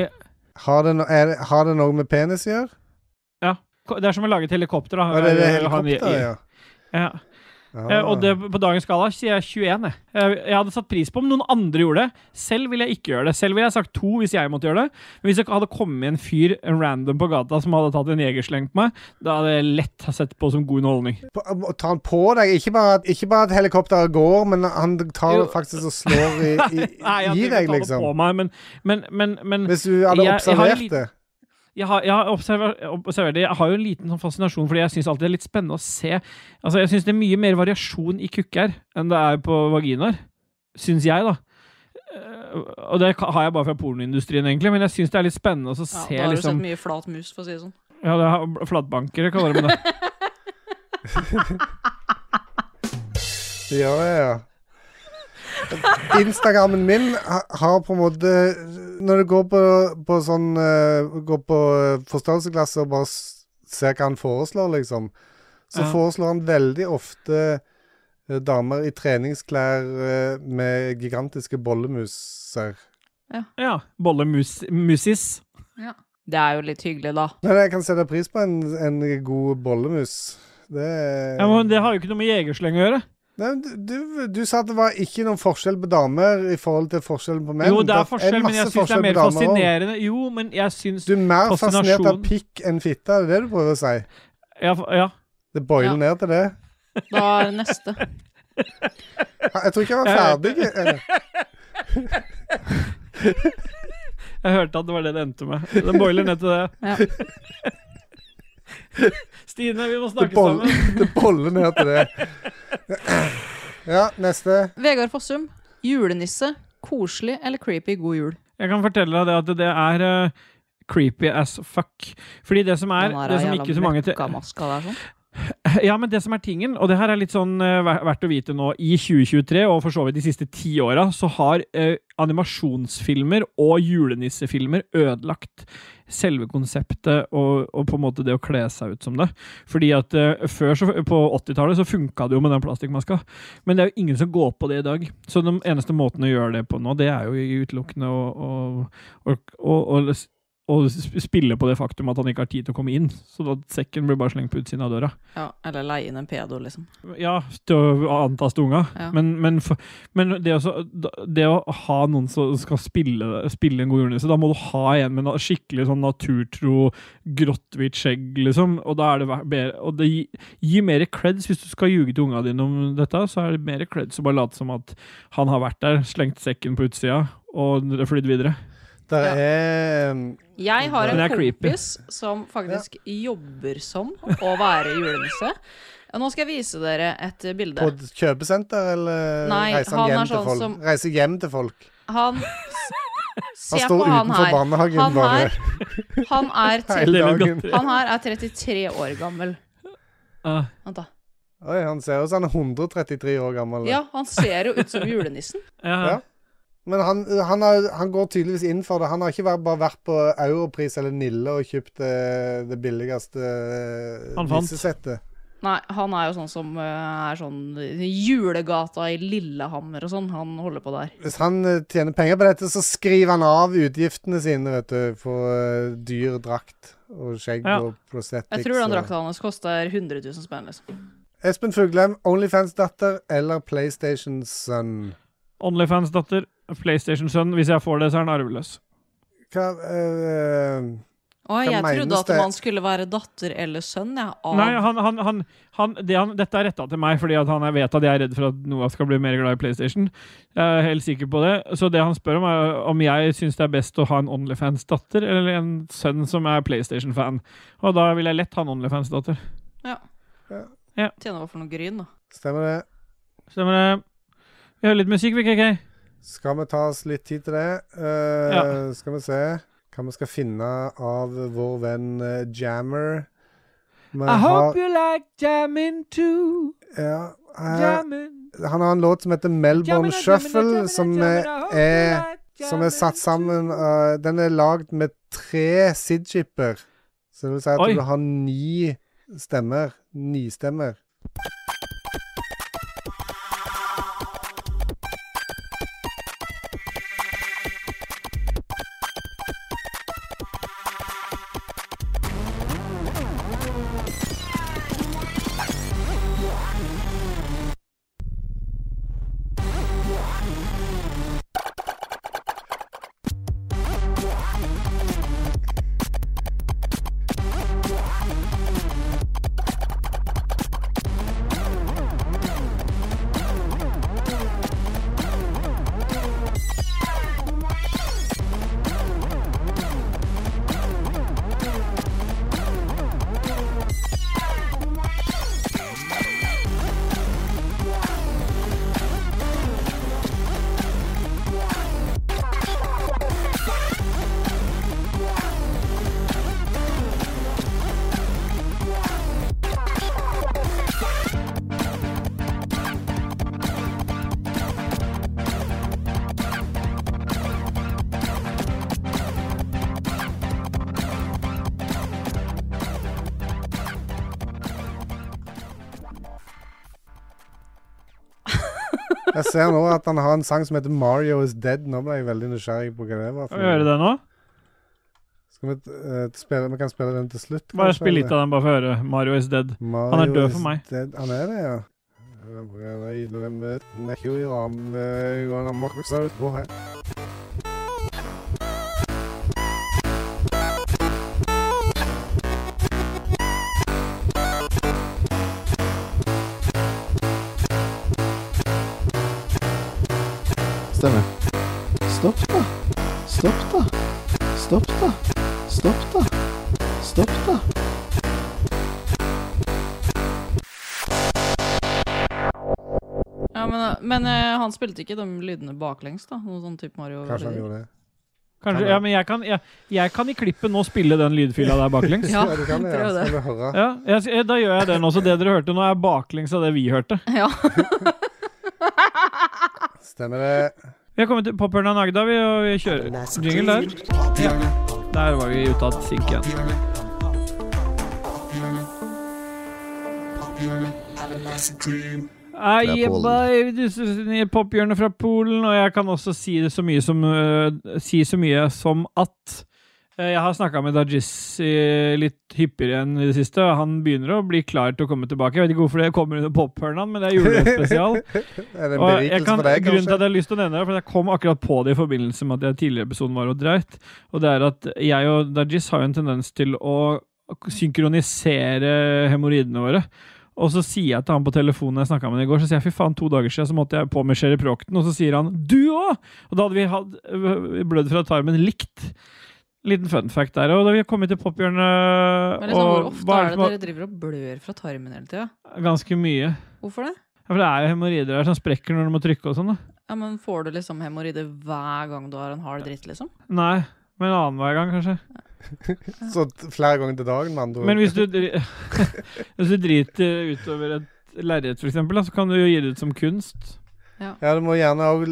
Har det, no er, det- har det noe med penis å gjøre?
Ja. ko- Det er som å lage et helikopter, da.
Ja, det er det
Eller ha en je-
helikopter, ja.
ja.
Ah.
Eh, Og det, på dagens skala sier jeg 21. Jeg. Eh, jeg hadde satt pris på om noen andre gjorde det. Selv ville jeg ikke gjøre det. Selv ville jeg sagt to hvis jeg måtte gjøre det. Men hvis det hadde kommet en fyr en random på gata som hadde tatt en jegersleng på meg, da hadde jeg lett ha sett på som god underholdning.
På- å Ta han på deg? Ikke bare at, ikke bare at helikopteret går, men han tar
Jo.
faktisk og slår i, i,
Nei, jeg hadde
i
ikke
deg,
tatt det
liksom.
på meg, men, men, men, men
Hvis du hadde
jeg- jeg har en
observert
liten-
det.
Jeg har, jeg, har observer, observert det. jeg har jo en liten sånn fascinasjon, fordi jeg syns alltid det er litt spennende å se Altså, jeg syns det er mye mer variasjon i kukker enn det er på vaginaer. Syns jeg, da. Eh, Og det ka- har jeg bare fra pornoindustrien, egentlig, men jeg syns det er litt spennende å så
Ja,
se
da har du
liksom
sett mye flat mus, for å si det sånn.
Ja, det er flatbankere, kaller de det.
Ja, ja, ja. Instagrammen min ha- har på en måte Når du går på, på sånn eh, Går på forstørrelsesglasset og bare s- ser hva han foreslår, liksom, så
Ja.
foreslår han veldig ofte eh, damer i treningsklær eh, med gigantiske bollemuser.
Ja. Bollemussis.
Det er jo litt hyggelig, da.
Men jeg kan sette pris på en, en god bollemus. Det
Ja, men det har jo ikke noe med jegersleng å gjøre.
Nei, men du, du, du sa at det var ikke noen forskjell på damer i forhold til forskjellen på menn.
jo, det
Da
er forskjell, men
masse
jeg syns det
forskjell
er
på
mer
damer også.
fascinerende. Jo, men jeg syns
Du er mer fascinert av
Fascinasjon.
pikk enn fitte, er det det du prøver å si?
ja, fa- ja.
Det boiler
Ja.
ned til det.
Da er det neste.
Jeg tror ikke jeg var
Jeg
ferdig. eller?
Jeg hørte at det var det det endte med. Det boiler ned til det. Stine, vi må
Det
snakke
boller,
sammen.
det boiler ned til det. Ja, neste.
Vegard Fossum. Julenisse. Koselig eller creepy god jul?
Jeg kan fortelle deg det at det er eh, creepy as fuck. Fordi det som er,
Den der
det som
jævla
ikke så mange til
møkkamaska der, sånn.
Ja, men det som er tingen, og det her er litt sånn eh, ver- verdt å vite nå, i 2023 og for så vidt de siste ti åra, så har eh, animasjonsfilmer og julenissefilmer ødelagt selve konseptet og, og på en måte det å kle seg ut som det. Fordi at eh, før, så, på 80-tallet, så funka det jo med den plastikkmaska, men det er jo ingen som går på det i dag. Så den eneste måten å gjøre det på nå, det er jo utelukkende å, å, å, å, å og sp- spille på det faktum at han ikke har tid til å komme inn. Så da sekken blir bare slengt på utsiden av døra.
Ja, eller leie inn en pedo, liksom.
Ja, til å antaste unga.
Ja.
Men, men, f- men det, å, så- da- det å ha noen som skal spille, spille en god julenisse, da må du ha en med na- skikkelig sånn naturtro, grått-hvitt skjegg, liksom. Og, da er det ver- bedre, og det gi- gir mer creds hvis du skal ljuge til unga dine om dette. Så er det mer creds å bare late som at han har vært der, slengt sekken på utsida og flydd videre.
Det er um,
Jeg har en
Men det er creepy.
kompis som faktisk jobber som å være julenisse. Og Nå skal jeg vise dere et eh, bilde.
På et kjøpesenter, eller
Nei,
reiser
han
han,
er
hjem til
sånn
folk?
som-
Reiser hjem til folk?
Han Se
står
på han
utenfor
her.
barnehagen
han
bare.
her- Han er, tre-
Hele dagen.
han her er 33 år gammel. Vent da.
Oi, han ser ut som han er 133 år gammel.
Ja, han ser jo ut som julenissen.
Ja. Men han, han, har, han går tydeligvis inn for det. Han har ikke vært, bare vært på Europris eller Nille og kjøpt eh, det billigste eh,
Han fant.
nissesettet.
Nei, han er jo sånn som eh, er sånn Julegata i Lillehammer og sånn. Han holder på der.
Hvis han eh, tjener penger på dette, så skriver han av utgiftene sine vet du, for eh, dyr drakt og skjegg
Ja.
og prosthetics.
Jeg tror den
og-
drakta hans koster 100 000 spenn, liksom.
Espen Fuglem, Onlyfans-datter eller PlayStation Son?
Onlyfans-datter, PlayStation-sønn. Hvis jeg får det, så er han arveløs.
Hva,
Å,
eh, hva
jeg
menes
trodde at
det?
man skulle være datter eller sønn, jeg. Ja,
Nei, han, han, han, han, det han, dette er retta til meg, fordi at han er, vet at jeg er redd for at Noah skal bli mer glad i PlayStation. Jeg er helt sikker på det. Så det han spør om, er om jeg syns det er best å ha en Onlyfans-datter eller en sønn som er PlayStation-fan. Og da vil jeg lett ha en Onlyfans-datter.
Ja.
Ja.
Tjener hva for noe gryn, da.
Stemmer det.
Stemmer det? Vi hører litt musikk, vi, KK.
Skal vi ta oss litt tid til det? Eh,
Ja.
Skal vi se hva vi skal finne av vår venn eh, Jammer. Vi
I
har-
hope you like jamming too.
ja, eh,
Jammin'.
Han har en låt som heter Melbourne
Jammin' og jammin' og jammin'
Shuffle,
og
som
jammin'
eh,
og
er
jammin'
som er satt sammen av Den er lagd med tre sidchipper. Så det vil si at
Oi.
du har ni stemmer. Ni stemmer. Jeg ser nå at han har en sang som heter 'Mario Is Dead'. Nå ble jeg veldig nysgjerrig på hva det var. for
Skal vi høre det nå?
Skal vi, eh, spille, vi kan spille den til slutt,
Bare
kanskje,
spill litt
eller?
av den, bare for å høre. Mario is dead. Han er
Mario
død
is
for meg.
Dead. Han er det, ja. Brødre i drømmet, nekk jo i ramme, gonna mock us out, boy.
Stemmer. Stopp, da. Stopp, da. Stopp, da. Stopp, da. Stopp, da.
Ja, men, men eh, han eh, spilte ikke de lydene baklengs, da? Noe sånn type Mario.
Kanskje han gjorde det.
Kanskje, ja, men jeg kan, jeg, jeg kan i klippet nå spille den lydfila der baklengs.
Ja, Ja, du kan det, altså. ja. prøv det. Skal du
høre.
Ja, jeg, jeg- da gjør jeg den også. Det dere hørte nå, er baklengs av det vi hørte.
Ja.
Stemmer det.
Vi har kommet til Pophørnan Agda, vi, og vi kjører jingle der. Der var vi ute av synk igjen. Ah,
Fra
yeah,
Polen.
boy, this is a Pophjørnet fra Polen, og jeg kan også si det så mye som, øh, si så mye som at øh, jeg har snakka med Dajis øh, litt hyppigere enn i det siste. og Han begynner å bli klar til å komme tilbake. Jeg vet ikke hvorfor det kommer under pophørnan, men det er julespesial.
Er det en
Og jeg
berikelse
kan-
for deg,
Grunnen til at
kanskje?
jeg har lyst til å nevne det, er for at jeg kom akkurat på det i forbindelse med at jeg tidligere i episoden var og dreit, og det er at jeg og Dajis har jo en tendens til å synkronisere hemoroidene våre. Og så sier jeg til han på telefonen jeg snakka med han i går, så sier jeg fy faen, to dager siden så måtte jeg på med Sherry Procton, og så sier han du òg! Og da hadde vi hatt øh, blødd fra tarmen likt. Liten fun fact der. Og da vi har kommet til pophjørnet
Men liksom, hvor
og
ofte
hva
er det
som
dere driver og blør fra tarmen hele tida?
har- Ganske mye.
Hvorfor det?
Ja, for det er jo hemoroider her som sprekker når du må trykke og sånn, da.
Ja, men Får du liksom hemoroider hver gang du har en hard dritt, liksom?
Nei, men annenhver gang, kanskje.
Så t- flere ganger til dagen, med andre ord.
Men hvis du, dri hvis du driter utover et lerret, f.eks., så kan du jo gi det ut som kunst.
Ja.
du må gjerne òg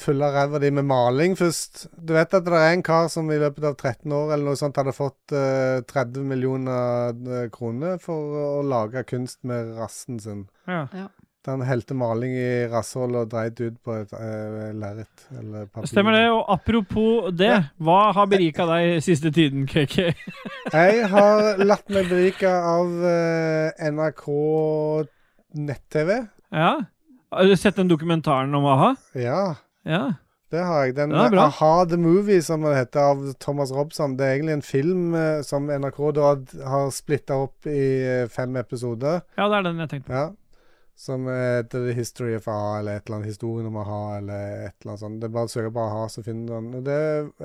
fylle ræva di med maling først. Du vet at det er en kar som i løpet av 13 år eller noe sånt hadde fått eh, 30 millioner eh, kroner for å lage kunst med rassen sin.
Ja.
Ja.
Han helte maling i rasshålet og dreit ut på et uh, lerret eller papir.
Stemmer det. Og apropos det, hva har berika deg siste tiden, KK?
Jeg har latt meg berike av eh, NRK nett-TV.
Ja? Har du sett den dokumentaren om a-ha?
Ja.
Ja.
Det har jeg. Den
Ja, bra.
Aha The Movie, som den heter, av Thomas Robson. Det er egentlig en film eh, som NRK da d- har splitta opp i eh, fem episoder.
Ja, det er den jeg tenkte
på. Som heter The History of A-ha, eller et eller annet historien om A-ha, eller et eller annet sånt. Det er bare å søke på A-ha, så finner du den. Og Det,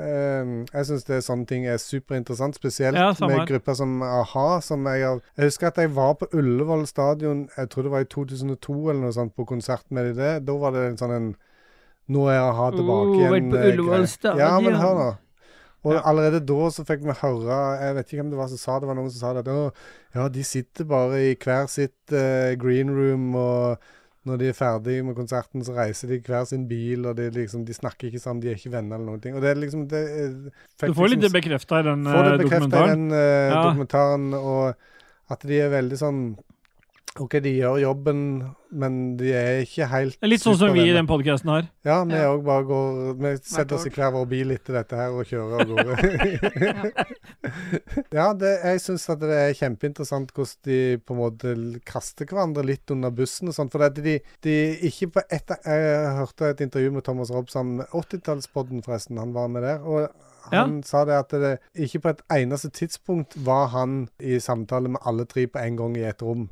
eh, jeg syns sånne ting er superinteressant, spesielt
Ja, samme
med
her.
grupper som a-ha. Som jeg, har, jeg husker at jeg var på Ullevål stadion, jeg tror det var i 2002 eller noe sånt, på konsert med de det. Da var det en sånn en Nå er a-ha tilbake
Oh,
igjen.
vært på
eh,
Ullevål
greie. Ja, men
stadion.
hør nå. Og allerede da så fikk vi høre Jeg vet ikke hvem det var som sa det, det var noen som sa det at «Å, ja, de sitter bare i hver sitt eh, green room, og når de er ferdige med konserten, så reiser de i hver sin bil, og det er liksom, de snakker ikke sammen, de er ikke venner eller noen ting. Og det er liksom det, eh, fikk
Du får litt
liksom-
det bekreftet i den,
Får det
eh,
bekreftet i den
dokumentaren.
eh,
Ja.
dokumentaren, og at de er veldig sånn OK, de gjør jobben, men de er ikke helt
Litt sånn som vi i
supervenner.
den podkasten har.
Ja, vi òg bare går Vi setter oss i hver vår bil etter dette her og kjører av gårde. ja, det, jeg syns at det er kjempeinteressant hvordan de på en måte l- kaster hverandre litt under bussen og sånn. For at de, de ikke på ett Jeg hørte et intervju med Thomas Robsam, 80-tallspodden forresten, han var med der. og han sa det at det, ikke på et eneste tidspunkt var han i samtale med alle tre på en gang i et rom.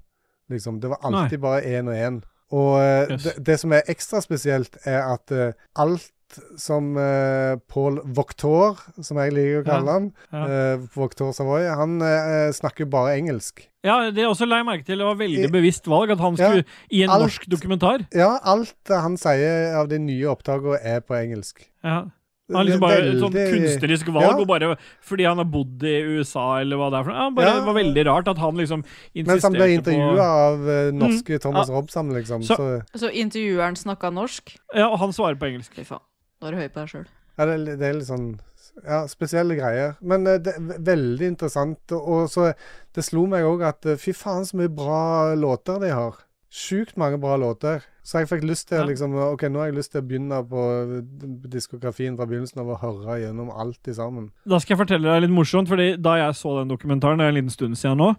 Liksom, det var alltid bare én og én. Og eh,
Yes.
det, det som er ekstra spesielt, er at eh, alt som eh, Paul Voktor, som jeg liker å kalle han,
Ja,
eh, Voktor Savoy, han eh, snakker jo bare engelsk.
Ja, det er også la jeg merke til. Det var veldig bevisst valg at han
Ja.
skulle i en
Alt-
norsk dokumentar.
Ja, alt eh, han sier av de nye opptakene, er på engelsk.
Ja. Han har liksom bare et sånn
Veldig-
kunstnerisk valg,
Ja.
og bare fordi han har bodd i USA, eller hva det er for noe. Ja, bare,
Ja.
Det var veldig rart at han liksom
Mens han ble
insisterte på
intervjua av eh, norske
Mm.
Thomas
Ja.
Robsam, liksom.
Så-
Så,
Så intervjueren snakka norsk?
Ja, og han svarer på engelsk.
Fy faen. Da er du høy på deg sjøl.
Ja, det, er- det er litt sånn ja, spesielle greier. Men eh, det er ve- veldig interessant. Og og så det slo meg òg at eh, fy faen så mye bra låter de har. Sjukt mange bra låter. Så jeg fikk lyst til å
Ja.
liksom OK, nå har jeg lyst til å begynne på eh, diskografien fra begynnelsen av og høre gjennom alt til sammen.
Da skal jeg fortelle deg litt morsomt, fordi da jeg så den dokumentaren, det er en liten stund siden nå,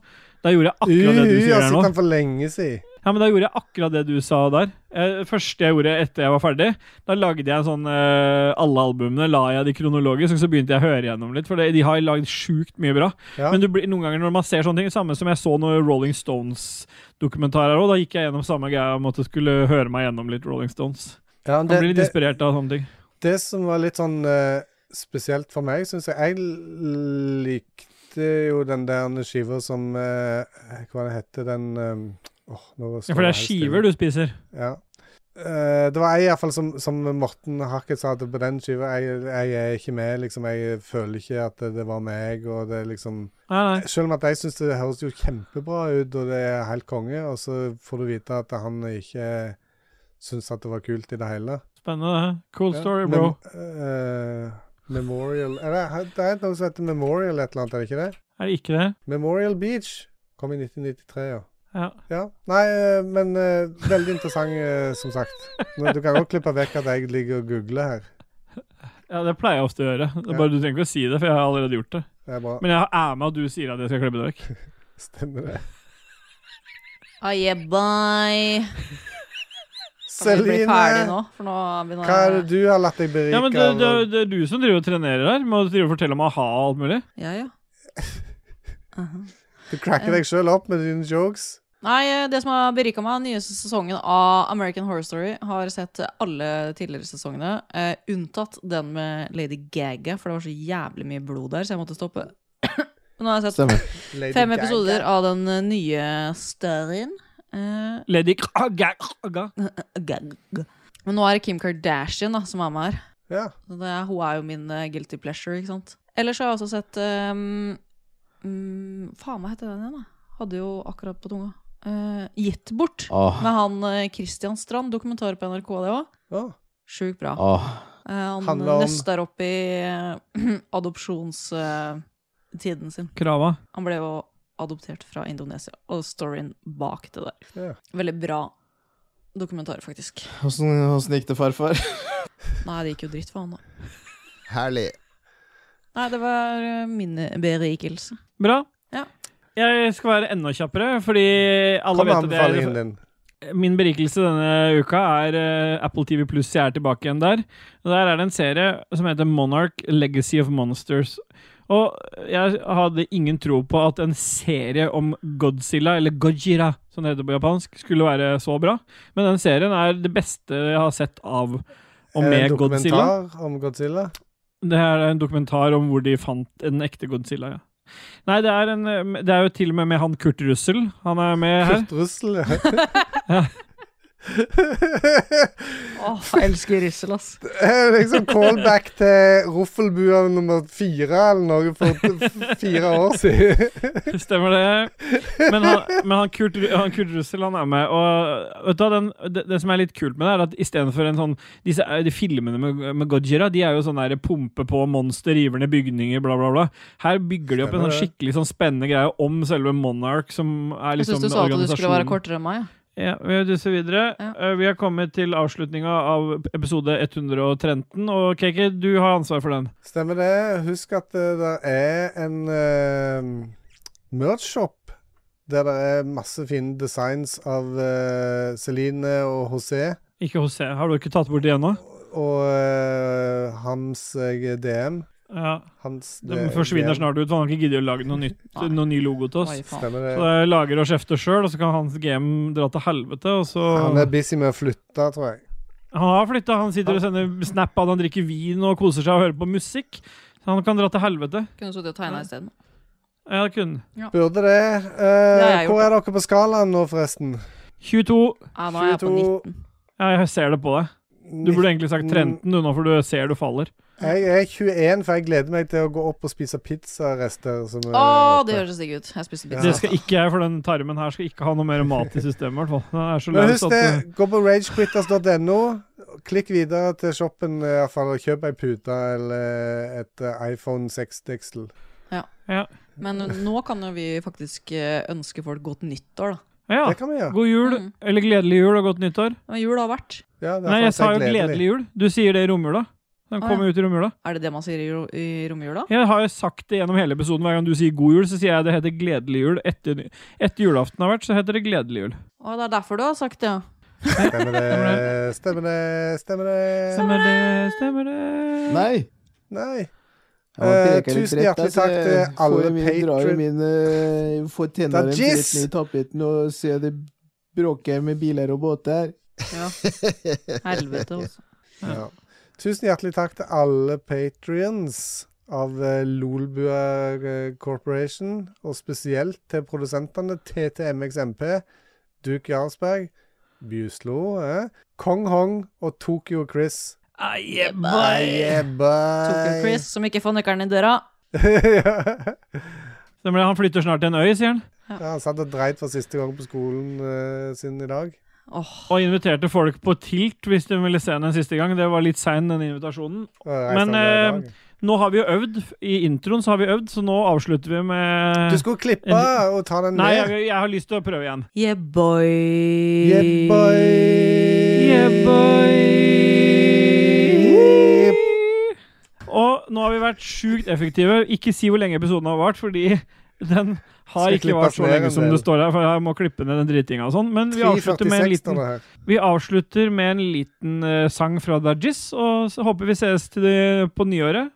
da gjorde jeg akkurat det du
Uh, jeg
sier her
har
nå.
sett den for lenge siden.
Ja, men Da gjorde jeg akkurat det du sa der. Eh, første jeg gjorde etter jeg var ferdig, da lagde jeg en sånn eh, Alle albumene la jeg de kronologisk, og så begynte jeg å høre gjennom litt. For det, de har lagd sjukt mye bra.
Ja.
Men du blir, noen ganger når man ser sånne ting, samme som jeg så noen Rolling Stones-dokumentarer òg, da gikk jeg gjennom samme greia om at jeg skulle høre meg gjennom litt Rolling Stones.
Ja,
man
det-
blir litt
det-
inspirert av sånne ting.
Det som var litt sånn eh, spesielt for meg, syns jeg Jeg l- likte jo den der skiva som eh, Hva det heter den eh, åh, nå står
Ja, for
her
det er
stille.
skiver du spiser.
Ja. Eh, det var ei i hvert fall som, som Morten Harket sa at på den skiva jeg, jeg er ikke med, liksom. Jeg føler ikke at det, det var meg, og det er liksom
Nei, nei.
Selv om at jeg syns det høres jo kjempebra ut, og det er helt konge, og så får du vite at han ikke syns at det var kult i det hele.
Spennende. Cool
Ja,
story,
mem-
bro.
eh, Memorial er det, det er noe som heter Memorial et eller annet, er det ikke det?
Er det ikke det?
Memorial Beach kom i 1993, ja.
Ja.
Ja. Nei, eh, men eh, veldig interessant, eh, som sagt. Nå, du kan godt klippe vekk at jeg ligger og googler her.
Ja, det pleier jeg ofte å gjøre. Det
Ja.
er bare Du trenger ikke å si det, for jeg har allerede gjort det.
Det er bra.
Men jeg er med at du sier at jeg skal klippe det vekk.
Stemmer det.
Ah, yeah, bye. Kan vi bli ferdig nå?
Celine,
For nå er vi nå
hva er det du har latt deg berike
Ja, men det, det,
av?
det er du som driver og trenerer her. Må du drive og fortelle om a-ha og alt mulig?
Ja, ja. Aha.
Du cracker deg sjøl opp med dine jokes.
Nei, eh, det som har berika meg, den nye sesongen av American Horror Story, har sett alle tidligere sesongene, eh, unntatt den med Lady Gaga, for det var så jævlig mye blod der, så jeg måtte stoppe. Men nå har jeg sett
Stemmer.
Lady
fem
Gaga.
episoder av den eh, nye storyen. Eh,
Lady Gaga. Gaga.
Gaga. Men nå er det Kim Kardashian da, som er med her.
Ja.
Så Det, er- hun er jo min eh, guilty pleasure, ikke sant? Ellers har jeg også sett ehm, mm, Faen, hva heter den igjen, da? Hadde jo akkurat på tunga. Eh, Gitt bort.
Ah.
Åh.
Med han eh, Christian Strand. Dokumentar på NRK, det òg.
Ja.
Ah.
Sjukt bra.
Åh.
Eh, han
Handler om-
nøster opp i eh, adopsjonstiden sin.
Krava.
Han ble jo adoptert fra Indonesia, og storyen bak det der.
Ja.
Veldig bra dokumentar, faktisk.
Åssen åssen gikk det, farfar?
Nei, det gikk jo dritt for han, da.
Herlig.
Nei, det var eh, min berikelse.
Bra.
Ja.
Jeg skal være enda kjappere, fordi alle
Kom med
vet at
anbefalingen
jeg,
din.
min berikelse denne uka er eh, Apple TV Pluss. Jeg er tilbake igjen der. Og Der er det en serie som heter Monarch Legacy of Monsters. Og jeg hadde ingen tro på at en serie om Godzilla, eller Gojira, som det heter på japansk, skulle være så bra. Men den serien er det beste jeg har sett av og
Er det
med
en
Godzilla.
Eh, dokumentar om Godzilla?
Det her er en dokumentar om hvor de fant en ekte Godzilla, ja. Nei, det er, en, eh, det er jo til og med med han Kurt Russell. Han er med her.
Kurt Russell, ja.
Åh, jeg elsker Russell, ass.
Det er liksom callback til Roffelbua nummer fire eller noe for f- fire år siden.
Stemmer det. Men, han, men han, Kurt, han Kurt Russell han er med. Og vet du, hva, den, det, det som er litt kult med det, er at istedenfor en sånn disse, De filmene med, med Godzilla de er jo sånn der pumpe på monster, river ned bygninger, bla, bla, bla. Her bygger de opp en
Stemmer
sånn
det.
skikkelig sånn spennende greie om selve Monarch, som er
Jeg
liksom
syns du sa at du skulle være
organisasjonen.
kortere enn meg. Ja.
Ja, vi duser videre.
Ja.
Eh, Vi har kommet til avslutninga av episode 113, og KK, du har ansvar for den.
Stemmer det. Husk at det der er en uh, merch-shop der det er masse fine designs av eh, Celine og José.
Ikke hos jeg. Har du ikke tatt bort det ennå?
Og eh, hans eh, DM.
Ja.
Hans
Den
eh,
forsvinner
DM.
snart ut, for han har ikke giddet å lage noe, nytt,
Nei.
noe ny logo til oss.
Oi, faen.
Stemmer det.
Så jeg lager og kjefter sjøl, og så kan hans game dra til helvete. Og så
Han er
han,
busy med å flytte, tror jeg.
har flytta, han sitter og sender snap av at han drikker vin og koser seg og hører på musikk. Så han kan dra til helvete.
Kunne sittet og tegna isteden.
Ja, det kunne.
Burde det. Eh,
har jeg gjort,
hvor er dere på skalaen nå, forresten?
22.
Ja, nå er jeg på
22.
19.
Ja, jeg ser det på deg. Du burde egentlig sagt 13 du nå, for du ser du faller.
Jeg er 21, for jeg gleder meg til å gå opp og spise pizzarester. som er
Å,
oppe.
det høres digg ut. Jeg spiste pizza.
Det skal ikke jeg, for den tarmen her skal ikke ha noe mer mat i systemet. i hvert fall. Den er så
Men
løs
husk
at
det,
eh,
gå på ragequitters.no. Klikk videre til shoppen, eh, i hvert fall, og kjøp ei pute eller et eh, iPhone 6-deksel.
Men nå kan jo vi faktisk eh, ønske folk godt nyttår, da.
Ja.
Det kan vi gjøre.
God jul,
Mm.
eller gledelig jul og godt nyttår.
Men jul har vært.
Ja, derfor
Nei, jeg sa jo
gledelig.
gledelig jul. Du sier det i romjula. Den
Å,
kommer
ja.
ut i romjula.
Er det det man sier i, ro- i romjula?
Jeg har jo sagt det gjennom hele episoden. Hver gang du sier god jul, så sier jeg det heter gledelig jul. Etter, etter julaften har vært, så heter det gledelig jul.
Å, det er derfor du har sagt det, ja.
Stemmer det, stemmer det, stemmer det.
Stemmer det, stemmer det.
Nei!
Nei.
Jeg må
Eh,
preke litt
tusen
rett,
hjertelig
altså.
takk til
Jeg
alle
får- vi drar jo
patron-
min, eh, Får tennene
Da jizz!
rett ned i tapeten og se det bråker med biler og båter.
ja. Helvete, altså.
Ja. Tusen hjertelig takk til alle patrions av eh, Lolbua eh, Corporation, og spesielt til produsentene TTMXMP, Duke Jarlsberg, Bjuslo. Eh? Kong Hong og Tokyo Chris.
Aye,
Ah, yeah, bye.
Tokyo Chris, som ikke får nøkkelen i døra.
Stemmer det, han flytter snart til en øy, sier han.
Ja, han satt og dreit for siste gang på skolen eh, sin i dag.
Og inviterte folk på tilt hvis de ville se henne en siste gang. Det var litt sein, den invitasjonen. Men eh, nå har vi jo øvd. I introen så har vi øvd, så nå avslutter vi med
Du skulle klippe
en-
og ta den
Nei,
ned.
jeg, jeg har lyst til å prøve igjen.
Yeah, boy.
Yeah, boy.
Yeah, Og nå har vi vært sjukt effektive. Ikke si hvor lenge episoden har vart, fordi den har
Skal
ikke
klippes
vart så
ned en
lenge som det
del.
står her, for jeg må klippe ned den dritinga og sånn. Men vi avslutter med
3.46
en liten,
står det her.
vi avslutter med en liten eh, sang fra Dajis, og så håper vi sees til det på nyåret.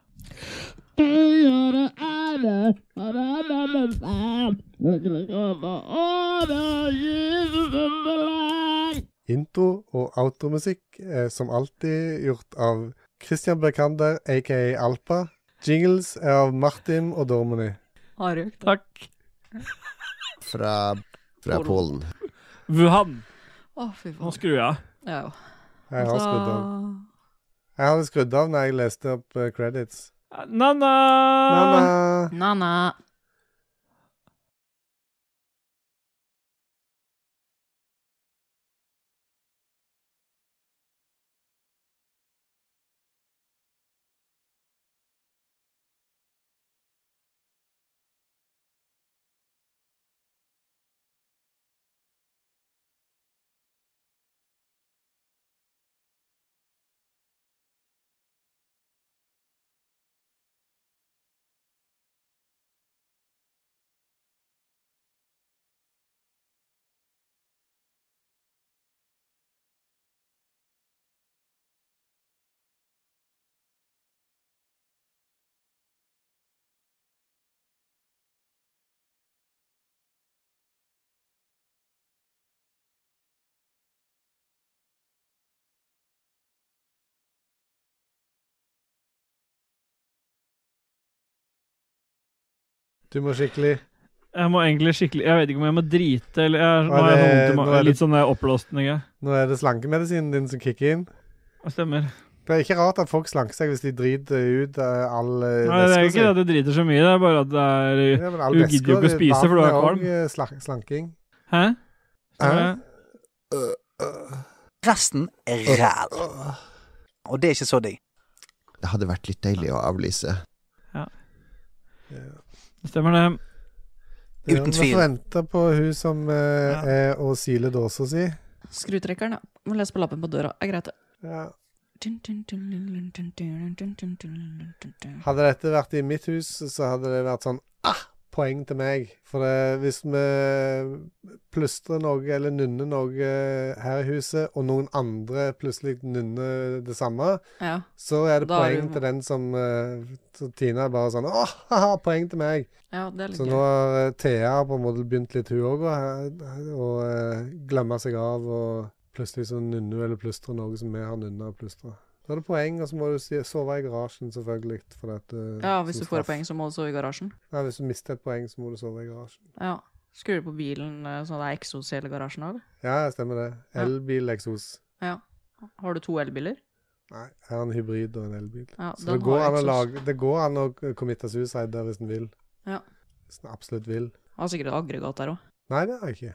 Intro- og outromusikk er som alltid gjort av Christian Berkander, aka Alpa. Jingles er av Martin og Dormony.
Takk.
Fra, fra Polen.
Wuhan.
Å, fy faen.
Nå skrur jeg av.
Ja.
Jeg har skrudd av. Jeg hadde skrudd av når jeg leste opp eh, credits.
Na-na!
Na-na.
Na-na.
Du må skikkelig
Jeg må egentlig skikkelig Jeg vet ikke om jeg må drite, eller jeg,
Nå
nå
er
er jeg
det-
sånn vondt i
nå
magen.
er det-
Litt sånn der oppblåsning.
Nå er det slankemedisinen din som kicker inn.
Stemmer.
Det er ikke rart at folk slanker seg hvis de driter ut eh, all eh,
Nei, det er
væsken
ikke det at du driter så mye, det er bare at det er
Ja, men all
Du
væske
gidder jo
og
ikke å
det-
spise, for du er
vann
kvalm.
også, eh, slank- Slanking.
Hæ?
Hæ?
Stemmer det?
Resten er ræl. Og det er ikke så digg.
Det hadde vært litt deilig å avlyse.
Stemmer det.
Ja,
Uten
vi
tvil.
får vente på hun som eh, er og siler dåsa si.
Skrutrekkeren, ja. Må lese på lappen på døra. Er greit, det.
Ja.
Dun, dun, dun, dun, dun, dun, dun, dun, dun, dun, dun.
Hadde dette vært i mitt hus, så hadde det vært sånn ah, poeng til meg. For det, hvis vi plystrer noe eller nynner noe eh, her i huset, og noen andre plutselig nynner det samme,
Ja.
så er det
Da er
poeng
du-
til den som eh, så Tina er bare sånn åh, haha, poeng til meg.
Ja, det er litt
så
gøy.
nå har eh, Thea på en måte begynt litt, hun òg, å eh, glemme seg av. og Plutselig så nynner hun eller plystrer noe som vi har nynna og plystra. Da er det poeng, og så må du si, sove i garasjen, selvfølgelig. For at, eh,
Ja, hvis
som
du får
straff.
poeng, så må du sove i garasjen.
Nei, Hvis du mister et poeng, så må du sove i garasjen.
Ja. Skrur du på bilen eh, sånn at det er eksos i hele garasjen òg?
Ja, stemmer det.
Ja.
Elbileksos.
Ja. Har du to elbiler?
Nei, jeg har en hybrid og en elbil.
Ja,
så
den
det går,
har
an å
eksos.
lage, det går an å eh, committe suicide der hvis en vil.
Ja.
Hvis en absolutt vil.
Har sikkert aggregat der òg.
Nei, det har jeg ikke.